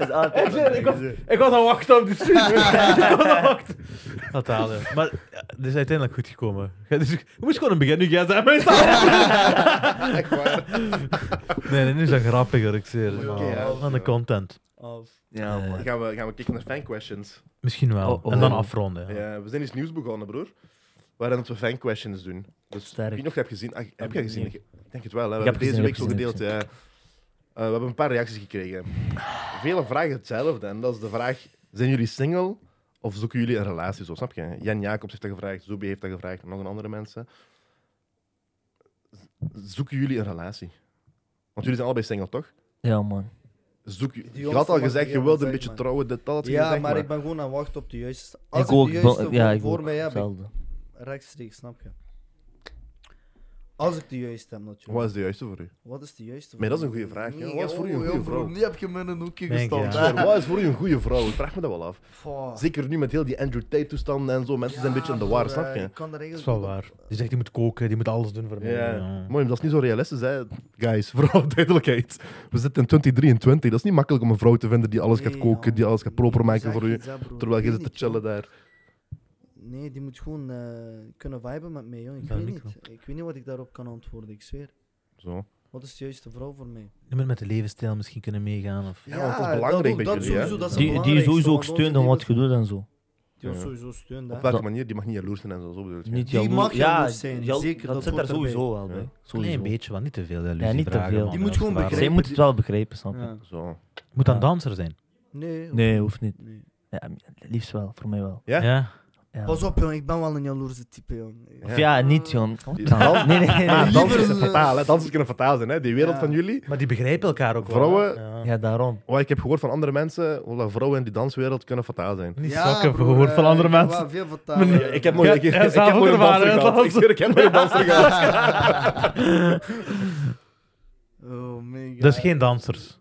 altijd- [laughs] Ik was aan wachten op die stream. [laughs] ik was aan wachten. Totaal, ja. Maar ja, het is uiteindelijk goed gekomen. Ja, Dus ik, ik moest gewoon een begin nu gaan [laughs] [laughs] zijn. Echt waar. Nee, nee, nu is dat grappiger, ik zie het. Oké, ja. man. Van de content. Of, Ja, Eh, man. Dan gaan we, gaan we kijken naar fanquestions. Misschien wel. Oh, oh. En dan afronden. Ja. Ja, we zijn iets nieuws begonnen, broer. Waarin dat we fanquestions doen. Dus Sterk. Ik weet niet of je hebt gezien. Ah, heb Heb jij ik gezien? niet. Ik denk het wel. Hè. We Ik hebben heb deze gezien, week ik zo heb gedeeld. gezien, Ja. Eh, we hebben een paar reacties gekregen. Vele vragen hetzelfde. En dat is de vraag: zijn jullie single of zoeken jullie een relatie? Zo, snap je? Jan Jacobs heeft dat gevraagd, Zubi heeft dat gevraagd, en nog een andere mensen. Z- Zoeken jullie een relatie? Want jullie zijn allebei single, toch? Ja, man. Zoek je, je jongste had al mag gezegd, ik je eerlijk wilde een zeggen, beetje man. trouwen, dit, dat, had je ja, gezegd, maar ik ben gewoon aan het wachten op de juiste. Als Ik ik, ook. de ik juiste ben- Ja, voor- ik voor ook. mij heb, ik Hetzelfde. rechtstreeks, snap je? Als ik de juiste heb, natuurlijk. Wat is de juiste voor u? Wat is de juiste? Maar dat is een voor goede mij? vraag, ja. Nee, Wat is voor u een oh, goede joh, vrouw? Nu heb je me in een hoekje Denk je, gestald. ja. Ik zweer, Wat is voor u een goede vrouw? Ik vraag me dat wel af. Fuck. Zeker nu met heel die Andrew Tate-toestanden en zo. Mensen zijn een beetje in de Ja, war, broer, snap eh, je? Ik kan er Dat is eigenlijk wel waar. Die zegt, die moet koken, die moet alles doen voor mij. Ja. Ja. Mooi, dat is niet zo realistisch, hè. Guys, [laughs] vooral duidelijkheid. We zitten in 2023. Dat is niet makkelijk om een vrouw te vinden die alles gaat Nee, koken, die alles gaat proper Nee, maken zeg voor u. iets, hè, broer. Terwijl Ik je weet zit te niet, chillen daar. joh. Nee, die moet gewoon eh, kunnen viben met mij, joh. Ik Ja, weet micro. niet. Ik weet niet wat ik daarop kan antwoorden, ik zweer. Zo. Wat is de juiste vrouw voor mij? Je moet met de levensstijl misschien kunnen meegaan. Of... Ja, want dat is belangrijk ook, bij dat jullie, hè. sowieso, dat is het Die, die je belangrijkste, sowieso ook want onze steunt aan wat levens- je doet en zo. Die ons Ja. sowieso steunt, hè. Op welke Dat- manier? Die mag niet jaloers zijn en zo, zo bedoel je. Niet Die jaloer- mag ja, jaloers zijn, jal- zeker, Dat, dat zit daar hoort erbij. sowieso wel bij. Ja. Een Sowieso. klein beetje, maar niet te veel. Ja, niet te veel. Die moet gewoon Zij begrijpen. moet het wel begrijpen, snap je? Ja. [laughs] Zo. Je moet dan Ja. danser zijn. Nee, hoor. Nee, hoeft niet. Nee. Ja, liefst wel, voor mij wel. Ja? Ja. Pas op, jong, ik ben wel een jaloerse type, jong. Ja. Of ja, niet, John. Die- Nee, nee, nee. Maar liever- dansers zijn fataal, hè. [laughs] Dansers kunnen fataal zijn, hè. Die wereld Ja. van jullie. Maar die begrijpen elkaar ook wel. Vrouwen- hè? Ja. Ja, daarom. Wat ik heb gehoord van andere mensen, voilà, vrouwen in die danswereld kunnen fataal zijn. Niet Ja, zakken broer, gehoord eh, van andere ik heb mensen. wel veel vertalen, Maar- [laughs] eh, Ik heb broer. nooit Ja, ik, ik, hij ik zou heb ook nooit een ervaren, danser hè, gehad. dat Ik zweer, ik heb nooit een danser gehad. Oh my god. Dus geen dansers.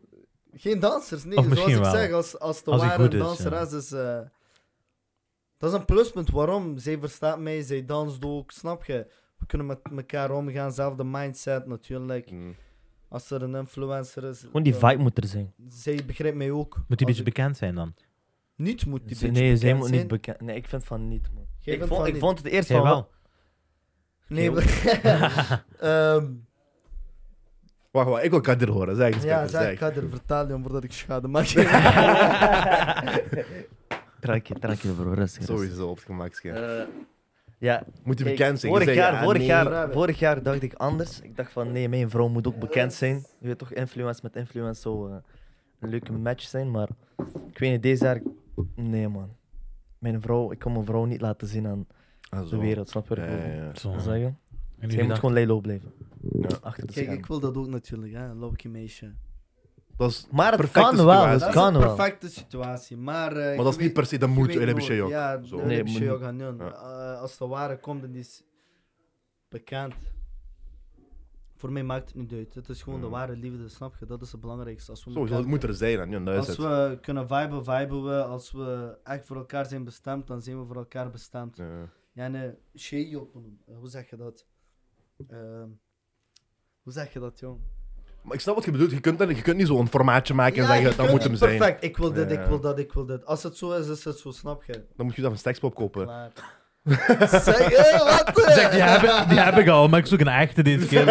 Geen dansers, nee. Of Zoals misschien ik wel. zeg, als, als de Als hij ware goed is, danser ja. is, is eh, dat is een pluspunt. Waarom? Zij verstaat mij, zij danst ook, snap je? We kunnen met elkaar omgaan, zelfde mindset natuurlijk. Mm. Als er een influencer is. Gewoon die eh, vibe moet er zijn. Zij begrijpt mij ook. Moet die Als beetje ik- bekend zijn dan? Niet moet die Ze- Dus beetje nee, zij bekend moet zijn. niet bekend. Nee, ik vind van niet, man. Jij Ik bent vond, van ik die- vond het eerst Zij van [laughs] wel. Nee, [laughs] Heel- maar- Ehm, [laughs] Wacht, wacht, ik wil Kadir horen. Zeg eens, Ja, Kadir, zeg, ik zeg. ga er vertalen voordat ik [laughs] schade maak. Tranquil, tranquil, bro. Rustig. rustig. Sowieso op het gemak, schijn. Eh, ja, Moet die kijk, bekend zijn. Je Vorig zei, jaar, ja, vorig, nee. jaar, vorig jaar dacht ik anders. Ik dacht van nee, mijn vrouw moet ook bekend zijn. Je weet toch, influence met influence zou eh, een leuke match zijn. Maar ik weet niet, deze jaar. Nee, man. Mijn vrouw, ik kan mijn vrouw niet laten zien aan Ah, de zo. wereld, snap je? wat Ja, ik ja, bedoel? ja. Zo. Wil Zeggen? En jullie Zij moet dan? gewoon lay-low blijven. Ja. Achter de Kijk, schermen. ik wil dat ook natuurlijk, hè, een lowkey meisje. Dat is, Maar het perfecte kan wel, situatie. het Dat is kan een wel. perfecte situatie, maar... eh, ik maar dat is weet- niet per se de Je moed, weet eh, hebben nooit. ze ook. Ja, Zo. nee, Nee, heb moet je niet. ook aan doen. Eh, Als de ware komt en die is bekend. Voor mij maakt het niet uit. Het is gewoon de Mm. ware liefde, snap je? Dat is het belangrijkste. Als we, Sowieso, dat elkaar- moet er zijn. hè. Ja, dat is als het. we kunnen viben, viben we. Als we echt voor elkaar zijn bestemd, dan zijn we voor elkaar bestemd. Ja, eh, Ja. nee, shey openen. Eh, Hoe zeg je dat? Ehm, hoe zeg je dat, jong? Maar ik snap wat je bedoelt. Je kunt, dat- je kunt niet zo'n formaatje maken en Ja, je zeggen, dat kunt moet niet hem zijn. Perfect, ik wil dit, ik Ja. wil dat, ik wil dit. Als het zo is, is het zo, [laughs] snap je? Dan moet je dat van Stexpop kopen. Klaar. zeg, [laughs] hé, wat? eh? Zeg, die heb, die heb ik al, maar ik zoek een echte deze keer.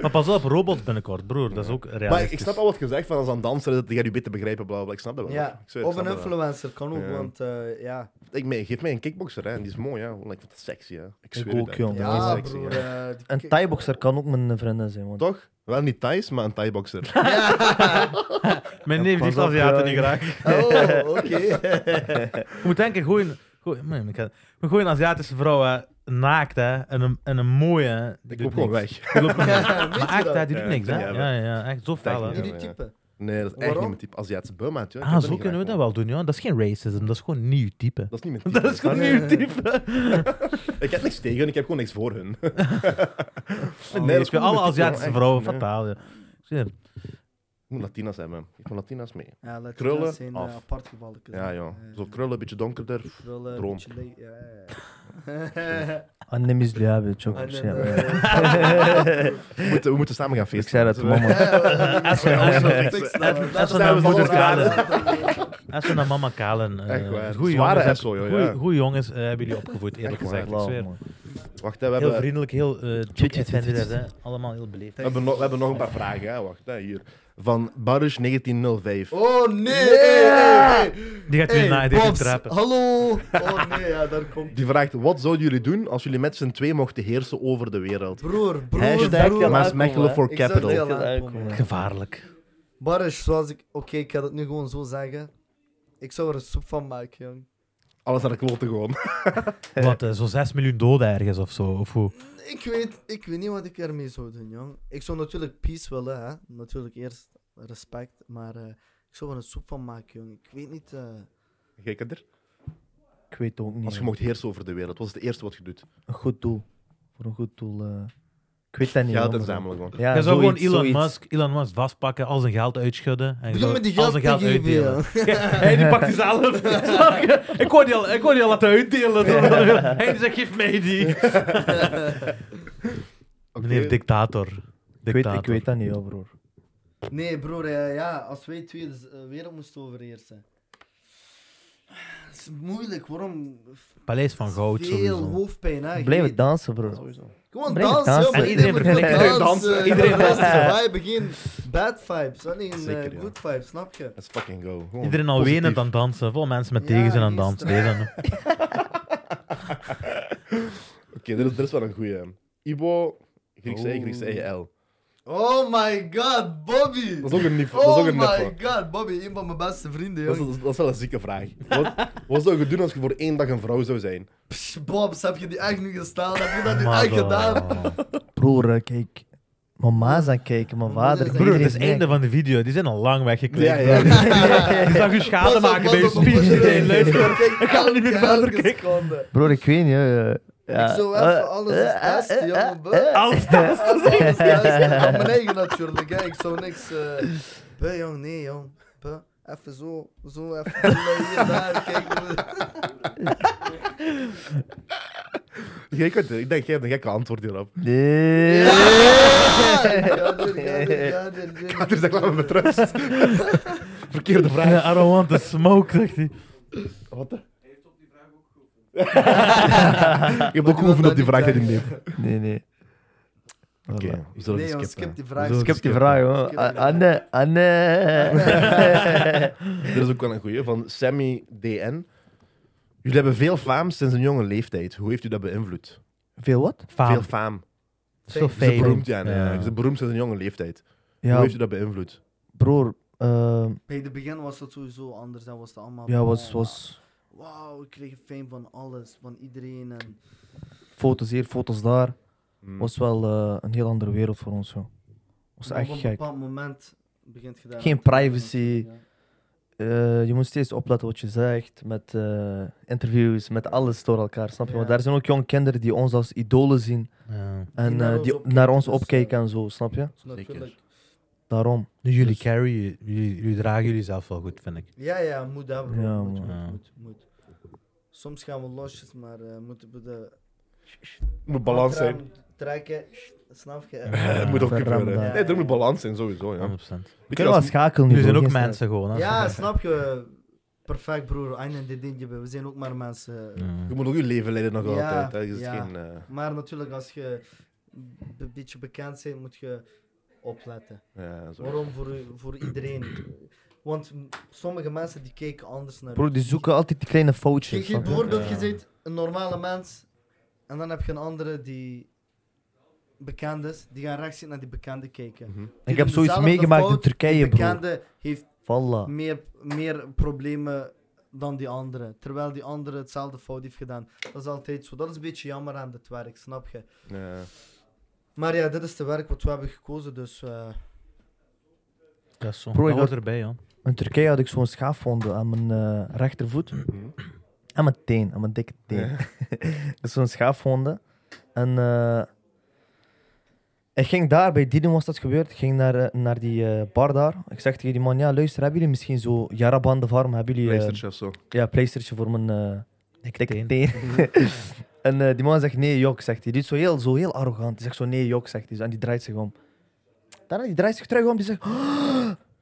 maar pas op, robots binnenkort, broer. Dat is ook realistisch. Maar ik snap al wat je zegt, van als een danser, dat die gaat je beter begrijpen, bla bla, bla. Ik snap dat wel. Ja, Ik zweer, ik of een snap dat wel. influencer kan ook, Ja. want eh, ja. Ik meen, geef mij een kickboxer, hè. En die is mooi, hè. Ik vind dat sexy, hè. Ik, zweer ook, het, jong. dat Ja, is Ja, sexy, broer. hè. eh, die- Een Thai-boxer kan ook mijn vriendin zijn, man. Toch? Wel niet Thais, maar een Thai-boxer. Mijn neef die pas op, Aziaten ja. niet graag. [laughs] Oh, oké. Je moet denken, gooi een... gooi- man, ik had- een goeie Aziatische vrouw, hè. naakt, hè. En een, en een mooie, hè. Die Ik doet loop gewoon niks. weg. Die loopt gewoon weg. Ja, weet je Maar echt, dat? hè, die doet Ja, niks, hè. ja, Ja, ja, echt zo fel, hè. Technisch. Die Ja, ja. type. Nee, dat is echt Waarom? niet mijn type. Aziatische Burma, joh. Ah, zo kunnen we dat wel doen, ja. Dat is geen racism, dat is gewoon een nieuw type. Dat is niet mijn type. Dat is gewoon Maar, een nieuw type. eh, Ik heb niks tegen hun, ik heb gewoon niks voor hun. [laughs] Nee, dat is ik vind gewoon alle een type, Aziatische echt. vrouwen Nee. fataal, ja. Shit. Ik moet Latina's hebben. Ik moet Latina's mee. Ja, Krullen laat krullen zijn eh, af. apart gevallen. Eh, Ja, ja. Zo krullen, beetje donkerder. Krullen, Droom. beetje le- ja, ja. Annem is liabe, Ah, nee, chokers. [laughs] nee. Eh. We moeten, we moeten samen gaan feesten. Ik zei dat Dus, [laughs] te mama. Als we alles nog fixen, fixen. laten we- Als we laten naar we moeder alles Kalen. raden. Als we naar mama Kalen... eh, Echt waar. goeie Zware jongens, SO, joh, goeie- ja. goeie jongens eh, hebben jullie opgevoed, eerlijk Echt waar. gezegd. Ik zweer. eh, Wacht, hè, we Heel hebben, we, vriendelijk, heel eh tjut, tjut, offended, tjut. hè. Allemaal heel beleefd. hebben nog, we hebben nog een paar vragen. Hè. Wacht, hè, hier. Van Baruch 1905. Oh nee! hey, hey, hey. Die gaat jullie Hey, na, die gaat Bobs, u trappen. Hallo! Oh nee, ja, daar komt. Die vraagt, wat zouden jullie doen als jullie met z'n twee mochten heersen over de wereld? Broer, broer, Hashtag broer. Maas Mechelen for Ik zou Capital. heel aankomen. Gevaarlijk. Barış, zoals ik. Oké, ik ga dat nu gewoon zo zeggen. Ik zou er een soep van maken, jong. Alles aan de klote gewoon. [laughs] Wat, eh, zo'n 6 miljoen doden ergens of zo? Of hoe? Ik weet, ik weet niet wat ik ermee zou doen, jong. Ik zou natuurlijk peace willen, hè. Natuurlijk eerst respect, maar eh, ik zou er een soep van maken, jong. Ik weet niet... eh, Gekker er? Ik weet het ook niet. Als je man. mocht heersen over de wereld, wat is het eerste wat je doet? Een goed doel. Voor een goed doel. eh, Ik weet dat niet. Geld man. verzamelen gewoon. Ja, je zou gewoon zoiets, Elon zoiets. Musk, Elon Musk vastpakken, al zijn geld uitschudden. En je Begin zou met die al geld zijn te geld geven, uitdelen. jong. Hij die pakt die zelf. [laughs] Snap je? ik kon die al, ik kon die al laten uitdelen. Hij die zegt, geef mij die. [laughs] Meneer dictator. Ik weet, ik Dictator. weet dat niet, hoor, broer. Nee, broer, eh, ja, als wij twee de z- eh, wereld moesten overheersen. Het is moeilijk, waarom? Paleis van goud Veel sowieso. hoofdpijn, hè. Je Blijven weet- dansen, broer. Gewoon Blijf dansen, dansen. joh, En iedereen moet verplicht. [laughs] gewoon Iedereen dansen. Iedereen Iedereen dansen. dansen. Vibe, geen bad vibes, alleen eh, Zeker, ja. good vibes, snap je? Let's fucking go. Gewoon Iedereen al positief. wenend aan het dansen. Vol mensen met Ja, tegenzin aan het die is dansen. Deze. Oké, dit, is- dit is wel een goeie. Ibo, Griekse E, Griekse E-L. Oh my god, Bobby! Dat is ook een niveau. dat is Oh ook een my niveau. god, Bobby, een van mijn beste vrienden, Dat is, joh. dat is- dat is wel een zieke vraag. Wat, wat zou je doen als je voor één dag een vrouw zou zijn? Psh, Bobs, heb je die echt nu gestaan? Heb je dat nu Maar echt dan- gedaan? Broer, eh, kijk. Mijn ma is aan het kijken, mijn Mijn vader. moeder is aan Broer, het iedereen is het einde van de video. Die zijn al lang weggeklikt. Ja, ja. [laughs] Die zag je Pas schade op, maken pas bij je op, op, speech. pas op. [laughs] Nee, luister. Ik ga er niet meer Elke- verder elke kijken. seconde. Broer, ik weet niet. eh, ja. Ik zou even Eh, alles eh, eens testen, eh, jongen. eh, bro. Alles Alles test. [laughs] [laughs] testen. Aan mijn eigen natuurlijk, hè. Ik zou niks... eh Buh, jong, nee, jong. Buh. Even zo, zo, [laughs] even hier, daar, kijk. Jij kunt, ik denk, jij hebt een gekke antwoord hierop. [laughs] Nee. Ja, dit, ja, dit, ja, dit, dit. Kater zegt, laat me met [laughs] rust. Verkeerde vraag. I don't want to smoke, zegt hij. Wat de? [laughs] Hij heeft op die vraag ook geoefend. ik heb ook geoefend op die vraag die hij neemt. Nee, nee. Oké, Voilà. we zullen Nee, het skippen. jongen, skip die vraag. We zullen Ik heb het die skippen. vraag, hoor. Skip die vraag. A- Anne, [laughs] Anne. Dit is ook wel een goeie, van Sammy DN. Jullie hebben veel faam sinds een jonge leeftijd. Hoe heeft u dat beïnvloed? Veel wat? Veel Faam. faam. Zo Ze is fijn. beroemd, ja. nee, Ze is beroemd sinds een jonge leeftijd. Hoe Ja, heeft u dat beïnvloed? broer. eh, Bij het begin was dat sowieso anders. Dan was het allemaal... Ja, was, oh, was Wauw, ik kreeg fame van alles, van iedereen. En... foto's hier, foto's daar. Hmm. Was wel eh, een heel andere wereld voor ons, joh. Was en op echt een gek. bepaald moment begint je daar... Geen aan te- privacy. Ja. Eh, je moet steeds opletten wat je zegt, met eh, interviews, met alles door elkaar, snap je? Want Ja. daar zijn ook jonge kinderen die ons als idolen zien Ja. en naar eh, ons die opkijken, naar ons dus, opkijken eh, en zo, snap je? Dus natuurlijk. Daarom. Nu, jullie Dus- carry, jullie, jullie dragen jullie zelf wel goed, vind ik. Ja, ja, moet dat, bro. Ja, moet, man. moet, Ja. moet, moet. Soms gaan we losjes, maar eh, moeten we de... moet balans zijn. Eh, handrem Trekken, snap je? Het moet ook Verram gebeuren. daar. Nee, er moet balans zijn, sowieso. Ja. 100%. We Weet je, kunnen wel als- schakelen nu. Jullie zijn bro, ook geen mensen gewoon. hè. Ja, snap je? Perfect, broer. Einen dit dingetje, we zijn ook maar mensen. Je moet ook je leven leiden nog Ja, altijd. hè. Je is ja. geen, eh, Maar natuurlijk, als je een beetje bekend bent, moet je opletten. ja, zo. Waarom voor, u- voor iedereen? Want m- sommige mensen die kijken anders naar stress. Bro, u. die zoeken altijd die kleine Kijk, foutjes. je snap je? bijvoorbeeld, je zit een normale mens en dan heb je een andere die bekend is, die gaan rechts zitten naar die bekende kijken. Mhm. Ik heb doen zoiets dezelfde meegemaakt in fout, Turkije, Die bro. bekende heeft Voilà. meer, meer problemen dan die andere. Terwijl die andere hetzelfde fout heeft gedaan. Dat is altijd zo. Dat is een beetje jammer aan dit werk, snap je? Ja. Maar ja, dit is het werk wat we hebben gekozen, dus... eh, Dat is zo. Bro, ik dat hoort had- erbij, joh. In Turkije had ik zo'n schaafwonde aan mijn eh, rechtervoet. Mhm. Aan mijn teen, aan mijn dikke teen. Dat is zo'n schaafwonde. En eh, ik ging daar, bij Dino was dat gebeurd. Ik ging naar, eh, naar die eh, bar daar. Ik zeg tegen die man, ja luister, hebben jullie misschien zo Jarabandenfarm? Hebben jullie... eh, of zo. ja, pleistertje voor mijn... eh, Dikke teen. dikke teen. [laughs] en eh, die man zegt nee, jok, zegt hij. Die is zo heel, zo heel arrogant. Die zegt zo nee, jok, zegt hij. zo. En die draait zich om. Daarna die draait zich terug om. Die zegt, "Oh."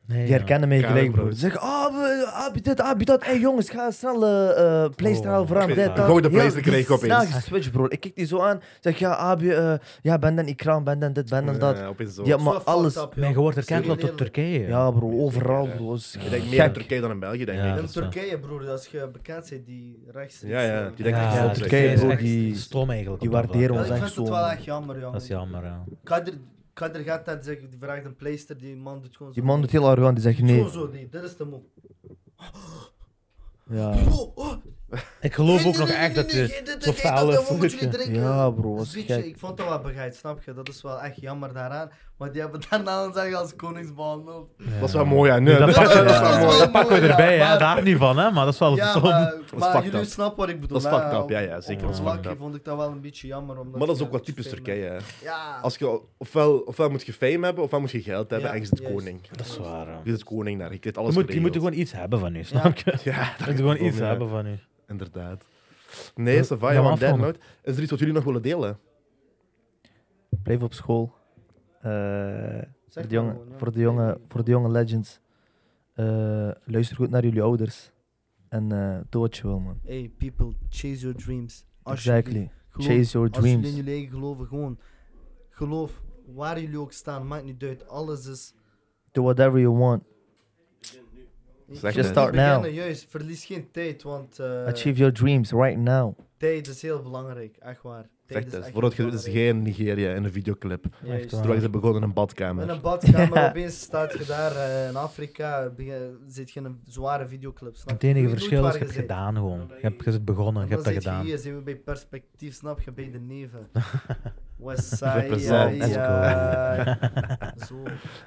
Nee, die ja. herkennen mij gelijk, Kamerbrood. bro. Die zeggen, ah, we- ah, heb je dit, ah, heb je dat. Hé jongens, ga snel eh eh pleister Oh. halen voor hem. Oké, dit, nou. dat. Gooi de Heel pleister kreeg ik opeens. Snel geswitcht, bro. Ik kijk die zo aan. Zeg, ja, abi, eh ja, ben dan ikram, ben dan dit, ben dan dat. Ja, opeens zo. Ja, zo maar fucked alles. up, joh. Maar je wordt herkend wel Serieus. tot Turkije. Ja, bro, overal, bro. Is Ik denk meer in gek. Turkije dan in België, denk Ja. ik. In dat is waar. Turkije, broer, als je bekend bent, die rechts... Ja, ja, die die denken Ja, echt ja, wel Turkije Turkije, is bro, echt die- stom eigenlijk. die op dat vlak. waarderen Ja, ons ik echt vind het zo, wel man. echt jammer, jongen. Dat is jammer, ja. Kader, Kader gaat dat zeggen, die vraagt een pleister, die man doet gewoon zo. Die man doet heel arrogant. Die zegt nee. Zo, zo, nee, dat is te moe. Ja, Oh, oh, Ik geloof nee, ook nee, nog nee, echt nee, dat nee, je nee, dit- zo dit- dat- faal dat is. moeten jullie drinken. ja bro, was Weet gek. je, ik vond dat wel begrijp, snap je? Dat is wel echt jammer daaraan. Want die hebben daarna een zeggen als koningsbaan. Dat is wel mooi, ja. Nee, dat, dat, pakken, dat is wel dat pakken we mooi, erbij, ja, hè. maar- daar niet van, hè, maar dat is wel Ja, stom. maar, maar fucked jullie up. snappen wat ik bedoel. dat is hè. fuckted up, ja, Op ja, zeker. Dat is fucked oppervlakkig up. vond ik dat wel een beetje jammer. Omdat Maar dat je is ook wat dat typisch soort Turkije, hè. filmen- Ja. Als je, ofwel, ofwel moet je fame hebben, ofwel moet je geld hebben Ja, en je zit juist. koning. Dat is waar. hè. Je zit koning daar, je krijgt Je alles moet, je moet er geregeld. gewoon iets hebben van u, snap je? [laughs] Ja, [laughs] Je moet gewoon iets Ja. hebben van u. inderdaad. Nee, Savaya, gaan we on that afronden. note. Is er iets wat jullie nog willen delen? Blijf op school. Eh, Zeg voor, maar de jonge, gewoon, ja. voor, de jonge, voor de jonge legends. Eh, luister goed naar jullie ouders. En eh doe wat je wil, man. Hey, people, chase your dreams. Alsjeblieft. Exactly. Gewoon, Chase your Als jullie in dreams. jullie eigen geloven, gewoon geloof waar jullie ook staan, maakt niet uit. Alles is. Do whatever you want. Zeg Just maar. start Beginnen, now. Juist, verlies geen tijd, want eh, Achieve your dreams right now. tijd is heel belangrijk, echt waar. Tijd Zeg het eens. echt Voor het ge- is belangrijk. geen Nigeria in een videoclip. Juist. Echt waar. Terwijl ze begonnen in een In een badkamer. [laughs] badkamer, Ja. opeens staat je daar eh, in Afrika, begin- zit je in een zware videoclip. Snap Het je? Je enige weet nooit verschil is, waar je hebt het zit. gedaan gewoon. Je hebt je hebt begonnen, En je hebt dan dat zit je gedaan. Hier zijn we bij perspectief, snap je, bij de [laughs] neven. Westside, ja, Represent. ja. Zo.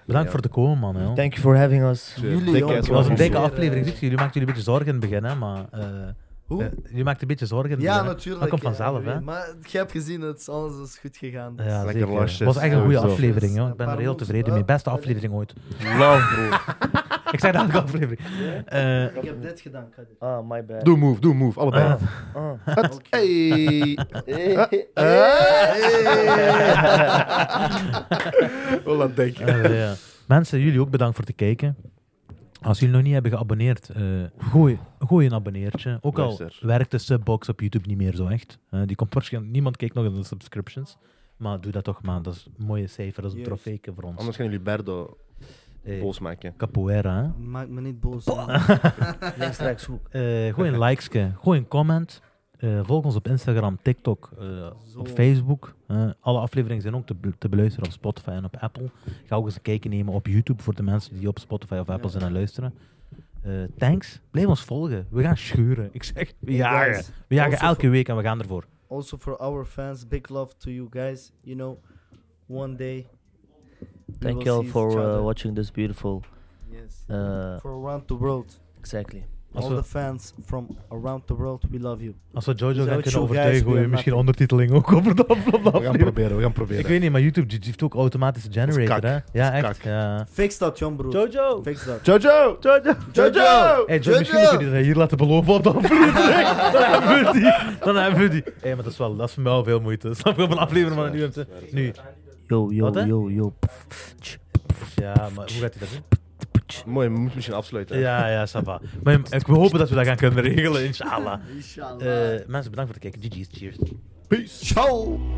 Bedankt voor het komen, man. joh. Thank you for having us. Jullie, Dikke joh. ass Het was een dikke Weer, eh, aflevering. Ziet je, Jullie maakten jullie een beetje zorgen in het begin, hè, maar... eh, Hoe? eh, Jullie maakten een beetje zorgen in het Ja, begin, hè. natuurlijk. Dat komt ja, vanzelf, ik hè. weet. Maar je hebt gezien, het is, alles is goed gegaan. Dus. Ja, Lekker zeker. losjes, Het was echt een goede sowieso. aflevering, joh. Ja, Ik ben er paar heel mondes, tevreden ja. mee. Beste aflevering ooit. Love, bro. Ik zei de [laughs] andere aflevering. Eh, Ik heb dit gedaan, Kadir. Ah, my bad. Doe move, doe move, allebei. Ah. [laughs] [laughs] Het- Hey. Wil dat denken. eh, ja. Mensen, jullie ook bedankt voor het kijken. Als jullie nog niet hebben geabonneerd, eh, gooi, gooi een abonneertje. Ook al Luister. werkt de subbox op YouTube niet meer zo echt. Eh, die komt waarschijnlijk, niemand kijkt nog in de subscriptions. Maar doe dat toch, man. Dat is een mooie cijfer. Dat is een Juist. trofeeke voor ons. Anders gaan jullie Berdo Eh, boos maken. Capoeira, hè. Maak me niet boos. man. Links, rechts, hoek. Eh, gooi [laughs] een likeske, gooi een comment. Eh, volg ons op Instagram, TikTok, eh, Zo. op Facebook. Eh, alle afleveringen zijn ook te, be- te beluisteren op Spotify en op Apple. Ga ook eens een kijkje nemen op YouTube voor de mensen die op Spotify of Apple Ja. zijn aan luisteren. Eh, thanks. Blijf ons volgen. We gaan schuren. Ik zeg, we jagen. Guys, We jagen also elke for- week en we gaan ervoor. Also for our fans, big love to you guys. You know, one day. we Thank will you all see each for uh, other. watching this beautiful. Yes. Uh, For around the world. exactly. Als All we- the fans from around the world, we love you. Als we Jojo Without gaan kunnen you guys, overtuigen, we gooi je are misschien nothing. ondertiteling ook over de afgelopen We gaan aflevering. proberen, we gaan Ik proberen. weet niet, maar YouTube die heeft ook automatische generator, kak. hè? Ja, Dat is echt. kak. Ja. Fix dat, Jan broer. Jojo! Fix dat. Jojo! Jojo! Jojo! Hey, John, misschien moeten we die hier laten beloven op de aflevering. [laughs] dan hebben we die. Dan hebben we die. Hé, maar dat is, wel, dat is voor mij wel veel moeite. Snap je? Op een aflevering van nu hem te... Nu. Yo, yo, Wat, hè? yo, yo. Ja, maar hoe gaat hij dat doen? Mooi, we moeten misschien afsluiten. hè. Ja, ja, sava. Maar ik, we hopen dat we dat gaan kunnen regelen, inshallah. Inshallah. Eh, mensen, bedankt voor het kijken. GG's, cheers. Peace. Ciao!